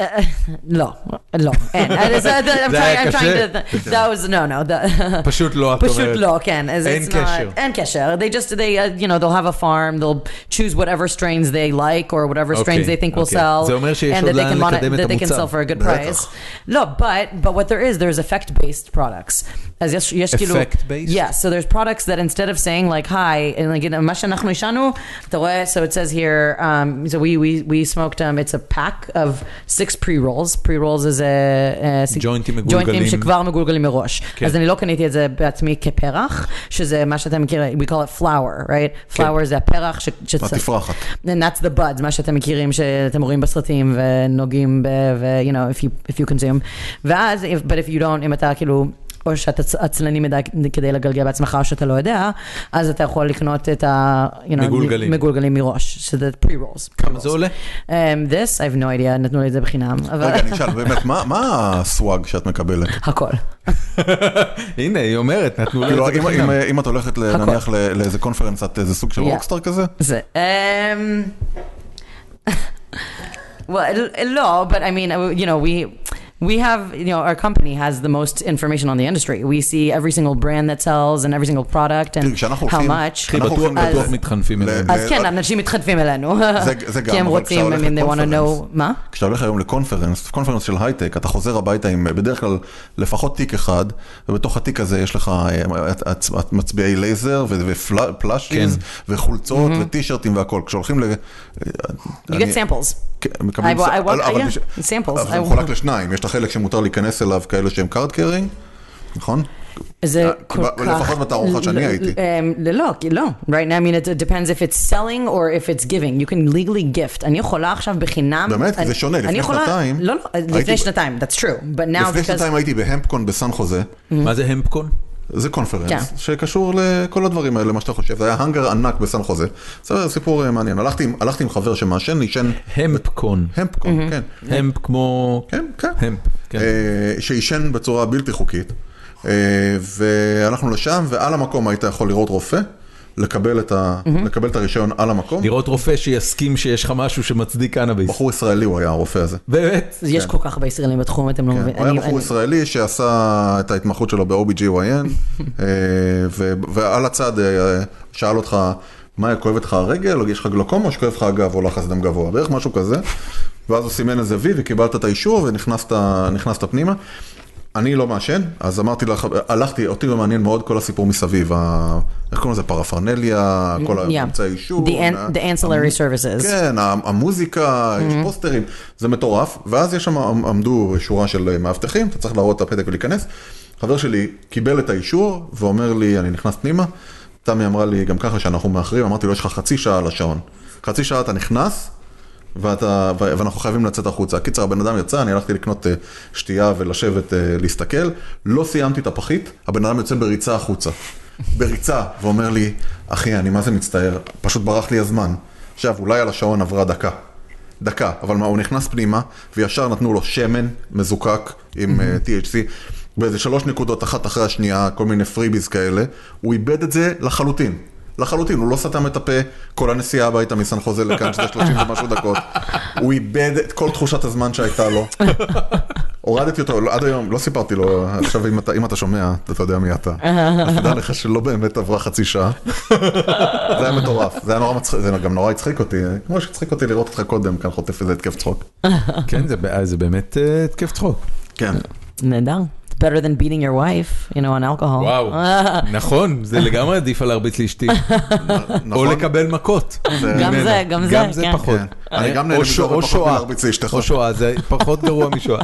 אה, לא, לא, אין. אז, אה, uh, I'm
זה היה
trying, I'm
קשה.
trying to... That was, no, no. that-
פשוט לא, את
פשוט
אומרת.
לא, כן. אז
אין
it's not-
קשר.
אין קשר. They just, they, uh, you know, they'll have a farm, they'll choose whatever strains they like or whatever strains
אוקיי,
they think will
אוקיי.
sell.
זה אומר שיש
and
עוד
that they
לאן
can monet-
לקדם את
That they can
המוצר.
sell for a good
בטח.
price. לא, but, but what there is, there's effect-based products. אז יש, יש כאילו...
Effect-based?
Yeah, so there's products that instead of saying like, hi, and like, you know, מה שאנחנו עישנו, אתה רואה, so it says here, um, so we, we, we smoked, um, it's a pack of six pre-rolls. pre-rolls is a... Uh, סיג-
ג'וינטים
ג'וינטים
מגולגלים.
שכבר מגולגלים מראש.
כן.
אז אני לא קניתי את זה בעצמי כפרח, שזה מה שאתה מכיר, we call it flower, right?
כן.
flower זה הפרח ש... שצ-
התפרחת.
And that's the buds, מה שאתם מכירים, שאתם רואים בסרטים ונוגעים ב... ו- you know, if you, if you consume. ואז, if, but if you don't, אם אתה כאילו... או שאתה צ- עצלני מדי כדי לגלגל בעצמך, או שאתה לא יודע, אז אתה יכול לקנות את ה... You know,
מגולגלים.
מגולגלים מראש, שזה pre-rolls.
כמה זה עולה?
Um, this, I have no idea, נתנו לי את זה בחינם, אבל
רגע, אני אשאל, באמת, מה- מה הסוואג שאת מקבלת?
הכל.
הנה, היא אומרת, נתנו לה
כאילו,
את זה
אם-
בחינם.
אם- אם את הולכת ל-
הכל.
נניח ל- לאיזה קונפרנס, את איזה סוג של
Yeah.
רוקסטאר כזה?
זה. אמ, well, לא, but I mean, uh, you know, we... we have, you know, our company has the most information on the industry. We see every single brand that sells and every single product and
תראי, כשאנחנו
how
הולכים,
much.
אחי,
אחי, אנחנו
בטוח
הולכים
בטוח
לזה.
מתחנפים
ל-
אליהם.
ל-
אז כן, אנשים מתחתפים אלינו.
זה- זה גם,
כי
אבל
הם
כשאתה
רוצים, I
הולך
mean, they want to know,
לקונפרנס.
מה?
כשאתה הולך היום לקונפרנס, קונפרנס של הייטק, אתה חוזר הביתה עם אה, בדרך כלל לפחות תיק אחד, ובתוך התיק הזה יש לך אה, הצ- הצ- מצביעי לייזר ופלאשיז וחולצות וטישרטים והכל. כשהולכים ל...
כן. Mm-hmm.
אה,
You get samples.
כן, מקבלים...
I wa- I
סל-
want-
אבל- אבל
yeah,
מש-
samples.
אבל זה
I
מחולק
want-
לשניים, יש את החלק שמותר להיכנס אליו כאלה שהם קארד קרינג, נכון?
זה
אה,
כל
ב-
כך...
לפחות בתערוכת שאני
ל-
הייתי.
אמ, לא, כי- לא. Right now, I mean, it it depends if it's selling or if it's giving. You can legally gift. אני יכולה עכשיו בחינם...
באמת? כי
אני-
זה שונה,
אני
לפני
יכולה-
שנתיים
לא, לא,
הייתי
לפני
ב-
שנתיים, that's true. But now,
לפני
because...
שנתיים הייתי בהמפקון בסן חוזה,
מה זה המפקון?
זה
כן.
קונפרנס שקשור לכל הדברים האלה, מה שאתה חושב, זה היה האנגר ענק בסן חוזה. זה סיפור אה, מעניין, הלכתי עם- הלכתי עם חבר שמעשן, עישן
המפקון.
המפקון, כן.
המפ כמו...
כן, כן.
המפ, כן.
אה, שעישן בצורה בלתי חוקית. אה, והלכנו לשם, ועל המקום היית יכול לראות רופא, לקבל את ה- לקבל את הרישיון על המקום.
לראות רופא שיסכים שיש לך משהו שמצדיק קנאביס.
בחור ישראלי הוא היה הרופא הזה.
באמת?
יש כל כך הרבה ישראלים בתחום, אתם לא
כן,
מבינים.
הוא היה
אני-
בחור
אני-
ישראלי שעשה את ההתמחות שלו ב-OBGYN, אה, ו- ועל הצד אה, שאל אותך, מה, כואבת לך הרגל, או יש לך גלוקומה, או שכואב לך הגב, או לחץ דם גבוה, בערך משהו כזה, ואז הוא סימן איזה וי וקיבלת את האישור ונכנסת נכנסת פנימה. אני לא מעשן, אז אמרתי לך, הלכתי, אותי זה מעניין מאוד כל הסיפור מסביב, ה... איך קוראים לזה, פרפרנליה, כל
Yeah.
האמצעי אישור.
The an- the ancillary services.
כן, ה- המוזיקה, יש פוסטרים, זה מטורף. ואז יש שם, עמדו שורה של אה, מאבטחים, אתה צריך להראות את הפתק ולהיכנס. חבר שלי קיבל את האישור ואומר לי, אני נכנס פנימה. תמי אמרה לי, גם ככה שאנחנו מאחרים, אמרתי לו, יש לך חצי שעה על השעון. חצי שעה אתה נכנס, ואתה, ו- ואנחנו חייבים לצאת החוצה. קיצר, הבן אדם יצא, אני הלכתי לקנות אה, שתייה ולשבת, אה, להסתכל, לא סיימתי את הפחית, הבן אדם יוצא בריצה החוצה. בריצה, ואומר לי, אחי, אני מה זה מצטער, פשוט ברח לי הזמן. עכשיו, אולי על השעון עברה דקה. דקה, אבל מה, הוא נכנס פנימה, וישר נתנו לו שמן מזוקק עם אה, THC, באיזה שלוש נקודות אחת אחרי השנייה, כל מיני פריביז כאלה, הוא איבד את זה לחלוטין. לחלוטין, הוא לא סתם את הפה כל הנסיעה הביתה מסן חוזה לכאן, שזה 30 ומשהו דקות. הוא איבד את כל תחושת הזמן שהייתה לו. הורדתי אותו, לא- עד היום, לא סיפרתי לו, עכשיו אם אתה, אם אתה שומע, אתה יודע מי אתה. אז תדע לך שלא באמת עברה חצי שעה. זה היה מטורף, זה היה נורא מצחיק, זה גם נורא הצחיק אותי, כמו שהצחיק אותי לראות אותך קודם, כאן חוטף איזה התקף צחוק.
כן, זה בא- זה באמת אה, התקף צחוק.
כן.
נהדר. It's better than beating your wife, you know, on alcohol.
וואו, נכון, זה לגמרי עדיף על להרביץ לאשתי. או
נכון?
לקבל מכות.
גם
ממנה.
זה, גם זה,
גם זה
כן.
פחות.
כן. אני גם נהנה
או
מזה,
שו-
אבל
או
פחות
שואה.
מלהרביץ לאשתך.
או שואה, זה פחות גרוע משואה.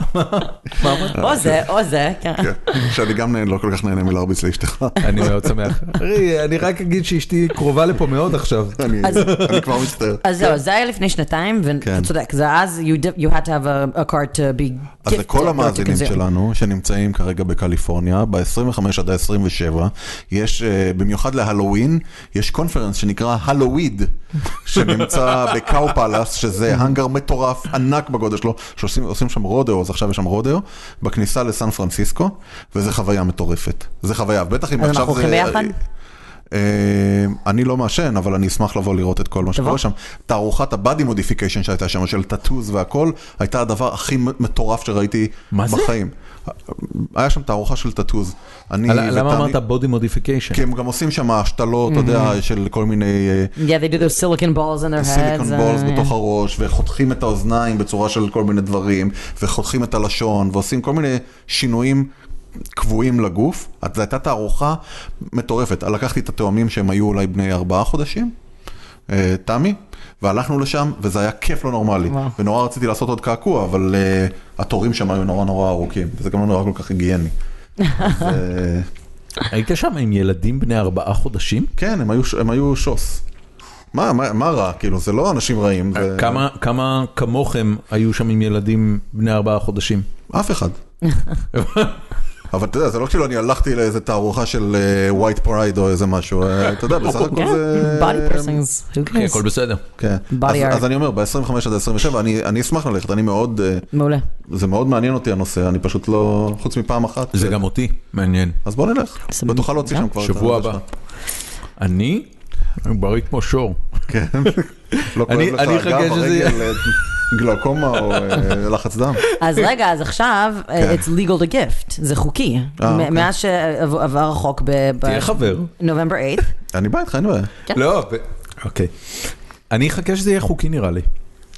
או זה, או זה, כן.
כן. שאני גם נהנה- לא כל כך נהנה מלהרביץ לאשתך.
אני מאוד שמח. ארי, אני רק אגיד שאשתי קרובה לפה מאוד עכשיו.
אני
אז-
אני כבר מצטער.
אז זהו, זה היה לפני שנתיים,
כן.
ואתה צודק, זה אז you did- you had to have a- a card to be
אז
gifted or
לכל
to
המאזינים
consume.
שלנו שנמצאים כרגע בקליפורניה, ב-25 עד ה-27, יש, אה, במיוחד להלואוין, יש קונפרנס שנקרא הלואיד, שנמצא בקאו פלאס, שזה האנגר מטורף, ענק בגודל שלו, שעושים עושים שם רודאו, אז עכשיו יש שם רודאו, בכניסה לסן פרנסיסקו, וזה חוויה מטורפת. זה חוויה, בטח אם
אז
עכשיו זה...
אנחנו הולכים ביחד?
אה, אני לא מעשן, אבל אני אשמח לבוא לראות את כל מה שקורה שם. תערוכת הבאדי מודיפיקיישן שהייתה שם, של טאטוז והכל, הייתה הדבר הכי מטורף שראיתי
מה זה?
בחיים. היה שם תערוכה של טאטוז. אני
למה
ותמי-
אמרת body modification?
כי הם גם עושים שם השתלות, אתה יודע, של כל מיני... אה,
Yeah, they do those silicon balls in their heads.
סיליקון בולס
uh,
בתוך הראש, וחותכים את האוזניים בצורה של כל מיני דברים, וחותכים את הלשון, ועושים כל מיני שינויים קבועים לגוף. אז זו הייתה תערוכה מטורפת. לקחתי את התאומים שהם היו אולי בני ארבעה חודשים, אה, תמי, והלכנו לשם, וזה היה כיף לא נורמלי.
וואו.
ונורא רציתי לעשות עוד קעקוע, אבל אה, התורים שם היו נורא נורא ארוכים, וזה גם לא נראה כל כך היגייני. אז, אה,
היית שם עם ילדים בני ארבעה חודשים?
כן, הם היו, הם היו שוס. מה, מה, מה רע? כאילו, זה לא אנשים רעים. זה-
אה, כמה- כמה כמוכם היו שם עם ילדים בני ארבעה חודשים?
אף אחד. אבל אתה יודע, זה לא כאילו אני הלכתי לאיזה תערוכה של ווייט פרייד או איזה משהו, אה, אתה יודע, בסך הכל
Yeah,
uh,
זה...
כן, body piercings, who
כן,
cares?
הכל בסדר.
כן.
Body
אז-
art.
אז אני אומר, ב-25 עד 27, אני- אני אשמח ללכת, אני מאוד... אה,
מעולה.
זה מאוד מעניין אותי הנושא, אני פשוט לא... חוץ מפעם אחת.
זה גם אותי, מעניין.
אז בוא נלך,
סבבה.
ותוכל להוציא שם כבר את
שבוע
הזה
הבא.
שלך.
אני? אני בריא כמו שור.
כן. לא כואב
אני-
לך
אני אחכה
הגב,
שזה
הרגל,
יהיה-
אה, גלאוקומה או אה, לחץ דם.
אז רגע, אז עכשיו,
כן.
uh, it's legal to gift, זה חוקי.
אה,
מ-
אוקיי.
מאז שעבר החוק
תהיה חבר.
בנובמבר 8,
אני בא איתך, אין בעיה.
כן.
לא, ב- אוקיי. אני אחכה שזה יהיה חוקי נראה לי.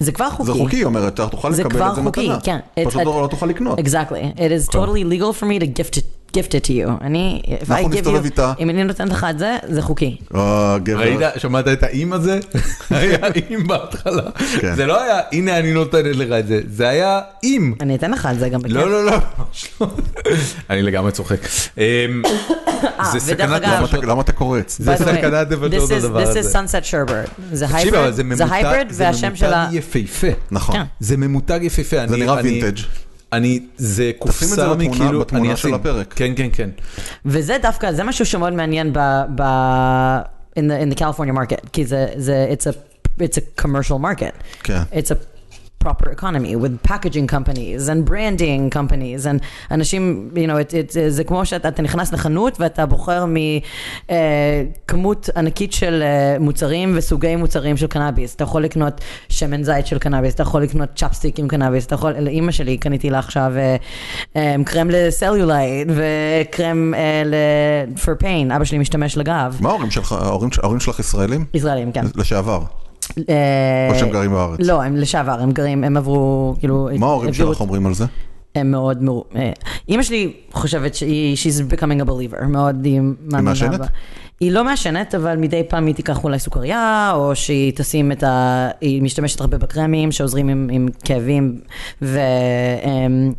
זה כבר חוקי.
זה חוקי, היא אומרת, אתה תוכל
זה
לקבל
כבר
את זה
חוקי,
מתנה.
כן.
פשוט
It's-
לא לא תוכל לקנות.
Exactly. It is
אוקיי.
totally legal for me to gift it, gift it to you. אני, if I
אנחנו
give
נסתובב
you,
איתה.
אם אני נותנת לך את זה, זה חוקי.
אה, גבר.
ראית, שמעת את האם הזה? היה אם בהתחלה.
כן.
זה לא היה, הנה אני נותנת לך את זה, זה היה אם.
אני אתן לך את זה גם בכיף.
לא, לא, לא, ממש לא. אני לגמרי צוחק. אמ, זה
אה, ודרך
סכנת
אגב-
למה
נפשות.
אתה- למה אתה קורץ?
זה
By the way,
סכנת נפשות
this is-
הדבר
This is
הזה.
sunset sherbert. זה
תקשיב, אבל זה
הייברד, זה
ממותג-
הייברד,
זה
והשם של ה...
ממותג יפהפה.
נכון.
כן.
זה ממותג יפהפה. אני-
נראה
אני-
וינטג'.
אני, זה
תשים את זה
קופסה
בתמונה-
מכאילו,
בתמונה
אני
של
אשים.
הפרק.
כן, כן, כן.
וזה דווקא, זה משהו שמאוד מעניין ב... ב in, the, in the California market, כי זה, זה, it's a, it's a commercial market.
כן.
It's a proper economy with packaging companies and branding companies and אנשים, you know, it, it, זה כמו שאתה אתה נכנס לחנות ואתה בוחר מכמות ענקית של אה, מוצרים וסוגי מוצרים של קנאביס. אתה יכול לקנות שמן זית של קנאביס, אתה יכול לקנות צ'פסטיק עם קנאביס, אתה יכול, לאימא שלי קניתי לה עכשיו אה, אה, קרם לסלולייד וקרם אה, ל- for pain, אבא שלי משתמש לגב.
מה ההורים שלך, ההורים ש- ההורים שלך ישראלים?
ישראלים, כן.
לשעבר.
אה,
או שהם גרים בארץ.
לא, הם לשעבר, הם גרים, הם עברו, כאילו...
מה ההורים
הביאו
שלך אומרים על זה?
הם מאוד מרו... אה, אימא שלי חושבת שהיא, she's becoming a believer, מאוד היא מאמינה.
מעשנת?
בה. היא לא מעשנת, אבל מדי פעם היא תיקח אולי סוכריה, או שהיא תשים את ה... היא משתמשת הרבה בקרמים שעוזרים עם, עם כאבים,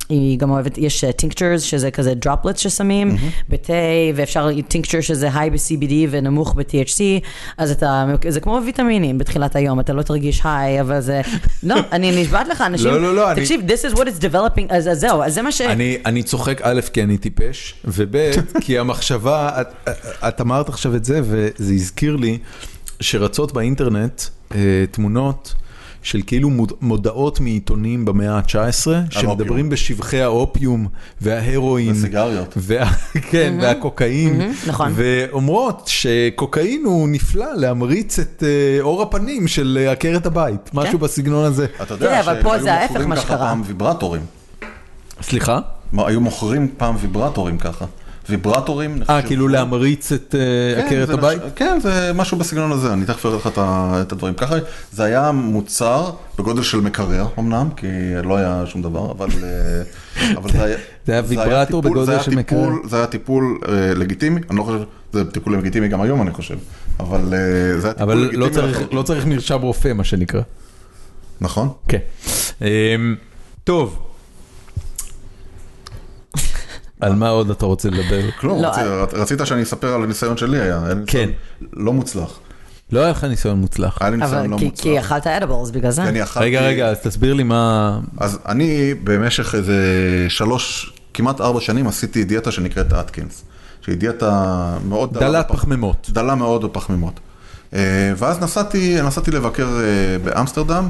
והיא גם אוהבת, יש טינקצ'רס, שזה כזה דרופלטס ששמים בתה, ואפשר טינקצ'ר שזה היי ב-CBD ונמוך ב-THC, אז אתה... זה כמו ויטמינים בתחילת היום, אתה לא תרגיש היי, אבל זה... לא, אני נשבעת לך, אנשים...
לא, לא, לא, אני-
תקשיב, This is what it's developing, אז אז זהו, אז זה מה ש...
אני, אני צוחק א', כי אני טיפש, וב', כי המחשבה, את, את אמרת עכשיו את זה, וזה הזכיר לי שרצות באינטרנט אה, תמונות של כאילו מוד- מודעות מעיתונים במאה ה-19, שמדברים
אופיום.
בשבחי האופיום וההרואין.
וסיגריות.
וה, כן, והקוקאין.
נכון.
ואומרות שקוקאין הוא נפלא להמריץ את אה, אור הפנים של אה, עקרת הבית, משהו בסגנון הזה.
אתה
תראה,
יודע
אבל
שהיו
פה זה ההפך
מוכרים
מה
ככה
שקרה.
פעם ויברטורים.
סליחה?
מה, היו מוכרים פעם ויברטורים ככה. ויברטורים
אה,
נחשבו-
כאילו להמריץ את אה,
כן,
עקרת
זה נחש-
הבית?
כן, זה משהו בסגנון הזה, אני תכף אראה לך את ה- את הדברים. ככה, זה היה מוצר בגודל של מקרר אמנם, כי לא היה שום דבר, אבל אה, אבל זה היה...
זה היה ויברטור
טיפול-
בגודל
זה היה
של מקרר.
טיפול- זה היה טיפול אה, לגיטימי, אני לא חושב, זה טיפול לגיטימי גם היום אני חושב, אבל אה, זה היה טיפול
אבל
לגיטימי.
לא צריך,
לחלוטין.
לא צריך מרשם רופא, מה שנקרא.
נכון?
כן. אמ, טוב. על מה עוד אתה רוצה לדבר?
כלום,
לא,
רצית- רצית שאני אספר על הניסיון שלי היה, היה
כן.
ניסיון לא מוצלח,
לא היה לך ניסיון מוצלח.
היה לי ניסיון
אבל
לא
כי-
מוצלח.
כי אכלת אדיבלס בגלל זה.
כי אני אכלתי-
רגע, רגע, אז תסביר לי מה...
אז אני במשך איזה שלוש, כמעט ארבע שנים עשיתי דיאטה שנקראת אטקינס, שהיא דיאטה מאוד דלה
דלת
בפח-
פחמימות.
דלה מאוד בפחמימות. אה, ואז נסעתי, נסעתי לבקר אה, באמסטרדם,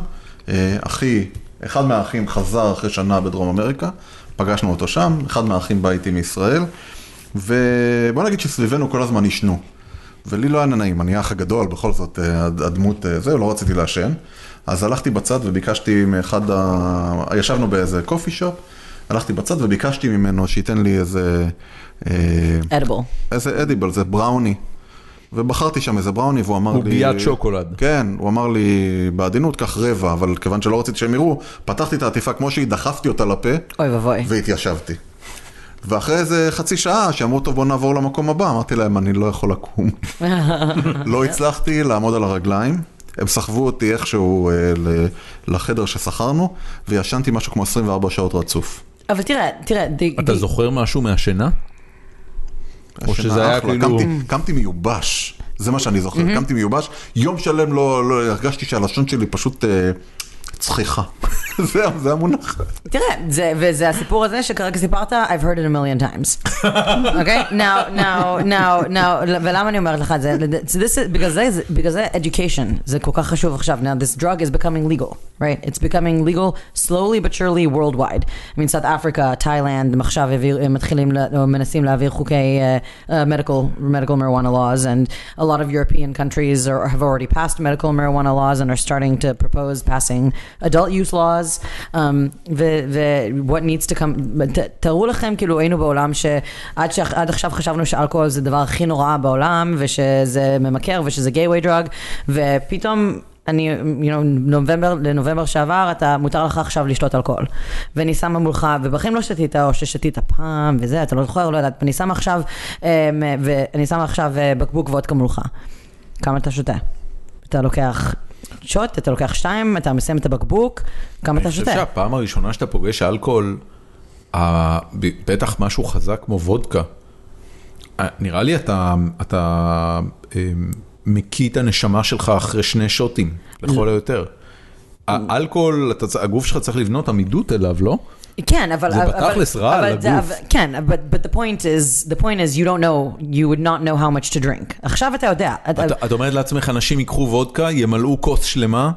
אה, אחי, אחד מהאחים חזר אחרי שנה בדרום אמריקה, פגשנו אותו שם, אחד מהאחים בא איתי מישראל, ובוא נגיד שסביבנו כל הזמן עישנו. ולי לא היה נעים, אני האח הגדול, בכל זאת, אה, הד- הדמות, אה, זה, לא רציתי לעשן. אז הלכתי בצד וביקשתי מאחד ה... ישבנו באיזה קופי שופ, הלכתי בצד וביקשתי ממנו שייתן לי איזה... אה,
אדיבל.
איזה אדיבל, זה בראוני. ובחרתי שם איזה בראוני, והוא אמר לי...
עוגיית שוקולד.
כן, הוא אמר לי בעדינות, קח רבע, אבל כיוון שלא רציתי שהם יראו, פתחתי את העטיפה כמו שהיא, דחפתי אותה לפה,
אוי ואבוי.
והתיישבתי. ואחרי איזה חצי שעה, שאמרו, טוב, בוא נעבור למקום הבא, אמרתי להם, אני לא יכול לקום. לא הצלחתי לעמוד על הרגליים. הם סחבו אותי איכשהו אה, ל- לחדר ששכרנו, וישנתי משהו כמו 24 שעות רצוף.
אבל תראה, תראה, the-
אתה
the-
זוכר משהו מהשינה? או
השינה
שזה היה
אחלה.
כאילו-
קמתי- קמתי מיובש, זה מה שאני זוכר, קמתי מיובש, יום שלם לא, לא- הרגשתי שהלשון שלי פשוט אה, צחיחה. זה- זה המונח.
תראה, זה, וזה הסיפור הזה שכרגע סיפרת, I've heard it a million times. אוקיי? Now, now, now, now, ולמה אני אומרת לך את זה? This is- בגלל זה, זה- בגלל זה education, זה כל כך חשוב עכשיו. Now, this drug is becoming legal, right? It's becoming legal slowly but surely worldwide. I mean, South Africa, Thailand, הם עכשיו העביר- הם מתחילים, לה- או מנסים להעביר חוקי uh, uh, medical, medical marijuana laws, and a lot of European countries are, have already passed medical marijuana laws and are starting to propose passing adult use laws. Um, ו- ו- what needs to come, ת- תארו לכם, כאילו היינו בעולם שעד שעד עכשיו חשבנו שאלכוהול זה הדבר הכי נורא בעולם, ושזה ממכר, ושזה gateway drug, ופתאום... אני, you know, נובמבר, לנובמבר שעבר, אתה, מותר לך עכשיו לשתות אלכוהול. ואני שמה מולך, ובחיים לא שתית, או ששתית פעם, וזה, אתה לא זוכר, לא יודעת, אני שמה עכשיו, אה, ואני שמה עכשיו אה, בקבוק וודקה מולך. כמה אתה שותה? אתה לוקח שוט, אתה לוקח שתיים, אתה מסיים את הבקבוק, כמה אתה
אני
שותה?
חושב שהפעם הראשונה שאתה פוגש אלכוהול, ה- ב- בטח משהו חזק כמו וודקה, אה, נראה לי אתה, אתה אה, מקיא את הנשמה שלך אחרי שני שוטים,
לא.
לכל היותר. האלכוהול, אתה צ- הגוף שלך צריך לבנות עמידות אליו, לא?
כן, אבל...
זה
אבל-
בתכלס רע על
אבל זה-
הגוף.
אבל- כן, but, but the point is, the point is you don't know, you would not know how much to drink. עכשיו אתה יודע. אתה-
אתה- את אומרת לעצמך, אנשים ייקחו וודקה, ימלאו כוס שלמה,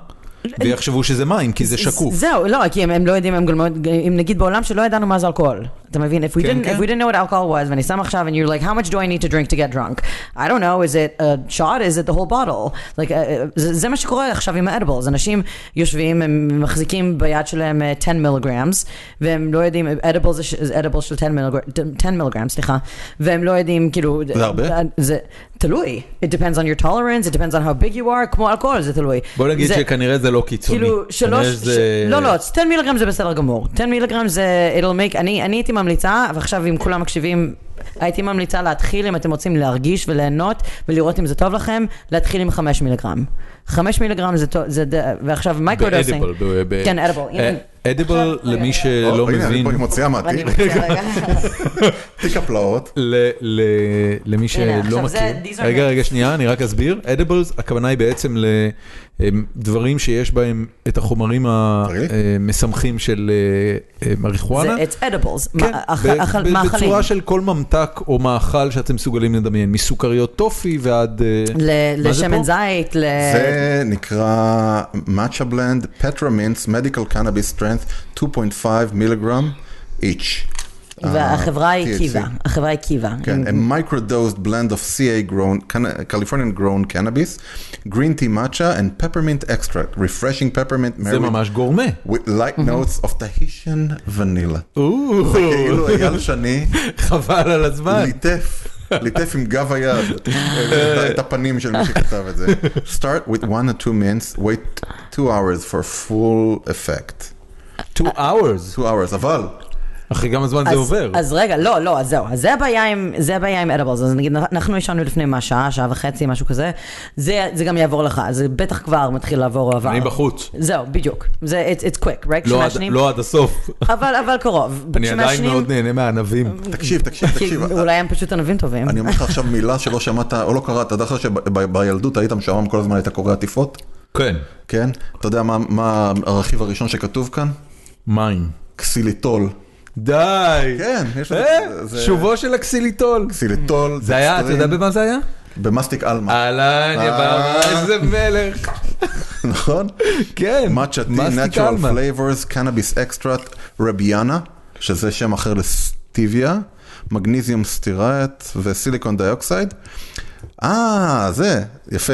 לא,
ויחשבו שזה מים, כי זה שקוף.
זהו, לא, כי הם, הם לא יודעים, הם גם לא, אם נגיד בעולם שלא ידענו מה זה אלכוהול. אתה מבין? If we,
כן,
didn't,
כן.
if we didn't know what alcohol was, ואני שם עכשיו, and you're like, how much do I need to drink to get drunk? I don't know, is it a shot? Is it the whole bottle? Like, uh, זה, זה מה שקורה עכשיו עם האדיבלס. אנשים יושבים, הם מחזיקים ביד שלהם אה, 10 מיליגרמס, והם לא יודעים, אדיבלס זה אדיבלס של 10 מיליגרמס, 10 מיליגרמס, סליחה, והם לא יודעים, כאילו...
זה הרבה?
זה תלוי. It depends on your tolerance, it depends on how big you are, כמו אלכוהול, זה תלוי.
בוא נגיד
זה-
שכנראה זה לא קיצוני.
כאילו שלוש,
כנראה זה- אה,
ש... לא לא, 10 מיליגרם זה בסדר גמור, 10 מיליגרם זה, it'll make, אני, אני הייתי ממליצה, ועכשיו אם כולם מקשיבים, הייתי ממליצה להתחיל אם אתם רוצים להרגיש וליהנות ולראות אם זה טוב לכם, להתחיל עם 5 מיליגרם. 5 מיליגרם זה טוב, זה, ד- ועכשיו מייקרודוסינג,
באדיבל. ב- ב-
לא כן, אדיבל, הנה.
אה, אדיבל,
עכשיו- אה,
למי
או,
שלא
הנה, אני
אה, לא מבין,
פה, היא מוציאה
אני
מהתיק,
מוציאה רגע.
תיק הפלאות.
ל- ל- למי
הנה,
שלא
עכשיו זה-
מכיר,
these are
רגע,
nuts.
רגע, שנייה, אני רק אסביר. אדיבלס, הכוונה היא בעצם לדברים שיש בהם את החומרים
תראי.
המשמחים של אה, אה, מריחואנה.
זה- It's edibles,
כן,
מה- אכ-
ב-
אכל-
ב-
מאכלים.
בצורה של כל ממתק או מאכל שאתם מסוגלים לדמיין, מסוכריות טופי ועד... אה,
ל-
מה זה פה?
לשמן זית, ל...
זה נקרא matcha blend, petramints, medical cannabis strength, 2.5 מיליגרם each.
והחברה
ה-
היא
אה, THC.
קיבה, החברה היא קיבה.
כן, a microdosed blend of CA grown, can- uh, Californian grown cannabis, green tea matcha and peppermint extract, refreshing peppermint
זה
married
ממש גורמה.
with light notes of Tahitian vanilla.
Oh. או,
כאילו אייל שני
חבל על הזמן.
ליטף, ליטף עם גב היד
אה.
אה, את- את הפנים של מי שכתב את זה. start with one or two minutes, wait two hours for full effect.
Two hours.
two hours, אבל
אחרי כמה זמן זה
אז-
עובר.
אז רגע, לא, לא, אז זהו. אז זה הבעיה עם, זה הבעיה עם אדבלס. אז נגיד, אנחנו ישנו לפני מה, שעה, שעה וחצי, משהו כזה. זה, זה גם יעבור לך, זה בטח כבר מתחיל לעבור עבר.
אני בחוץ.
זהו, בדיוק. זה, it's, it's quick, right?
לא עד-
כשמעשנים-
לא עד הסוף.
אבל, אבל קרוב.
אני עדיין
כשמעשנים-
מאוד נהנה מהענבים.
תקשיב, תקשיב,
כי
תקשיב. אה,
אולי הם פשוט ענבים טובים.
אני אומר לך עכשיו מילה שלא שמעת או לא קראת, אתה יודע שבילדות היית משעמם כל הזמן היית קורא עטיפות?
כן.
כן? אתה יודע מה- מה הרכיב הראשון שכתוב כאן?
מים.
קסיליטול.
די!
כן, יש לזה-
אה,
זה-
שובו של הקסיליטול.
קסיליטול.
זה היה, אתה יודע
דקסטרין,
במה זה היה?
במסטיק עלמה,
אהלן, יא
אה.
בר, איזה מלך.
נכון?
כן.
matcha tea,
מסטיק
natural
עלמה.
flavors, cannabis extract, רביאנה, שזה שם אחר לסטיביה, מגניזיום סטירט וסיליקון דיוקסייד. אה, זה, יפה.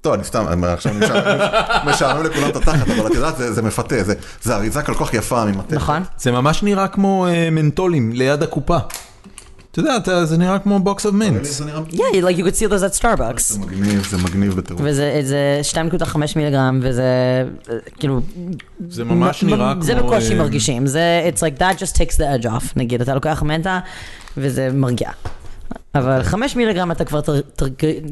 טוב, אני סתם, אני עכשיו אני משעמם- משעמם לכולם את התחת, אבל את יודעת, זה, זה מפתה, זה, זה אריזה כל כך יפה ממטה.
נכון?
זה ממש נראה כמו אה, מנטולים ליד הקופה. אתה יודע, אתה- זה נראה כמו בוקס אוף מינטס.
זה נראה מגניב.
Yeah, you- like you could see those at Starbucks.
זה מגניב, זה מגניב בטירוף.
וזה זה 2.5 מיליגרם, וזה אה, כאילו...
זה ממש נראה כמו...
זה בקושי
אה,
מרגישים, זה, it's like that just takes the edge off, נגיד, אתה לוקח מנטה וזה מרגיע. אבל חמש מיליגרם אתה כבר תר- תר-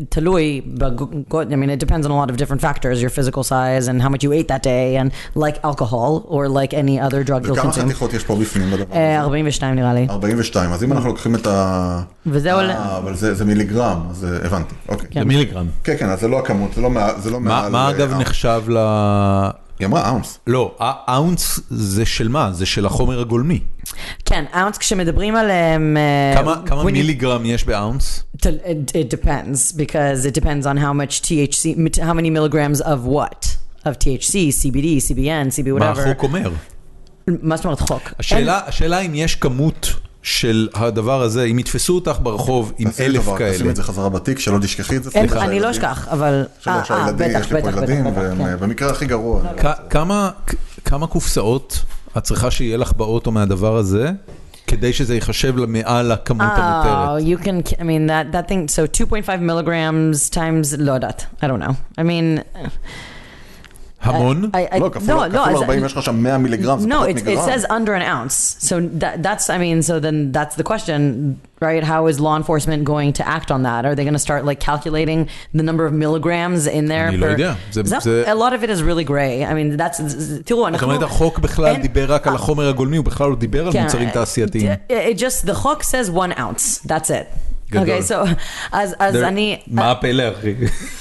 תלוי, בגוד, I mean it depends on a lot of different factors, your physical size and how much you ate that day and like alcohol or like any other drug you'll
וכמה
consume.
חתיכות יש פה בפנים בדבר
לא אה,
הזה?
42 נראה לי.
42, אז אם אנחנו לוקחים את ה...
וזה עולה- כן.
אה, אבל זה זה מיליגרם, אז אה, הבנתי, אוקיי.
זה מיליגרם.
כן, כן, אז זה לא הכמות, זה לא מעל...
מה מה אגב נחשב ל-
היא אמרה אאונס.
לא, האונס זה של מה? זה של החומר הגולמי.
כן, אאונס כשמדברים עליהם... אה,
כמה- כמה
when you-
מיליגרם יש באונס?
Tel- It, it depends because it depends on how much THC, mit- how many milligrams of what? Of THC, CBD, CBN, CB
מה
whatever.
החוק אומר?
מה זאת אומרת חוק?
השאלה, השאלה אם יש כמות של הדבר הזה, אם יתפסו אותך ברחוב עם
תעשי לי
אלף
דבר, תשימי
כאלה.
את זה חזרה בתיק, שלא תשכחי את זה.
אין,
סליחה,
אין, אני לא
שהילדים-
אשכח, אה, אבל...
שלא, שהילדים, יש לי פה ילדים,
כן.
והם, אה, במקרה הכי גרוע.
לא,
כ- כמה- כ- כמה קופסאות את צריכה שיהיה לך באוטו מהדבר הזה, כדי שזה ייחשב מעל הכמות
Oh,
המותרת?
you can. I mean that that thing. So 2.5 milligrams times lodat. I don't know. I mean,
המון?
I, I,
לא,
no,
כפול
no,
כפול
as-
40 יש לך שם 100 מיליגרם, זה
no,
פחות
it, it
מגרם.
says under an ounce. So that, that's, I mean, so then that's the question, right? How is law enforcement going to act on that? Are they going to start like calculating the number of milligrams in there?
אני לא יודע. זה-
Is that-
זה-
a lot of it is really gray. I mean, that's, תראו,
זאת
אנחנו...
אומרת, החוק בכלל
אין-
דיבר רק על החומר הגולמי, הוא בכלל לא דיבר על
כן,
מוצרים תעשייתיים.
it- It just, the hook says one ounce, that's it.
גדול.
אוקיי, so, אז, אז
זה-
אני,
מה הפלא, אחי?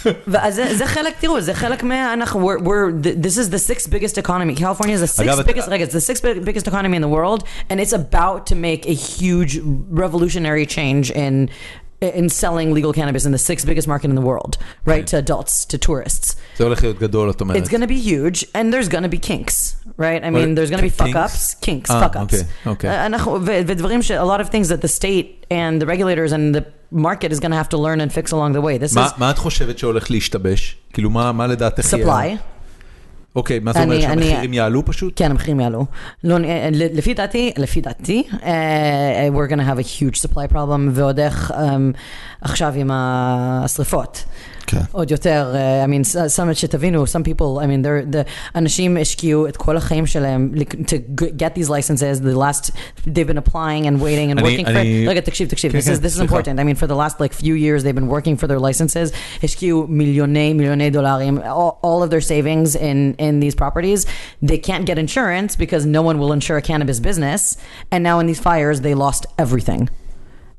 ואז זה, זה חלק, תראו, זה חלק מה, אנחנו, we're, we're, th- this is the sixth biggest economy, California is the
אגב,
sixth
את-
biggest, רגע, it's the sixth big- biggest economy in the world, and it's about to make a huge revolutionary change in, in selling legal cannabis in the sixth biggest market in the world, right, to adults, to tourists.
זה הולך להיות גדול, את אומרת.
It's going to be huge, and there's going to be kinks, right? I mean,
Or-
there's going to be fuck
kinks?
ups, kinks,
Ah,
fuck ups.
okay, okay.
Uh, אנחנו- ו- ודברים ש- a lot of things that the state and the regulators and the market is going to have to learn and fix along the way. This
מה-
is
מה את חושבת שהולך להשתבש? כאילו, מה מה לדעתך יהיה?
supply.
אוקיי, מה זה
אני-
אומר?
אני-
שהמחירים יעלו פשוט?
כן, המחירים יעלו. לא, נ- אה, ל- לפי דעתי, לפי דעתי, אה, we're going to have a huge supply problem, ועוד איך אה, עכשיו עם השריפות.
כן.
עוד יותר, אה, I mean, s- some, שתבינו, some people, I mean, they're, the, אנשים השקיעו את כל החיים שלהם לק- to g- get these licenses, the last, they've been applying and waiting and
אני-
working
אני-
for, רגע, תקשיב, תקשיב,
כן,
this,
כן,
is, this is
סליחה.
important, I mean, for the last like few years, they've been working for their licenses, השקיעו מיליוני, מיליוני דולרים, all, all of their savings in, in these properties, they can't get insurance because no one will insure a cannabis business, and now in these fires, they lost everything.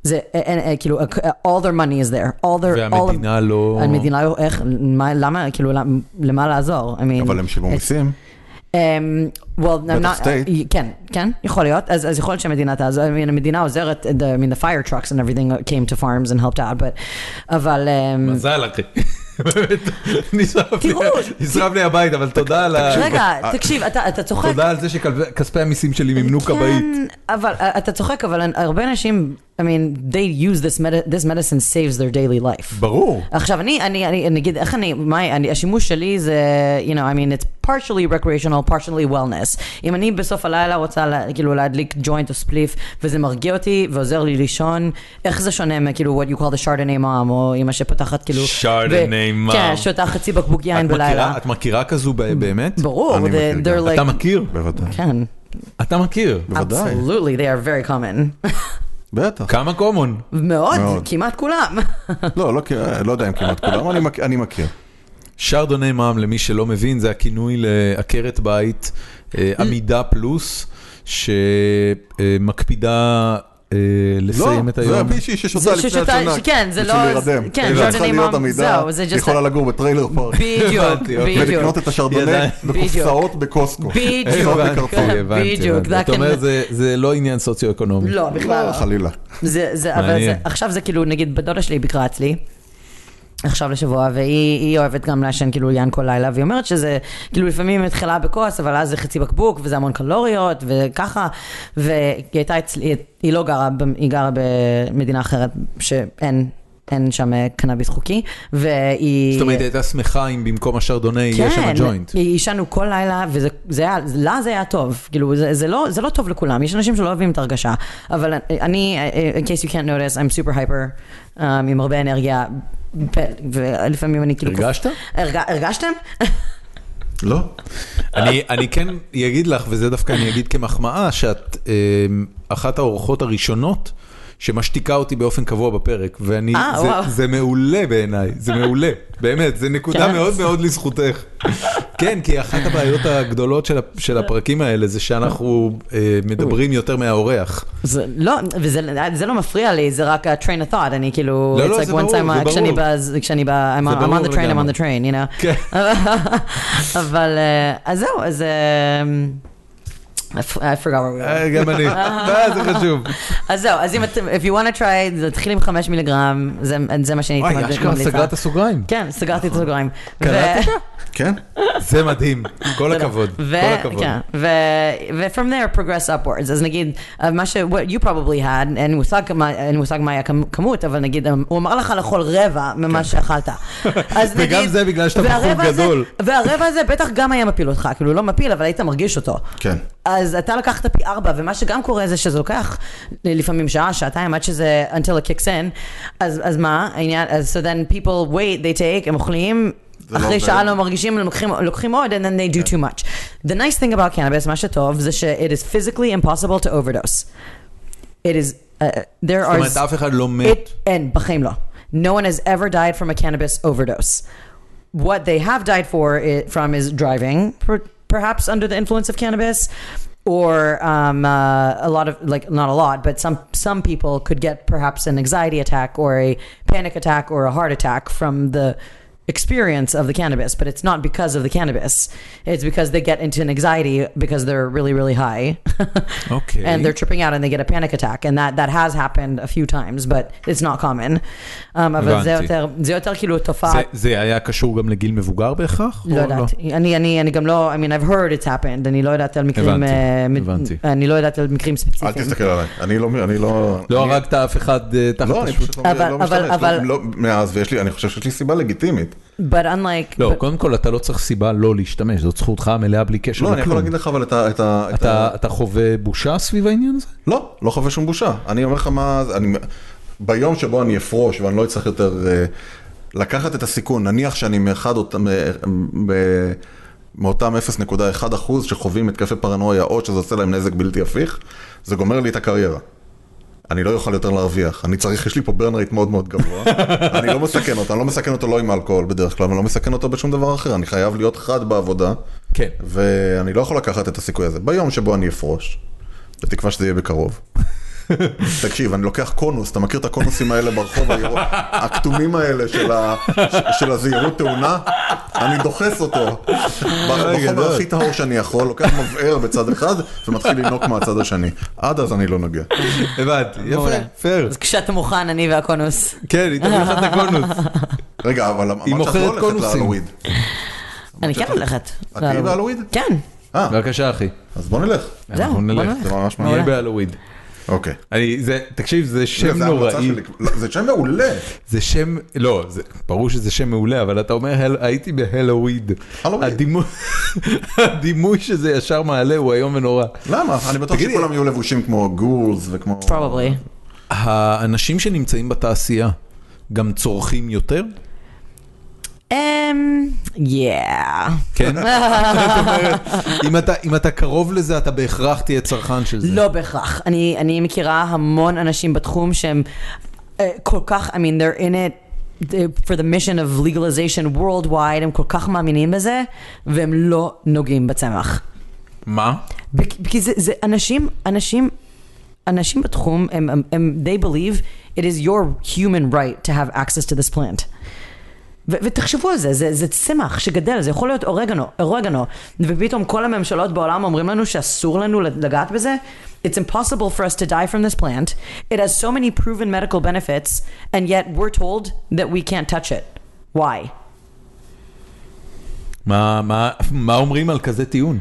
eh, זה, אה, אה, אה, כאילו, אה, all their money is there, all their, all of, eh,
והמדינה לא...
המדינה, לא- איך, מה, למה, כאילו, למ- למה לעזור? I mean,
אבל הם שילמו
it's-
מיסים.
אמ, well, I'm
בטח
not-
state.
כן, כן, יכול להיות. אז אז יכול להיות שהמדינה תעזור, I mean, המדינה עוזרת, uh, the- I mean, the fire trucks and everything came to farms and helped out, but, אבל, אמ,
מזל, אחי. באמת, נשרף לי-
תראו,
נשרף לי הבית, אבל תודה על ה...
רגע, תקשיב, אתה אתה צוחק.
תודה על זה שכספי המיסים שלי מימנו כבאית.
כן, אבל אה, אתה צוחק, אבל הרבה אנשים, I mean, they use this medi- this medicine saves their daily life.
ברור.
עכשיו אני, אני, אני, אני אגיד, איך אני, מה, אני, השימוש שלי זה, you know, I mean, it's partially recreational, partially wellness. אם אני בסוף הלילה רוצה, לה, כאילו, להדליק ג'וינט או ספליף, וזה מרגיע אותי ועוזר לי לישון, איך זה שונה מכאילו, what you call the Chardonnay mom, או אמא שפותחת כאילו...
Chardonnay
ו-
mom.
כן, שותה חצי בקבוק
את
יין בלילה. Mm.
מכירה- את מכירה כזו ב- באמת?
ברור,
אני
they-
מכיר
they're
גם.
like...
אתה מכיר?
בוודאי.
כן,
אתה מכיר.
בוודאי.
absolutely, they are very common.
בטח.
כמה קומון.
מאוד,
מאוד.
כמעט כולם.
לא, לא, כי- לא יודע אם כמעט כולם, אני מכ- אני מכיר.
שרדוני מע"מ, למי שלא מבין, זה הכינוי לעקרת בית, אה,
Mm.
עמידה פלוס, שמקפידה אה, לסיים את
לא, זה
היום.
המישהי ששותה
זה
לפני
ששותה-
השינה.
שכן, זה
בשביל
לא-
להירדם.
כן,
היא
זה
לא צריכה
אני
להיות
מום-
עמידה,
זהו, זה just
היא יכולה לגור בטריילר פארק.
בדיוק,
הבנתי, אוקיי.
בדיוק.
ולקנות את השרדוני
ידע-
בקופסאות בקוסקו.
בדיוק. כן,
קופסאות
אה, הבנתי,
בקרטון.
הבנתי,
בדיוק,
הבנתי.
זה
אתה אומר,
הכינוי.
זה- זה לא עניין סוציו-אקונומי.
לא, בכלל
לא,
לא.
חלילה.
זה, זה, אבל זה,
מעניין.
עכשיו זה כאילו, נגיד, בת דודה שלי ביקרה אצלי. עכשיו לשבוע, והיא היא אוהבת גם לעשן כאילו יין כל לילה, והיא אומרת שזה, כאילו לפעמים היא מתחילה בכוס, אבל אז זה חצי בקבוק, וזה המון קלוריות, וככה, והיא הייתה אצלי, היא לא גרה, במ- היא גרה במדינה אחרת, שאין, אין שם אה, קנאביס חוקי, והיא...
זאת אומרת, היא הייתה שמחה אם במקום השרדוני יהיה
כן.
שם ג'וינט.
היא- עישנו כל לילה, וזה זה היה, לה זה היה טוב. כאילו, זה, זה, לא, זה לא טוב לכולם, יש אנשים שלא אוהבים את הרגשה. אבל אני, in case you can't notice, I'm super hyper, um, עם הרבה אנרגיה, ו- ולפעמים אני כאילו...
הרגשת?
הרג, הרגשתם?
לא?
אני, אני כן אגיד לך, וזה דווקא אני אגיד כמחמאה, שאת אמ, אחת האורחות הראשונות שמשתיקה אותי באופן קבוע בפרק, ואני,
אה,
זה,
וואו.
זה מעולה בעיניי, זה מעולה, באמת, זה נקודה
כן.
מאוד מאוד לזכותך. כן, כי אחת הבעיות הגדולות של ה- של הפרקים האלה זה שאנחנו אה, מדברים יותר מהאורח.
זה, לא, וזה זה לא מפריע לי, זה רק ה-train of thought, אני כאילו,
לא, לא,
it's like
זה
one
ברור,
time,
זה
uh, כשאני
ברור.
בז- כשאני ב... I'm
זה
on- I'm on
ברור
the train, I'm
לגמרי.
on the train, you know.
כן.
אבל, אה, אז זהו, אז... אה, I f- I forgot what we were.
אה, גם אני. אה, זה חשוב.
אז זהו, אז אם אתם, if you want to try, it, זה תתחיל עם חמש מיליגרם, זה זה מה שאני
וואי,
הייתי
אשכרה סגרת סוגריים.
כן, סגרתי את הסוגריים.
קלטת?
ו-
כן? לא-
זה מדהים. כל הכבוד. כל
ו-
הכבוד.
כן, ו- ו-from there progress upwards. אז נגיד, אה, מה ש... what you probably had, אין מושג כמה- אין מושג מה היה כמ- כמות, אבל נגיד, אה, הוא אמר לך לאכול רבע ממה שאכלת. אז
כן.
נגיד...
וגם זה בגלל שאתה בחור
והרבע הזה-
גדול.
והרבע הזה בטח גם היה מפיל אותך, כאילו לא מפיל, אבל היית מרגיש אותו.
כן.
אז אתה לקחת פי ארבע, ומה שגם קורה זה שזה לוקח לפעמים שעה, שעתיים, עד שזה until it kicks in, אז, אז מה העניין, אז so then people wait, they take, הם אוכלים.
זה לא
אחרי
עובד. כן.
שעה לא מרגישים, הם לוקחים, לוקחים עוד, and then they do too much. The nice thing about cannabis, מה שטוב, זה ש- it is physically impossible to overdose. It is, uh, there
זאת
are...
אומרת, אף אחד לא מת.
It, אין, בחיים לא. No one has ever died from a cannabis overdose. What they have died for i from is driving, per, perhaps under the influence of cannabis, or um, uh, a lot of like not a lot, but some some people could get perhaps an anxiety attack or a panic attack or a heart attack from the experience of the cannabis. But it's not because of the cannabis; it's because they get into an anxiety because they're really really high.
אוקיי.
and they're tripping out and they get a panic attack and that that has happened a few times but it's not common um, אבל זה
הבנתי.
יותר זה יותר כאילו תופעה
זה- זה היה קשור גם לגיל מבוגר בהכרח?
לא
או
יודעת אני אני אני גם לא I mean I've heard it's happened אני לא יודעת על מקרים
הבנתי,
אה, מ-
הבנתי.
אני לא יודעת על מקרים
אל
ספציפיים
תסתכל עליי. אני לא... אני לא...
לא
אני-
הרגת אף אחד אה, תחת
לא, אני
השוק?
פשוט לא
אבל-
לא
אבל-
משתמש.
אבל-
לא- לא מאז, ויש לי... אני חושב שיש לי סיבה לגיטימית.
but unlike
לא,
but-
קודם כל אתה לא צריך סיבה לא להשתמש, זאת זכותך המלאה בלי קשר
לא, אני יכול
לכלום.
להגיד לך אבל את ה... את ה- את ה-
אתה אתה חווה בושה סביב העניין הזה?
לא, לא חווה שום בושה. אני אומר לך מה... זה- אני... ביום שבו אני אפרוש ואני לא אצטרך יותר אה, לקחת את הסיכון, נניח שאני מאחד אותם... אה, מ- מאותם 0.1 אחוז שחווים התקפי פרנויה או שזה עושה להם נזק בלתי הפיך, זה גומר לי את הקריירה. אני לא אוכל יותר להרוויח, אני צריך, יש לי פה ברן רייט מאוד מאוד גבוה, אני לא מסכן אותו, אני לא מסכן אותו לא עם אלכוהול בדרך כלל, אני לא מסכן אותו בשום דבר אחר, אני חייב להיות חד בעבודה,
כן.
ואני לא יכול לקחת את הסיכוי הזה. ביום שבו אני אפרוש, בתקווה שזה יהיה בקרוב. תקשיב, אני לוקח קונוס, אתה מכיר את הקונוסים האלה ברחוב, הירוק, הכתומים האלה של, ה, ש- של הזהירות תאונה? אני דוחס אותו
אה,
ברחוב
לא.
הכי טהור שאני יכול, לוקח מבער בצד אחד ומתחיל לנוק מהצד השני. עד אז אני לא נוגע.
הבנתי,
מעולה.
יפה, פייר.
אז כשאתה מוכן אני והקונוס
כן, היא תביא לך את הקונוס.
רגע, אבל אמרת שאת
מוכרת
לא הולכת
קונוסים.
להלוויד.
אני כן הולכת
את תהיי בהלוויד?
כן
אה,
בבקשה, אחי.
אז בוא נלך.
זהו
אנחנו נלך.
בוא
זה ממש מעניין.
נהיה בהלוויד.
אוקיי.
אני, זה, תקשיב, זה
זה
שם
ההמלצה
נוראי.
שלי. לא, זה שם מעולה.
זה שם, לא, זה, ברור שזה שם מעולה, אבל אתה אומר, "הל- הייתי בהלוויד.
הלוויד.
הדימוי- הדימוי שזה ישר מעלה הוא איום ונורא.
למה? אני בטוח
תגידי-
שכולם יהיו לבושים כמו גורס וכמו...
probably
האנשים שנמצאים בתעשייה גם צורכים יותר?
um, yeah
כן. זאת אומרת, אם אתה- אם אתה קרוב לזה, אתה בהכרח תהיה צרכן של זה.
לא בהכרח. אני, אני מכירה המון אנשים בתחום שהם אה, כל כך, I mean, they're in it. they- for the mission of legalization worldwide, הם כל כך מאמינים בזה, והם לא נוגעים בצמח.
מה?
בכ- כי זה, זה אנשים, אנשים, אנשים בתחום, הם, הם, הם, they believe it is your human right to have access to this plant. ו- ותחשבו על זה, זה, זה צמח שגדל, זה יכול להיות אורגנו, אורגנו, ופתאום כל הממשלות בעולם אומרים לנו שאסור לנו לגעת בזה. It's impossible for us to die from this plant. It has so many proven medical benefits, and yet we're told that we can't touch it. Why?
מה- מה- מה אומרים על כזה טיעון?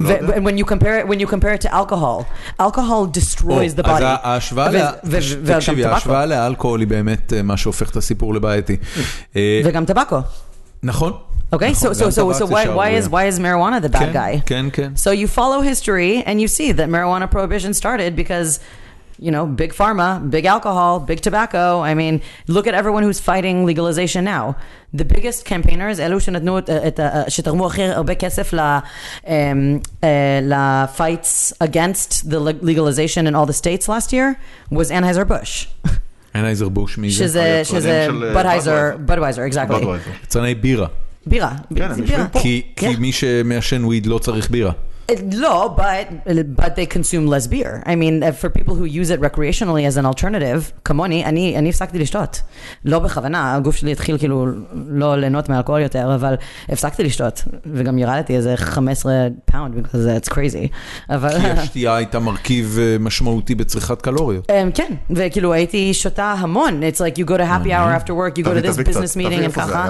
ו- and when you compare it, when you compare it to alcohol, alcohol destroys the
או, Oh, אז
body.
ה- ההשוואה,
ו-
לה-
ו- ו- וגם
תקשיבי,
טבקו.
ההשוואה לאלכוהול היא באמת אה, מה שהופך את הסיפור לבעייתי. אה,
וגם טבקו.
נכון.
Okay, אוקיי, so
נכון,
so
גם טבק
so so
זה
why why
שערורייה.
is why is marijuana the bad
כן,
guy?
כן, כן.
So you follow history and you see that marijuana prohibition started because you know, big pharma, big alcohol, big tobacco. I mean, look at everyone who's fighting legalization now. The biggest campaigners, אלו שנתנו, את- את ה- שתרמו הכי הרבה כסף ל-fights against the leg- legalization in all the states last year, was Anheuser-Busch.
אנהייזר בוש מי זה?
שזה,
היצרנים
שזה,
של, אה,
uh,
לא,
Budweiser, Budweiser, exactly.
Budweiser.
יצרני בירה.
בירה. ב-
הם
זה
יושבים
בירה.
פה.
כי כי
Yeah.
מי שמעשן וויד לא צריך בירה.
No, but but they consume less beer. I mean, uh, for people who use it recreationally as an alternative, כמוני, אני, אני הפסקתי לשתות. לא בכוונה, הגוף שלי התחיל כאילו לא ליהנות מאלכוהול יותר, אבל הפסקתי לשתות, וגם ירדתי איזה 15 פאונד, בגלל זה, it's crazy. אבל...
כי השתייה הייתה מרכיב אה, משמעותי בצריכת קלוריות.
Um, כן, וכאילו הייתי שותה המון, it's like you go to happy hour after work, you go to
תביא-
this
תביא
business
קצת,
meeting,
תביא
הם
איפה זה
ככה.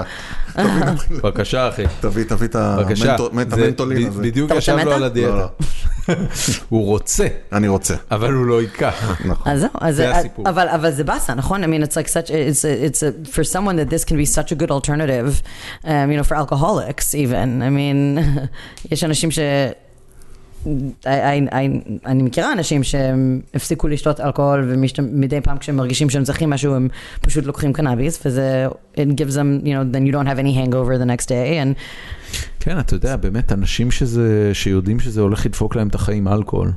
היה. תביא- תביא-
בבקשה, אחי.
תביא, תביא את
בבקשה.
המנטו- את
זה
המנטולין
ב-
הזה.
בדיוק
אתה
ישב
רוצה
לו
מנטה?
על
לא,
הדיאטה.
לא,
הוא רוצה,
אני רוצה.
אבל הוא לא ייקח.
נכון.
אז זהו, אז
זה
אז-
הסיפור.
אבל, אבל זה באסה, נכון? I mean, it's like such, it's, it's a, for someone that this can be such a good alternative, um, you know, for alcoholics even. I mean, יש אנשים ש... I, I, I, אני מכירה אנשים שהם הפסיקו לשתות אלכוהול ומדי פעם כשהם מרגישים שהם צריכים משהו הם פשוט לוקחים קנאביס וזה it gives them you know then you don't have any hangover the next day and
כן, אתה יודע, באמת, אנשים שזה, שיודעים שזה הולך לדפוק להם את החיים, אלכוהול.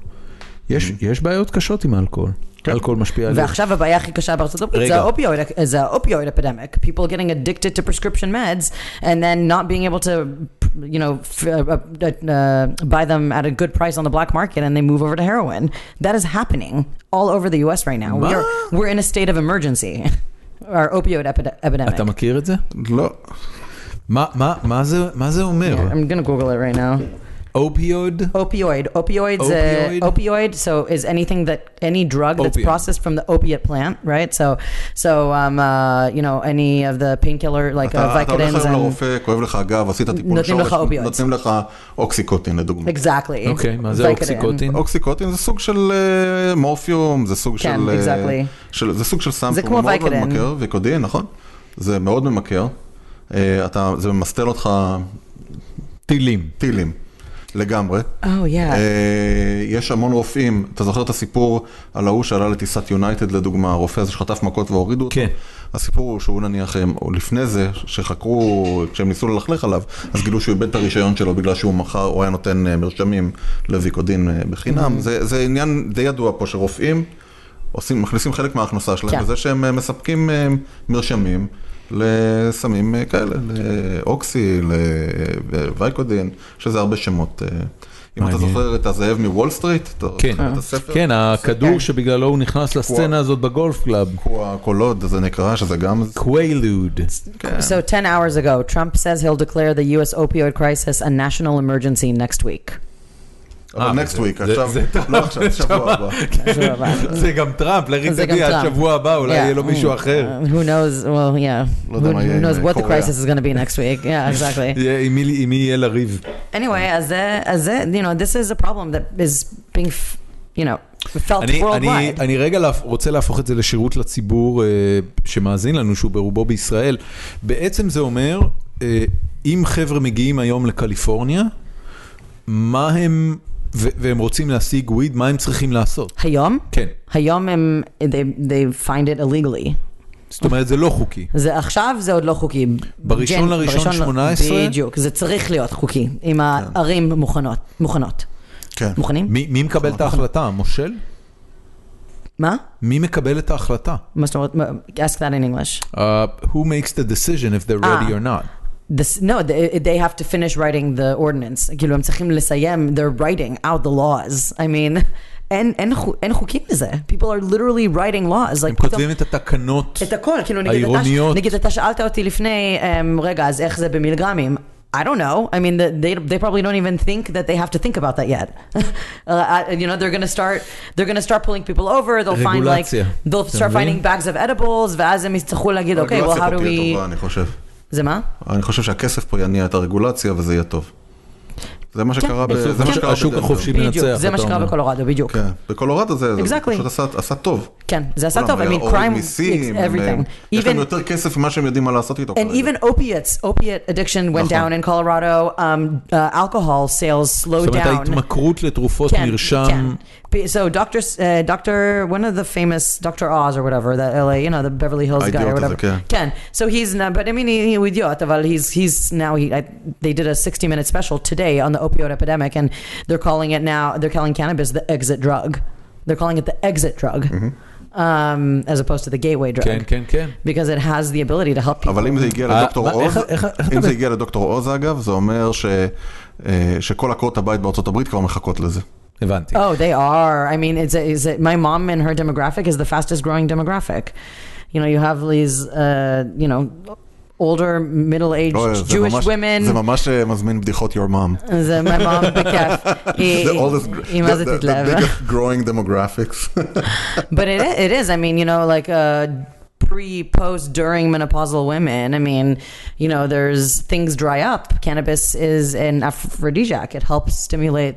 יש, יש בעיות קשות עם אלכוהול. אלכוהול משפיע עליהם.
כן. ועכשיו הבעיה הכי קשה בארצות הברית
רגע.
זה האופיואיד, זה האופיואיד epidemic. People getting addicted to prescription meds and then not being able to, you know, f- uh, uh, buy them at a good price on the black market and they move over to heroin. That is happening all over the US right now. We
מה?
are, we're in a state of emergency. Our opioid epide- epidemic.
אתה מכיר את זה?
לא,
מה, מה, מה, זה, מה זה אומר?
Yeah, I'm gonna Google it right now.
אופיוד?
Opioid. Opioids.
Opioid?
Uh, opioid. So is anything that any drug that's
Opium.
processed from the opiate plant, right? So, so um, uh, you know, any of the painkiller like uh,
Ah,
אתה אתה הולך
Vicodins
היום
and
לרופא, כואב לך הגב, עשית טיפול
נותנים לך אופיואיד.
נותנים לך אוקסיקוטין לדוגמה.
exactly.
אוקיי, מה זה
Vicodin.
אוקסיקוטין?
אוקסיקוטין זה סוג של אה, מורפיום, זה סוג
כן,
של... אה,
exactly.
של... זה סוג של סם
זה
שהוא
כמו
מאוד מאוד
ויקדן.
ממכר, ויקודין, נכון? זה מאוד ממכר. אה, אתה, זה ממסטל אותך
טילים.
טילים, לגמרי.
Oh yeah.
אה, יש המון רופאים, אתה זוכר את הסיפור על ההוא שעלה לטיסת יונייטד לדוגמה, הרופא הזה שחטף מכות והורידו אותו?
כן.
הסיפור הוא שהוא נניח, הם- או לפני זה, שחקרו, כשהם ניסו ללכלך עליו, אז גילו שהוא איבד את הרישיון שלו בגלל שהוא מכר, הוא היה נותן אה, מרשמים לוויקודין אה, בחינם. זה זה עניין די ידוע פה שרופאים עושים, מכניסים חלק מההכנסה
כן.
שלהם בזה שהם אה, מספקים אה, מרשמים. לסמים אה, כאלה, לאוקסי, לוויקודין, שזה הרבה שמות. אה, אם אתה
מעניין.
זוכר את הזאב מוול סטריט, אתה
כן,
זוכר את הספר,
כן, הכדור
כן.
שבגללו הוא נכנס לסצנה הזאת בגולף קלאב.
קו- הקולוד, זה נקרא, שזה גם...
קוויילוד.
So 10 hours ago, Trump says he'll declare the U.S. opioid crisis a national emergency next week.
אה,
אבל next
זה-
week,
זה-
עכשיו,
זה- כן.
לא עכשיו, שבוע הבא.
זה גם טראמפ, לריק
זה גם
תגיע, עד
טראמפ.
שבוע הבא, אולי
Yeah.
יהיה לו מישהו אחר.
Uh, who knows? Well, yeah. Who,
לא יודע מה יהיה
who
עם
knows what the
קוריאה.
crisis is going to be next week? Yeah, exactly. Oh,
יהיה- עם מי- עם מי יהיה לריב?
anyway, as a, as a, you know, this is a problem that is being, f- you know, felt
אני, אני,
worldwide.
אני רגע להפ... רוצה להפוך את זה לשירות לציבור אה, שמאזין לנו, שהוא ברובו בישראל. בעצם זה אומר, אה, אם חבר'ה מגיעים היום לקליפורניה, מה הם, ו- והם רוצים להשיג וויד, מה הם צריכים לעשות?
היום,
כן.
היום הם, they, they find it illegally.
זאת אומרת, זה לא חוקי.
זה עכשיו זה עוד לא חוקי.
בראשון לראשון
בראשון ל-
18?
בדיוק, זה צריך להיות חוקי, אם הערים מוכנות. מוכנות.
כן.
מוכנים?
מי, מי מקבל את ההחלטה? המושל?
מה?
מי מקבל את ההחלטה?
מה זאת אומרת? מה- ask that in English.
Uh, who makes the decision if they're ready
אה.
or not?
This, no, they, they have to finish writing the ordinance. כאילו, הם צריכים לסיים, they're writing out the laws. I mean, אין, אין, חו- אין חוקים לזה. People are literally writing laws. Like,
הם כותבים את התקנות.
את הכל, כאילו, נגיד,
העירוניות.
אתה, נגיד אתה שאלת אותי לפני, um, רגע, אז איך זה במילגרמים? I don't know. I mean, the, they, they probably don't even think that they have to think about that yet. uh, you know, they're gonna start, they're gonna start pulling people over. They'll find like,
רגולציה.
they'll
אתה
start
מבין?
finding bags of edibles, ואז הם יצטרכו להגיד, אוקיי, well,
הרגולציה
how
פה
do
תהיה
we...
טובה, אני חושב.
זה מה?
אני חושב שהכסף פה יניע את הרגולציה וזה יהיה טוב. זה
כן.
מה שקרה ב-
בסוף
זה מה
השוק-
שקרה
כן. השוק
בדנבר.
החופשי מנצח,
בדיוק, זה מה
אתה
שקרה
אומר.
בקולורדו, בדיוק.
כן, בקולורדו זה זה
Exactly.
פשוט עשה- עשה טוב.
כן, זה עשה
כולם,
טוב, I
היה
mean,
הוריד
crime,
מיסים, הם-
everything.
יש
Even-
להם יותר כסף ממה שהם יודעים מה לעשות איתו.
And
כרגע.
even opiates, opiate addiction went
נכון.
down in Colorado. Um, uh, alcohol sales
זאת
slowed
אומרת,
down. כן,
ההתמכרות לתרופות
Can,
מרשם,
can. Be- So Doctor, uh, Doctor, one of the famous Doctor Oz or whatever, the LA, you know, the Beverly Hills guy
Idiot
or
is
whatever.
okay.
Can. So he's not, but I mean, he, he with Yotaval, he's he's now he. I, they did a 60 minute special today on the opioid epidemic, and they're calling it now. They're calling cannabis the exit drug. They're calling it the exit drug. um, as opposed to the gateway drug.
כן, כן, כן.
Because it has the ability to help people.
אבל אם זה הגיע
אה,
לדוקטור
מה,
עוז,
איך- איך- איך אתה
אם זה
ב-
הגיע לדוקטור עוז אגב, זה אומר ש- אה, שכל עקרות הבית בארצות הברית כבר מחכות לזה.
הבנתי.
Oh, they are. I mean, it's a, is it my mom and her demographic is the fastest growing demographic. You know, you have these, uh, you know, older middle aged
לא, זה
Jewish
ממש-
women.
זה ממש אה, מזמין בדיחות your mom.
זה my mom בכיף. היא-
The oldest-
היא אה, מה זה
the- the-
תתלהב.
The biggest growing demographics.
But it i- it is. I mean, you know, like uh, pre, post, during menopausal women. I mean, you know, there's things dry up. Cannabis is an aphrodisiac. It helps stimulate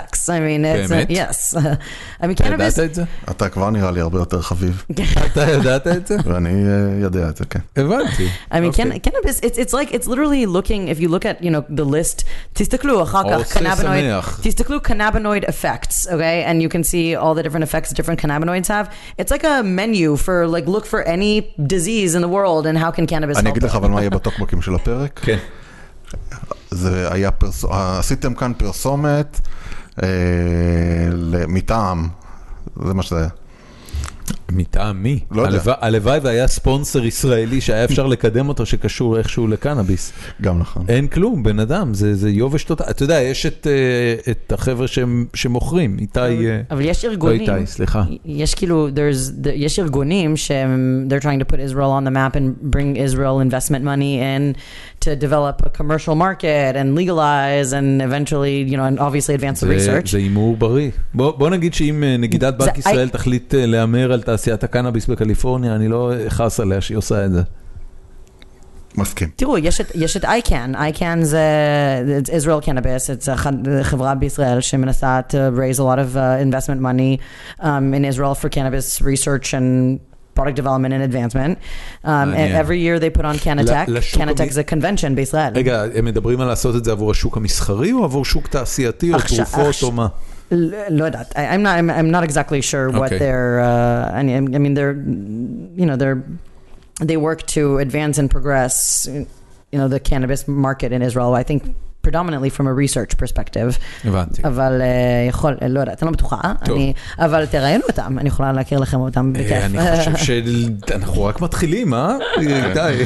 sex. I mean, it's
באמת?
yes. I mean,
אתה ידעת
cannabis.
את זה?
אתה כבר נראה לי הרבה יותר חביב,
כן.
אתה ידעת את זה?
ואני אה, יודע את זה, כן.
הבנתי.
I mean,
אוקיי.
can, cannabis. It's it's like it's literally looking. If you look at you know the list, תסתכלו אחר כך
עושה
cannabinoid.
שמח.
תסתכלו cannabinoid effects, okay, and you can see all the different effects different cannabinoids have. It's like a menu for like look for any disease in the world and how can cannabis.
אני
help
אגיד
it.
לך אבל מה יהיה בטוקבקים של הפרק.
כן.
זה היה פרסומת, עשיתם כאן פרסומת אה, ל- מטעם, זה מה שזה היה.
מטעם מי?
לא יודע.
הלוואי- הלוואי והיה ספונסר ישראלי שהיה אפשר לקדם אותו שקשור איכשהו לקנאביס.
גם נכון.
אין כלום, בן אדם, זה זה יובש תותח. אתה יודע, יש את, אה, את החבר'ה שהם- שמוכרים, איתי... אה,
אבל יש
לא
ארגונים.
איתי, סליחה.
יש כאילו, there's, the- יש ארגונים שהם, they're trying to put Israel on the map and bring Israel investment money in to develop a commercial market and legalize and eventually, you know, and obviously advance the
זה-
research.
זה הימור בריא. בוא בוא נגיד שאם אה, נגידת
זה-
בנק ישראל תחליט אה, להמר על תעשיית הקנאביס בקליפורניה, אני לא אכעס עליה שהיא עושה את זה.
מסכים.
תראו, יש את, יש את ICAN, ICAN זה it's Israel Cannabis, it's a ח- חברה בישראל שמנסה to raise a lot of uh, investment money um, in Israel for cannabis research and product development and advancement. Um, and
מעניין.
every year they put on Canatech,
ל- לשוק
Canatech
המי-
זה convention בישראל.
רגע, הם מדברים על לעשות את זה עבור השוק המסחרי או עבור שוק תעשייתי או
עכשיו-
תרופות
עכשיו-
או מה?
L- לא יודעת, I- I'm not, I'm, I'm not exactly sure what
Okay.
they're, uh, I mean, I mean, they're, you know, they're, they work to advance and progress, you know, the cannabis market in Israel, I think predominantly from a research perspective.
הבנתי.
אבל אה, יכול, אה, לא יודעת, אני לא בטוחה,
טוב.
אני, אבל תראיינו אותם, אני יכולה להכיר לכם אותם בכיף.
אה, אני חושב שאנחנו רק מתחילים, אה? די,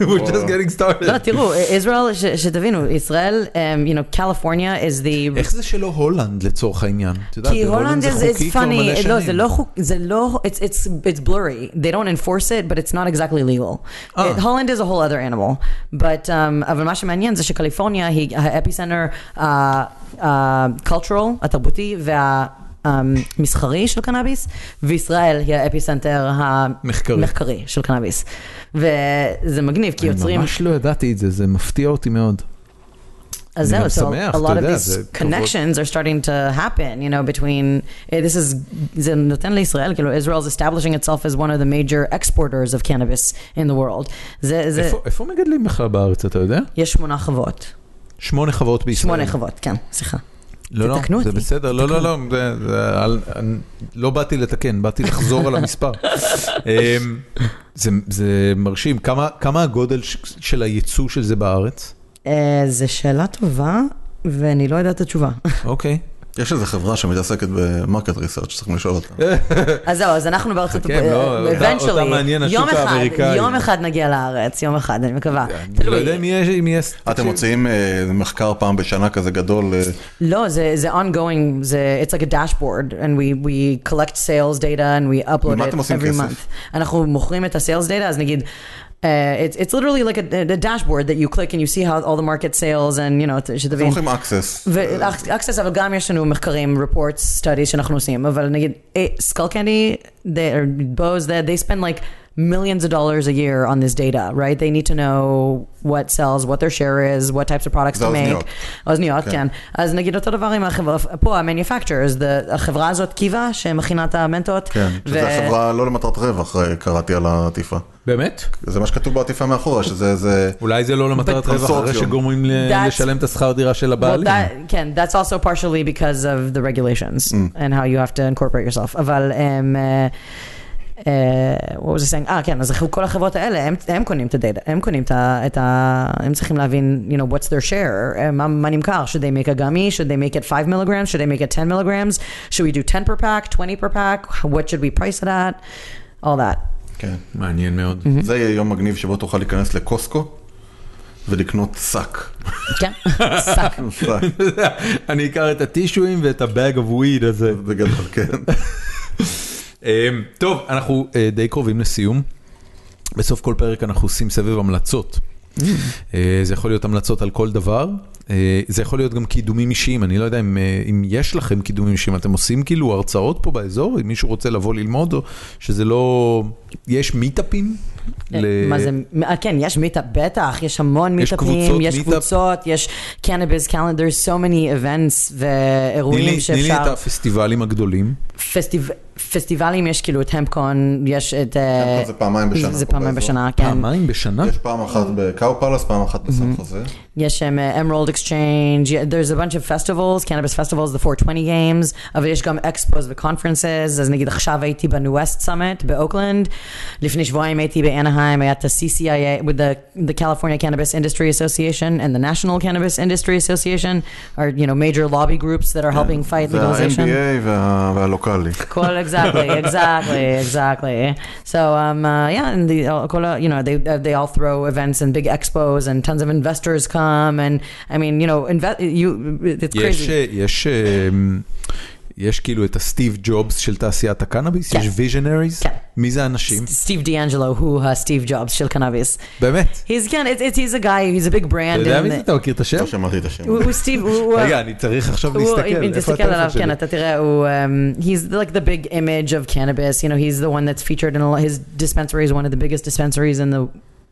we're just getting
לא,
started.
תראו, ישראל, ש- שתבינו, ישראל, um, you know, California is the...
איך זה שלא הולנד לצורך העניין? את יודעת,
כי
בהולנד
הולנד
לא, זה
is
חוקי
it's
כבר מלא
funny, לא, זה
שנים.
לא חוק, זה לא, it's, it's, it's blurry. They don't enforce it, but it's not exactly legal.
אה.
It, Holland is a whole other animal. But, um, אבל מה שמעניין זה שקליפורניה היא האפיסנטר ה-cultural, התרבותי וה... המסחרי של קנאביס, וישראל היא האפיסנטר
מחקרי.
המחקרי של קנאביס. וזה מגניב, כי
אני
יוצרים...
ממש לא ידעתי את זה, זה מפתיע אותי מאוד.
אז
אני
זהו,
גם
so
שמח,
a
אתה
lot of
יודע,
these
זה כבוד.
connections are starting to happen, you know, between, eh, this is, זה נותן לישראל, כאילו, Israel is establishing itself as one of the major exporters of cannabis in the world. זה, זה,
איפה- איפה מגדלים בכלל בארץ, אתה יודע?
יש שמונה חוות.
שמונה חוות בישראל.
שמונה חוות, כן, סליחה.
לא, לא,
תתקנו
זה
אותי,
בסדר, לא, לא, לא, זה- זה- אל- אני- לא באתי לתקן, באתי לחזור על המספר. אמ, זה- זה מרשים, כמה- כמה הגודל ש- של הייצוא של זה בארץ?
אה, זו שאלה טובה, ואני לא יודעת את התשובה.
אוקיי.
יש איזו חברה שמתעסקת במרקט ריסרצ' שצריכים לשאול אותה.
אז זהו, אז אנחנו בארצות אה,
חכה, לא, אותה- אותה מעניין השוק
יום אחד,
האמריקאי.
יום אחד נגיע לארץ, יום אחד, אני מקווה.
אני לא יודע אם יש... אם יש-
אתם מוציאים אה, מחקר פעם בשנה כזה גדול, אה,
לא, זה, זה ongoing, זה, it's like a dashboard, and we, we collect sales data and we upload
ממה
it
אתם עושים
every
כסף?
month. אנחנו מוכרים את ה-sales data, אז נגיד, uh, it's, it's literally like a, a dashboard that you click and you see how all the market sales and, you know,
אתם
שתבין.
הולכים access.
ואקסס, אבל גם יש לנו מחקרים, reports, studies שאנחנו עושים, אבל נגיד, אה, סקל קנדי, בוז, they spend like millions of dollars a year on this data, right? They need to know what sells, what their share is, what types of products
זה
to
האוזניות.
make. האוזניות,
כן.
כן. כן. אז נגיד אותו דבר עם החברה, פה ה-manufacturers, the- החברה הזאת קיווה שמכינה את המנטות.
כן,
ו-
שזה החברה לא למטרת רווח, אה, קראתי על העטיפה.
באמת?
זה מה שכתוב בעטיפה מאחורה, שזה זה...
אולי זה לא למטרת רווח אחרי
קונסורציום.
שגורמים ל-
That's-
לשלם את השכר דירה של
Well,
הבעלים.
that, כן, that's also partially because of the regulations and how you have to incorporate yourself. אבל um, uh, אה, what was I saying? Ah, אה, כן, אז הח- כל החברות האלה, הם, הם קונים את הדאטה, הם קונים את ה, את ה... הם צריכים להבין, you know, what's their share, אה, מה, מה נמכר, should they make a gummy, should they make it 5 milligrams, should they make it 10 milligrams, should we do 10 per pack, 20 per pack, what should we price it at, all that.
כן.
מעניין מאוד.
זה יהיה יום מגניב שבו תוכל להיכנס לקוסקו ולקנות שק.
כן, שק.
שק,
אני אקח את הטישואים ואת הבאג אוף וויד הזה.
אה, בגדול, כן.
אמ, טוב, אנחנו אה, די קרובים לסיום. בסוף כל פרק אנחנו עושים סבב המלצות.
Mm.
אה, זה יכול להיות המלצות על כל דבר, אה, זה יכול להיות גם קידומים אישיים, אני לא יודע אם, אה, אם יש לכם קידומים אישיים, אתם עושים כאילו הרצאות פה באזור, אם מישהו רוצה לבוא ללמוד, או שזה לא... יש מיטאפים? ל-
מה זה, אה, כן, יש מיטאפ, בטח, יש המון
יש
מיטאפים,
קבוצות
יש
מיטאפ.
קבוצות, יש קנאביס קלנדר, so many events
תני לי-
ואירועים
תני לי את
שאפשר. כן.
הפסטיבלים הגדולים.
פסטיב- פסטיבלים יש כאילו את המפקון, יש את... אה,
המפקון זה פעמיים בשנה
זה
פה
פעמיים
באזור.
בשנה, כן.
פעמיים בשנה?
יש פעם אחת בקאו פלאס, פעם אחת בסן חוזה.
יש שם אמרולד אקסצ'יינג, there's a bunch of festivals, cannabis festivals, the 420 games, אבל יש גם expos ו-conferences, אז נגיד עכשיו הייתי בנווסט סאמט באוקלנד, לפני שבועיים הייתי באנהיים, היה את ה-CCIA, with the, the California Cannabis Industry Association and the National Cannabis Industry Association, are, you know, major lobby groups that are helping fight
זה
legalization.
ה-NBA וה- והלוקאלי.
Cool, exactly, exactly, exactly. So, um, uh, yeah, and the uh, כל ה- you know, they uh, they all throw events and big expos, and tons of investors come, and I mean, you know, inve- you it's
יש,
crazy.
אה, יש, אה, יש כאילו את הסטיב ג'ובס של תעשיית הקנאביס,
כן.
יש ויז'נריז,
כן.
מי זה האנשים?
Steve D'Angelo, who uh, Steve Jobs, של cannabis.
באמת.
He's again, it's, it's he's a guy, he's a big
אתה
brand.
יודע
in
מי זה?
the-
אתה מכיר את השם?
לא שמעתי את השם.
הוא- הוא Steve, הוא- הוא-
רגע, אני צריך עכשיו
הוא-
להסתכל.
אם
איפה
תסתכל
הטלפון
עליו,
שלי?
כן, אתה תראה, הוא, um, he's like the big image of cannabis, you know, he's the one that's featured in a lot, his dispensary is one of the biggest dispensaries in the,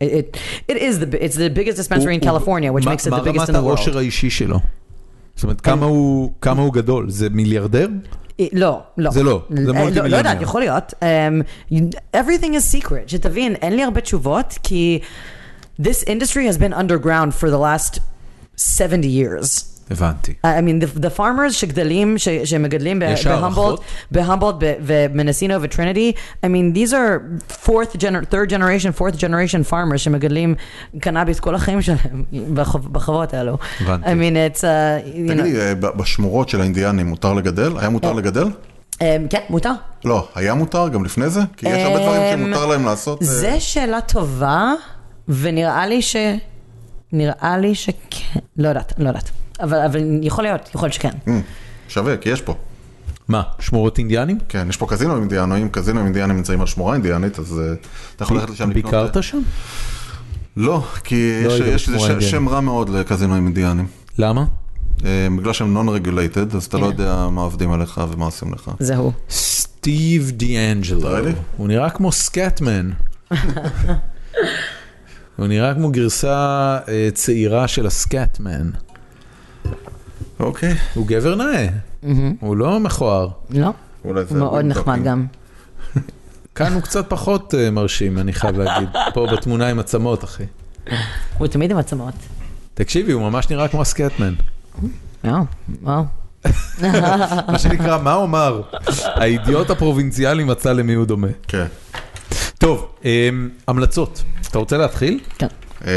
it, it, it is the, bi- it's the biggest dispensary in
הוא- הוא-
California, which
מה-
makes it the biggest in
מה
the
רמת העושר
world.
האישי שלו? זאת אומרת, כמה הוא- כמה הוא גדול? זה מיליארדר?
אה, לא, לא.
זה לא, זה
אה,
מולטי
לא- לא יודעת,
מיליונר.
יכול להיות. Um, you- everything is secret, שתבין, אין לי הרבה תשובות, כי this industry has been underground for the last 70 years.
הבנתי.
I I mean, the, the farmers שגדלים, ש, שמגדלים ב-
יש הערכות?
בהמבולט, בהמבולט ב- ומנסינו וטריניטי, I mean, these are fourth gener, third generation, fourth generation farmers שמגדלים קנאביס כל החיים שלהם בחו- בחוות האלו.
הבנתי.
I mean, it's, uh, you know,
תגידי, אה, ב- בשמורות של האינדיאנים מותר לגדל? היה מותר לגדל?
um, כן, מותר.
לא, היה מותר גם לפני זה? כי יש הרבה דברים
אמ,
שמותר להם לעשות. אה,
זה שאלה טובה, ונראה לי ש... נראה לי שכן, לא יודעת, לא יודעת. אבל, אבל יכול להיות, יכול להיות שכן.
אמ, שווה, כי יש פה.
מה, שמורות אינדיאנים?
כן, יש פה קזינו אינדיאנו, אם קזינו אינדיאנים נמצאים על שמורה אינדיאנית, אז אה, אתה יכול ללכת לשם לקנות... אה,
ביקרת שם?
לא, כי
לא
יש-
היית
יש
בשמורה
לזה ש-
אינדיאנית.
שם רע מאוד לקזינו אינדיאנים.
למה?
אה, בגלל שהם non-regulated, אז אתה לא
כן.
יודע מה עובדים עליך ומה עושים לך.
זה הוא.
סטיב דיאנג'לו.
אתה רואה לי?
הוא נראה כמו סקאטמן. הוא נראה כמו גרסה אה, צעירה של הסקאטמן.
אוקיי.
הוא גבר נאה, הוא לא מכוער.
לא?
אולי זה...
הוא מאוד נחמד גם.
כאן הוא קצת פחות אה, מרשים, אני חייב להגיד. פה בתמונה עם עצמות, אחי.
הוא תמיד עם עצמות.
תקשיבי, הוא ממש נראה כמו הסקטמן.
וואו, וואו.
מה שנקרא, מה הוא אמר? האידיוט הפרובינציאלי מצא למי הוא דומה.
כן.
טוב, אמ, המלצות. אתה רוצה להתחיל?
כן.
אה,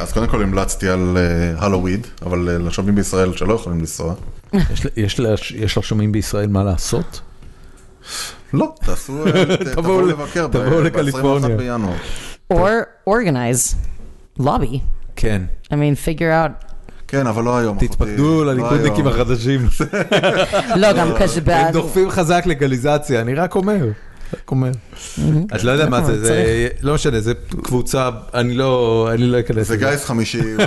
אז קודם כל המלצתי על הלוויד, אבל אה, לשומעים בישראל שלא יכולים לנסוע.
יש ל- יש ל- יש לשומעים בישראל מה לעשות?
לא, תעשו... אה, ת-
תבואו ל-
לבקר ב-
תבואו
ב-
לקליפורניה.
21 בינואר.
Or organize. Lobby.
כן.
I mean, figure out.
כן, אבל לא היום. אחותי.
תתפקדו
לא
לליכודניקים
היום.
החדשים.
לא, גם קשה
הם דוחפים חזק לגליזציה, אני רק אומר. רק אומר.
Mm-hmm.
את לא יודעת מה
נכון,
זה, זה לא משנה, זה קבוצה, אני לא אני לא אכנס
זה
לזה.
גיס חמישי, ב-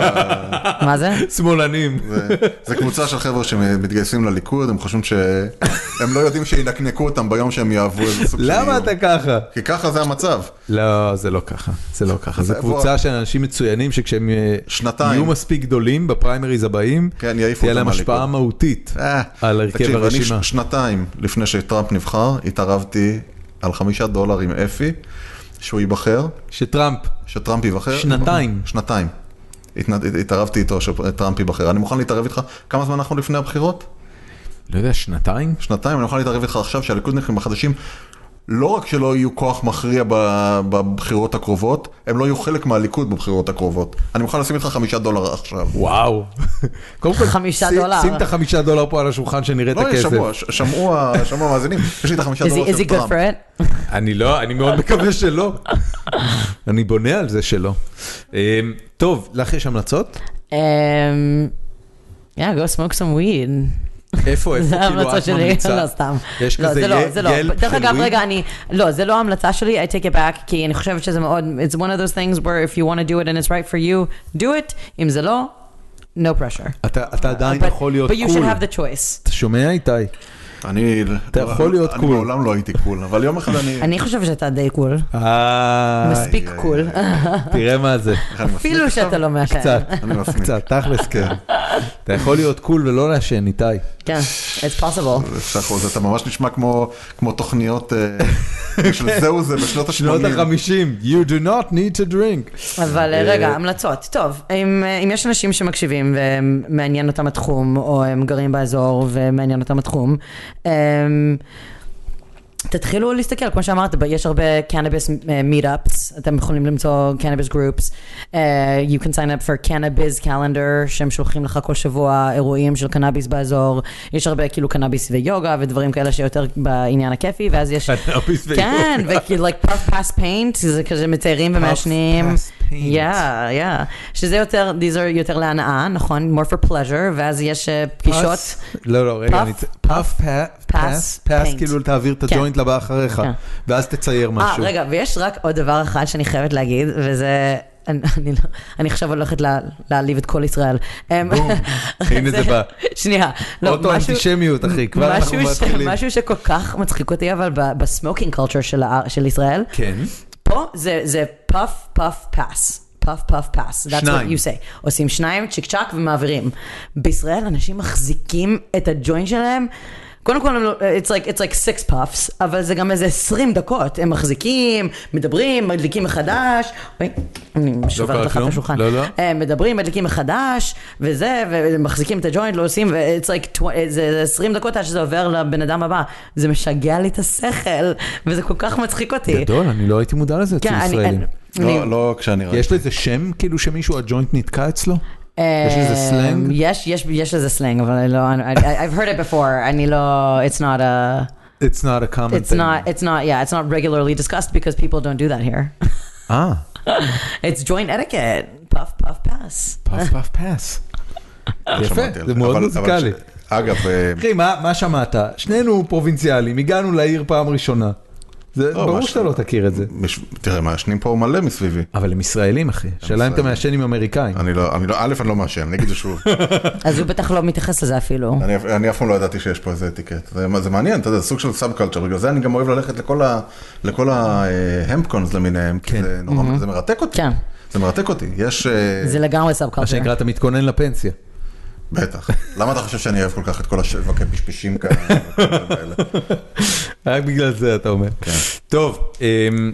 מה זה?
שמאלנים.
זה- זה קבוצה של חבר'ה שמתגייסים לליכוד, הם חושבים שהם לא יודעים שינקנקו אותם ביום שהם יעברו איזה סוג של
למה
איום.
אתה ככה?
כי ככה זה המצב.
לא, זה לא ככה, זה לא ככה. זו
זה-
קבוצה של אנשים מצוינים שכשהם אה,
שנתיים.
יהיו מספיק גדולים בפריימריז הבאים,
כן, יעיפו
תהיה
אותם
להם השפעה
מהליכוד.
מהותית
אה,
על הרכב
תקשיב, אני
הרשימה.
ש- שנתיים לפני שטראמפ נבחר, התערבתי על חמישה דולר עם אפי, שהוא ייבחר,
שטראמפ,
שטראמפ ייבחר.
שנתיים.
שנתיים. התנד- התערבתי איתו שטראמפ ייבחר. אני מוכן להתערב איתך, כמה זמן אנחנו לפני הבחירות?
לא יודע, שנתיים?
שנתיים, אני מוכן להתערב איתך עכשיו שהליכודניקים החדשים לא רק שלא יהיו כוח מכריע ב- בבחירות הקרובות, הם לא יהיו חלק מהליכוד בבחירות הקרובות. אני מוכן לשים איתך חמישה דולר עכשיו.
וואו. קודם כל,
חמישה
שים-
דולר.
שים את החמישה דולר פה על השולחן שנראה את
לא, יש
הכסף.
שמוע, ש- שמעו ה- שמעו המאזינים, יש לי את החמישה
Is he,
דולר
is
של
he good
טראמפ.
for it?
אני לא, אני מאוד מקווה שלא. אני בונה על זה שלא. אמ, טוב, לך יש המלצות?
Um, yeah, go smoke some weed.
איפה, איפה,
זה
כאילו,
ההמלצה
את
שלי,
ממליצה?
לא סתם.
יש
לא,
כזה
זה לא, זה לא.
יל
דרך אגב,
וויד?
רגע, אני, לא, זה לא ההמלצה שלי, I take it back, כי אני חושבת שזה מאוד, it's one of those things where if you want to do it and it's right for you, do it, אם זה לא, no pressure.
אתה אתה עדיין
But-
יכול להיות
But you
קול.
should have the choice.
אתה שומע איתי?
אני...
אתה יכול להיות
אני
cool.
מעולם לא הייתי קול, אבל יום אחד אני...
אני חושבת שאתה די קול.
אה,
מספיק
איי,
קול.
תראה מה זה.
אה, אני מפסיק
אפילו
עכשיו?
שאתה לא מעשן.
קצת,
אני מפניק.
קצת, תכלס כן. אתה יכול להיות קול ולא לעשן, איתי.
כן, it's possible.
שחו, זה אתה ממש נשמע כמו, כמו תוכניות אה, של זהו זה בשנות
שנות
ה-80.
ה-50, you do not need to drink.
אבל אה, רגע, המלצות. טוב, אם, אה, אם יש אנשים שמקשיבים ומעניין אותם התחום, או הם גרים באזור ומעניין אותם התחום, אמ, תתחילו להסתכל, כמו שאמרת, ב- יש הרבה cannabis אה, meetups, אתם יכולים למצוא cannabis groups, uh, you can sign up for cannabis calendar, שהם שולחים לך כל שבוע אירועים של קנאביס באזור, יש הרבה כאילו קנאביס ויוגה ודברים כאלה שיותר בעניין הכיפי, ואז יש...
קנאביס ויוגה.
כן, וכאילו, like puff pass paint, זה כזה מציירים ומעשנים.
pass paint.
יא, יא. שזה יותר, these are יותר להנאה, נכון? more for pleasure, ואז יש אה, פגישות.
לא, לא, רגע,
Puff,
אני צ- פאף, פאף, פאס, פאס,
paint.
כאילו תעביר את
כן.
הג'וינט לבא אחריך,
כן.
ואז תצייר
אה,
משהו.
רגע, ויש רק עוד דבר אחד שאני חייבת להגיד, וזה... אני, אני, לא- אני עכשיו הולכת לה- להעליב את כל ישראל. אמ,
בום, הנה זה בא.
שנייה, לא, משהו...
אוטו-אנטישמיות, אחי, כבר אנחנו
משהו ש-
מתחילים.
משהו שכל כך מצחיק אותי, אבל ב- בסמוקינג קולצ'ר של ה- של ישראל,
כן,
פה זה, זה פאף פאף פאס. פאף פאף פאס, that's what
שניים.
you say. עושים שניים, צ'יק צ'אק ומעבירים. בישראל אנשים מחזיקים את הג'וינט שלהם. קודם כל, הם לא- it's like, it's like six puffs, אבל זה גם איזה 20 דקות. הם מחזיקים, מדברים, מדליקים מחדש. אוי, אני
לא קרה
משוברת לך את
כלום?
השולחן.
לא, לא.
הם מדברים, מדליקים מחדש, וזה, ומחזיקים את הג'וינט, לא עושים, ו-it's like, tw- זה זה 20 דקות עד שזה עובר לבן אדם הבא. זה משגע לי את השכל, וזה כל כך מצחיק אותי.
גדול, אני לא הייתי מודע לזה אצל
אה, כן, אני-
ישראלים.
אני-
לא, לא כשאני ראיתי.
יש לזה שם, כאילו שמישהו, הג'וינט נתקע אצלו?
אה,
יש לזה סלנג?
יש, יש, יש לזה סלנג, אבל אני לא, אני- I- I've heard it before, אני לא, it's not a,
It's not a common
it's not,
thing.
it's not, yeah, it's not regularly discussed because people don't do that here.
אה,
It's joint etiquette, puff puff pass.
פאף, פאף, פאס.
לא
יפה,
שמעתי על
זה מאוד
אבל- אבל
מוזיקלי.
ש- אגב, אה,
אחי, מה מה שמעת? שנינו פרובינציאלים, הגענו לעיר פעם ראשונה. זה
לא,
ברור
מה ש-
שאתה לא תכיר את זה.
מש- תראה, מעשנים פה מלא מסביבי.
אבל הם ישראלים, אחי. שאלה אם אתה
ישראלים.
מעשן עם אמריקאים.
אוקיי.
אני לא, אני לא, א', אני לא מעשן, אני אגיד את זה שוב.
אז הוא בטח לא מתייחס לזה אפילו.
אני, אף- אני אף פעם לא ידעתי שיש פה איזה אתיקט. זה, מה- זה מעניין, אתה יודע, זה סוג של סאב קלצ'ר, בגלל זה אני גם אוהב ללכת לכל ה- לכל ההמפקונס למיניהם, כי זה נורא, זה מרתק אותי.
כן.
זה מרתק אותי, יש... אה,
זה לגמרי סאב
מה
קלצ'ר.
שנקרא, אתה מתכונן לפנסיה.
בטח. למה אתה חושב שאני אוהב כל כך את כל השווקי פשפשים כאלה? וכל האלה?
רק בגלל זה אתה אומר. טוב, אמ,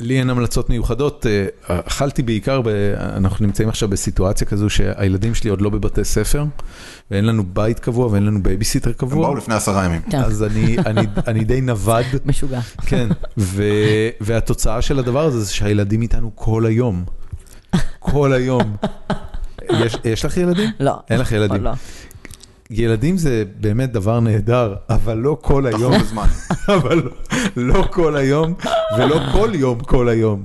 לי אין המלצות מיוחדות. אה, אכלתי בעיקר, ב... אנחנו נמצאים עכשיו בסיטואציה כזו שהילדים שלי עוד לא בבתי ספר, ואין לנו בית קבוע ואין לנו בייביסיטר
הם באו
קבוע.
לפני עשרה ימים.
כן.
אז אני, אני, אני די נווד,
משוגע.
כן, ו, והתוצאה של הדבר הזה זה שהילדים איתנו כל היום. כל היום. יש, יש לך ילדים?
לא.
אין לך
עוד
ילדים.
לא.
ילדים זה באמת דבר נהדר, אבל לא כל היום.
תחזור בזמן.
אבל לא- לא כל היום, ולא כל יום כל היום.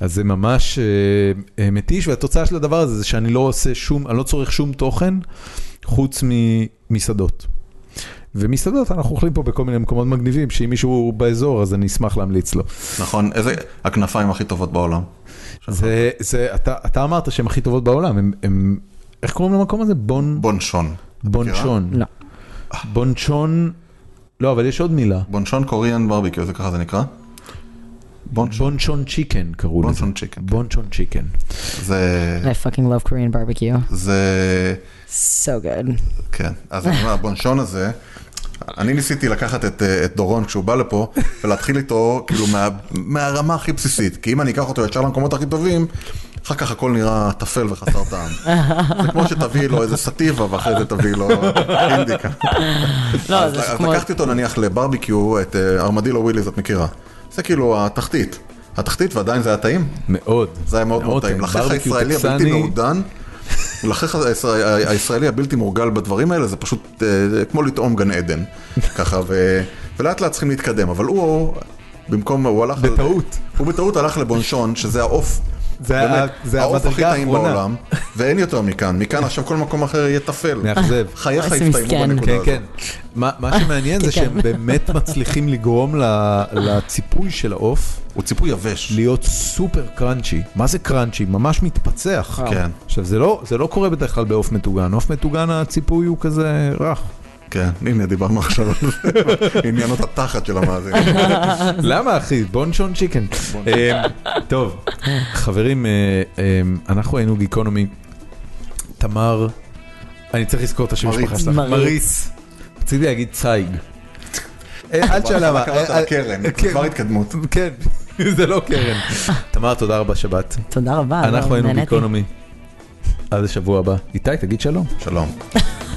אז זה ממש אה, אה, מתיש, והתוצאה של הדבר הזה זה שאני לא עושה שום, אני לא צורך שום תוכן חוץ ממסעדות. ומסעדות, אנחנו אוכלים פה בכל מיני מקומות מגניבים, שאם מישהו באזור אז אני אשמח להמליץ לו.
נכון, איזה הכנפיים הכי טובות בעולם.
זה, זה, אתה, אתה אמרת שהן הכי טובות בעולם, הם, הם, איך קוראים למקום הזה? בון,
בונשון.
בונצ'ון.
לא.
בונצ'ון, לא, אבל יש עוד מילה.
בונשון קוריאן ברביקיו, זה ככה זה נקרא? בונשון.
בונצ'ון צ'יקן קראו לזה.
בונשון צ'יקן. כן.
בונצ'ון צ'יקן.
זה...
I fucking love Korean barbecue.
זה...
So good.
כן. אז אני אומר, הבונשון הזה... אני ניסיתי לקחת את, אה, את דורון כשהוא בא לפה ולהתחיל איתו כאילו מה, מהרמה הכי בסיסית כי אם אני אקח אותו ישר למקומות הכי טובים אחר כך הכל נראה טפל וחסר טעם. זה כמו שתביאי לו איזה סטיבה ואחרי זה תביאי לו אינדיקה.
לא,
אז
זה
אז
לא, כמו...
לקחתי אותו נניח לברביקיו, את אה, ארמדילו וויליז, את מכירה. זה כאילו התחתית. התחתית ועדיין זה היה טעים.
מאוד.
זה היה מאוד מאוד טעים.
כן,
לחך
ברבקיו
הישראלי הבלתי
טקסני.
מעודן, לחך הישראל- הישראלי הבלתי מורגל בדברים האלה, זה פשוט אה, כמו לטעום גן עדן. ככה, ו- ולאט לאט צריכים להתקדם, אבל הוא... במקום, הוא הלך... על-
בטעות.
הוא בטעות הלך לבונשון, שזה העוף.
זה ה-
באמת,
זה
העוף הכי
המדרגה
טעים
האחרונה.
בעולם, ואין יותר מכאן. מכאן עכשיו כל מקום אחר יהיה טפל.
מאכזב.
חייך
איזה
יצטיימו
מסכן.
בנקודה
כן,
הזאת.
כן. מה מה שמעניין זה שהם באמת מצליחים לגרום ל- לציפוי של העוף
הוא ציפוי יבש.
להיות סופר קראנצ'י. מה זה קראנצ'י? ממש מתפצח.
כן,
עכשיו, זה לא, זה לא קורה בדרך כלל בעוף מטוגן. עוף מטוגן הציפוי הוא כזה רך.
כן. הנה, דיברנו עכשיו על זה. עניין אותה תחת של המאזין.
למה אחי? בונשון צ'יקן. אמ, טוב, חברים, אה, אמ, אנחנו היינו גיקונומי. תמר, אני צריך לזכור את השם
מריץ.
המשפחה שלך. מריץ. רציתי להגיד צייג. אה, אל תשאל למה.
קראת
אה, אה,
לקרן,
כן.
כבר התקדמות.
כן, זה לא קרן. תמר, תודה רבה, שבת.
אה,
תודה רבה.
אנחנו
לא,
היינו
נהניתי.
גיקונומי. עד השבוע הבא. איתי, תגיד שלום.
שלום.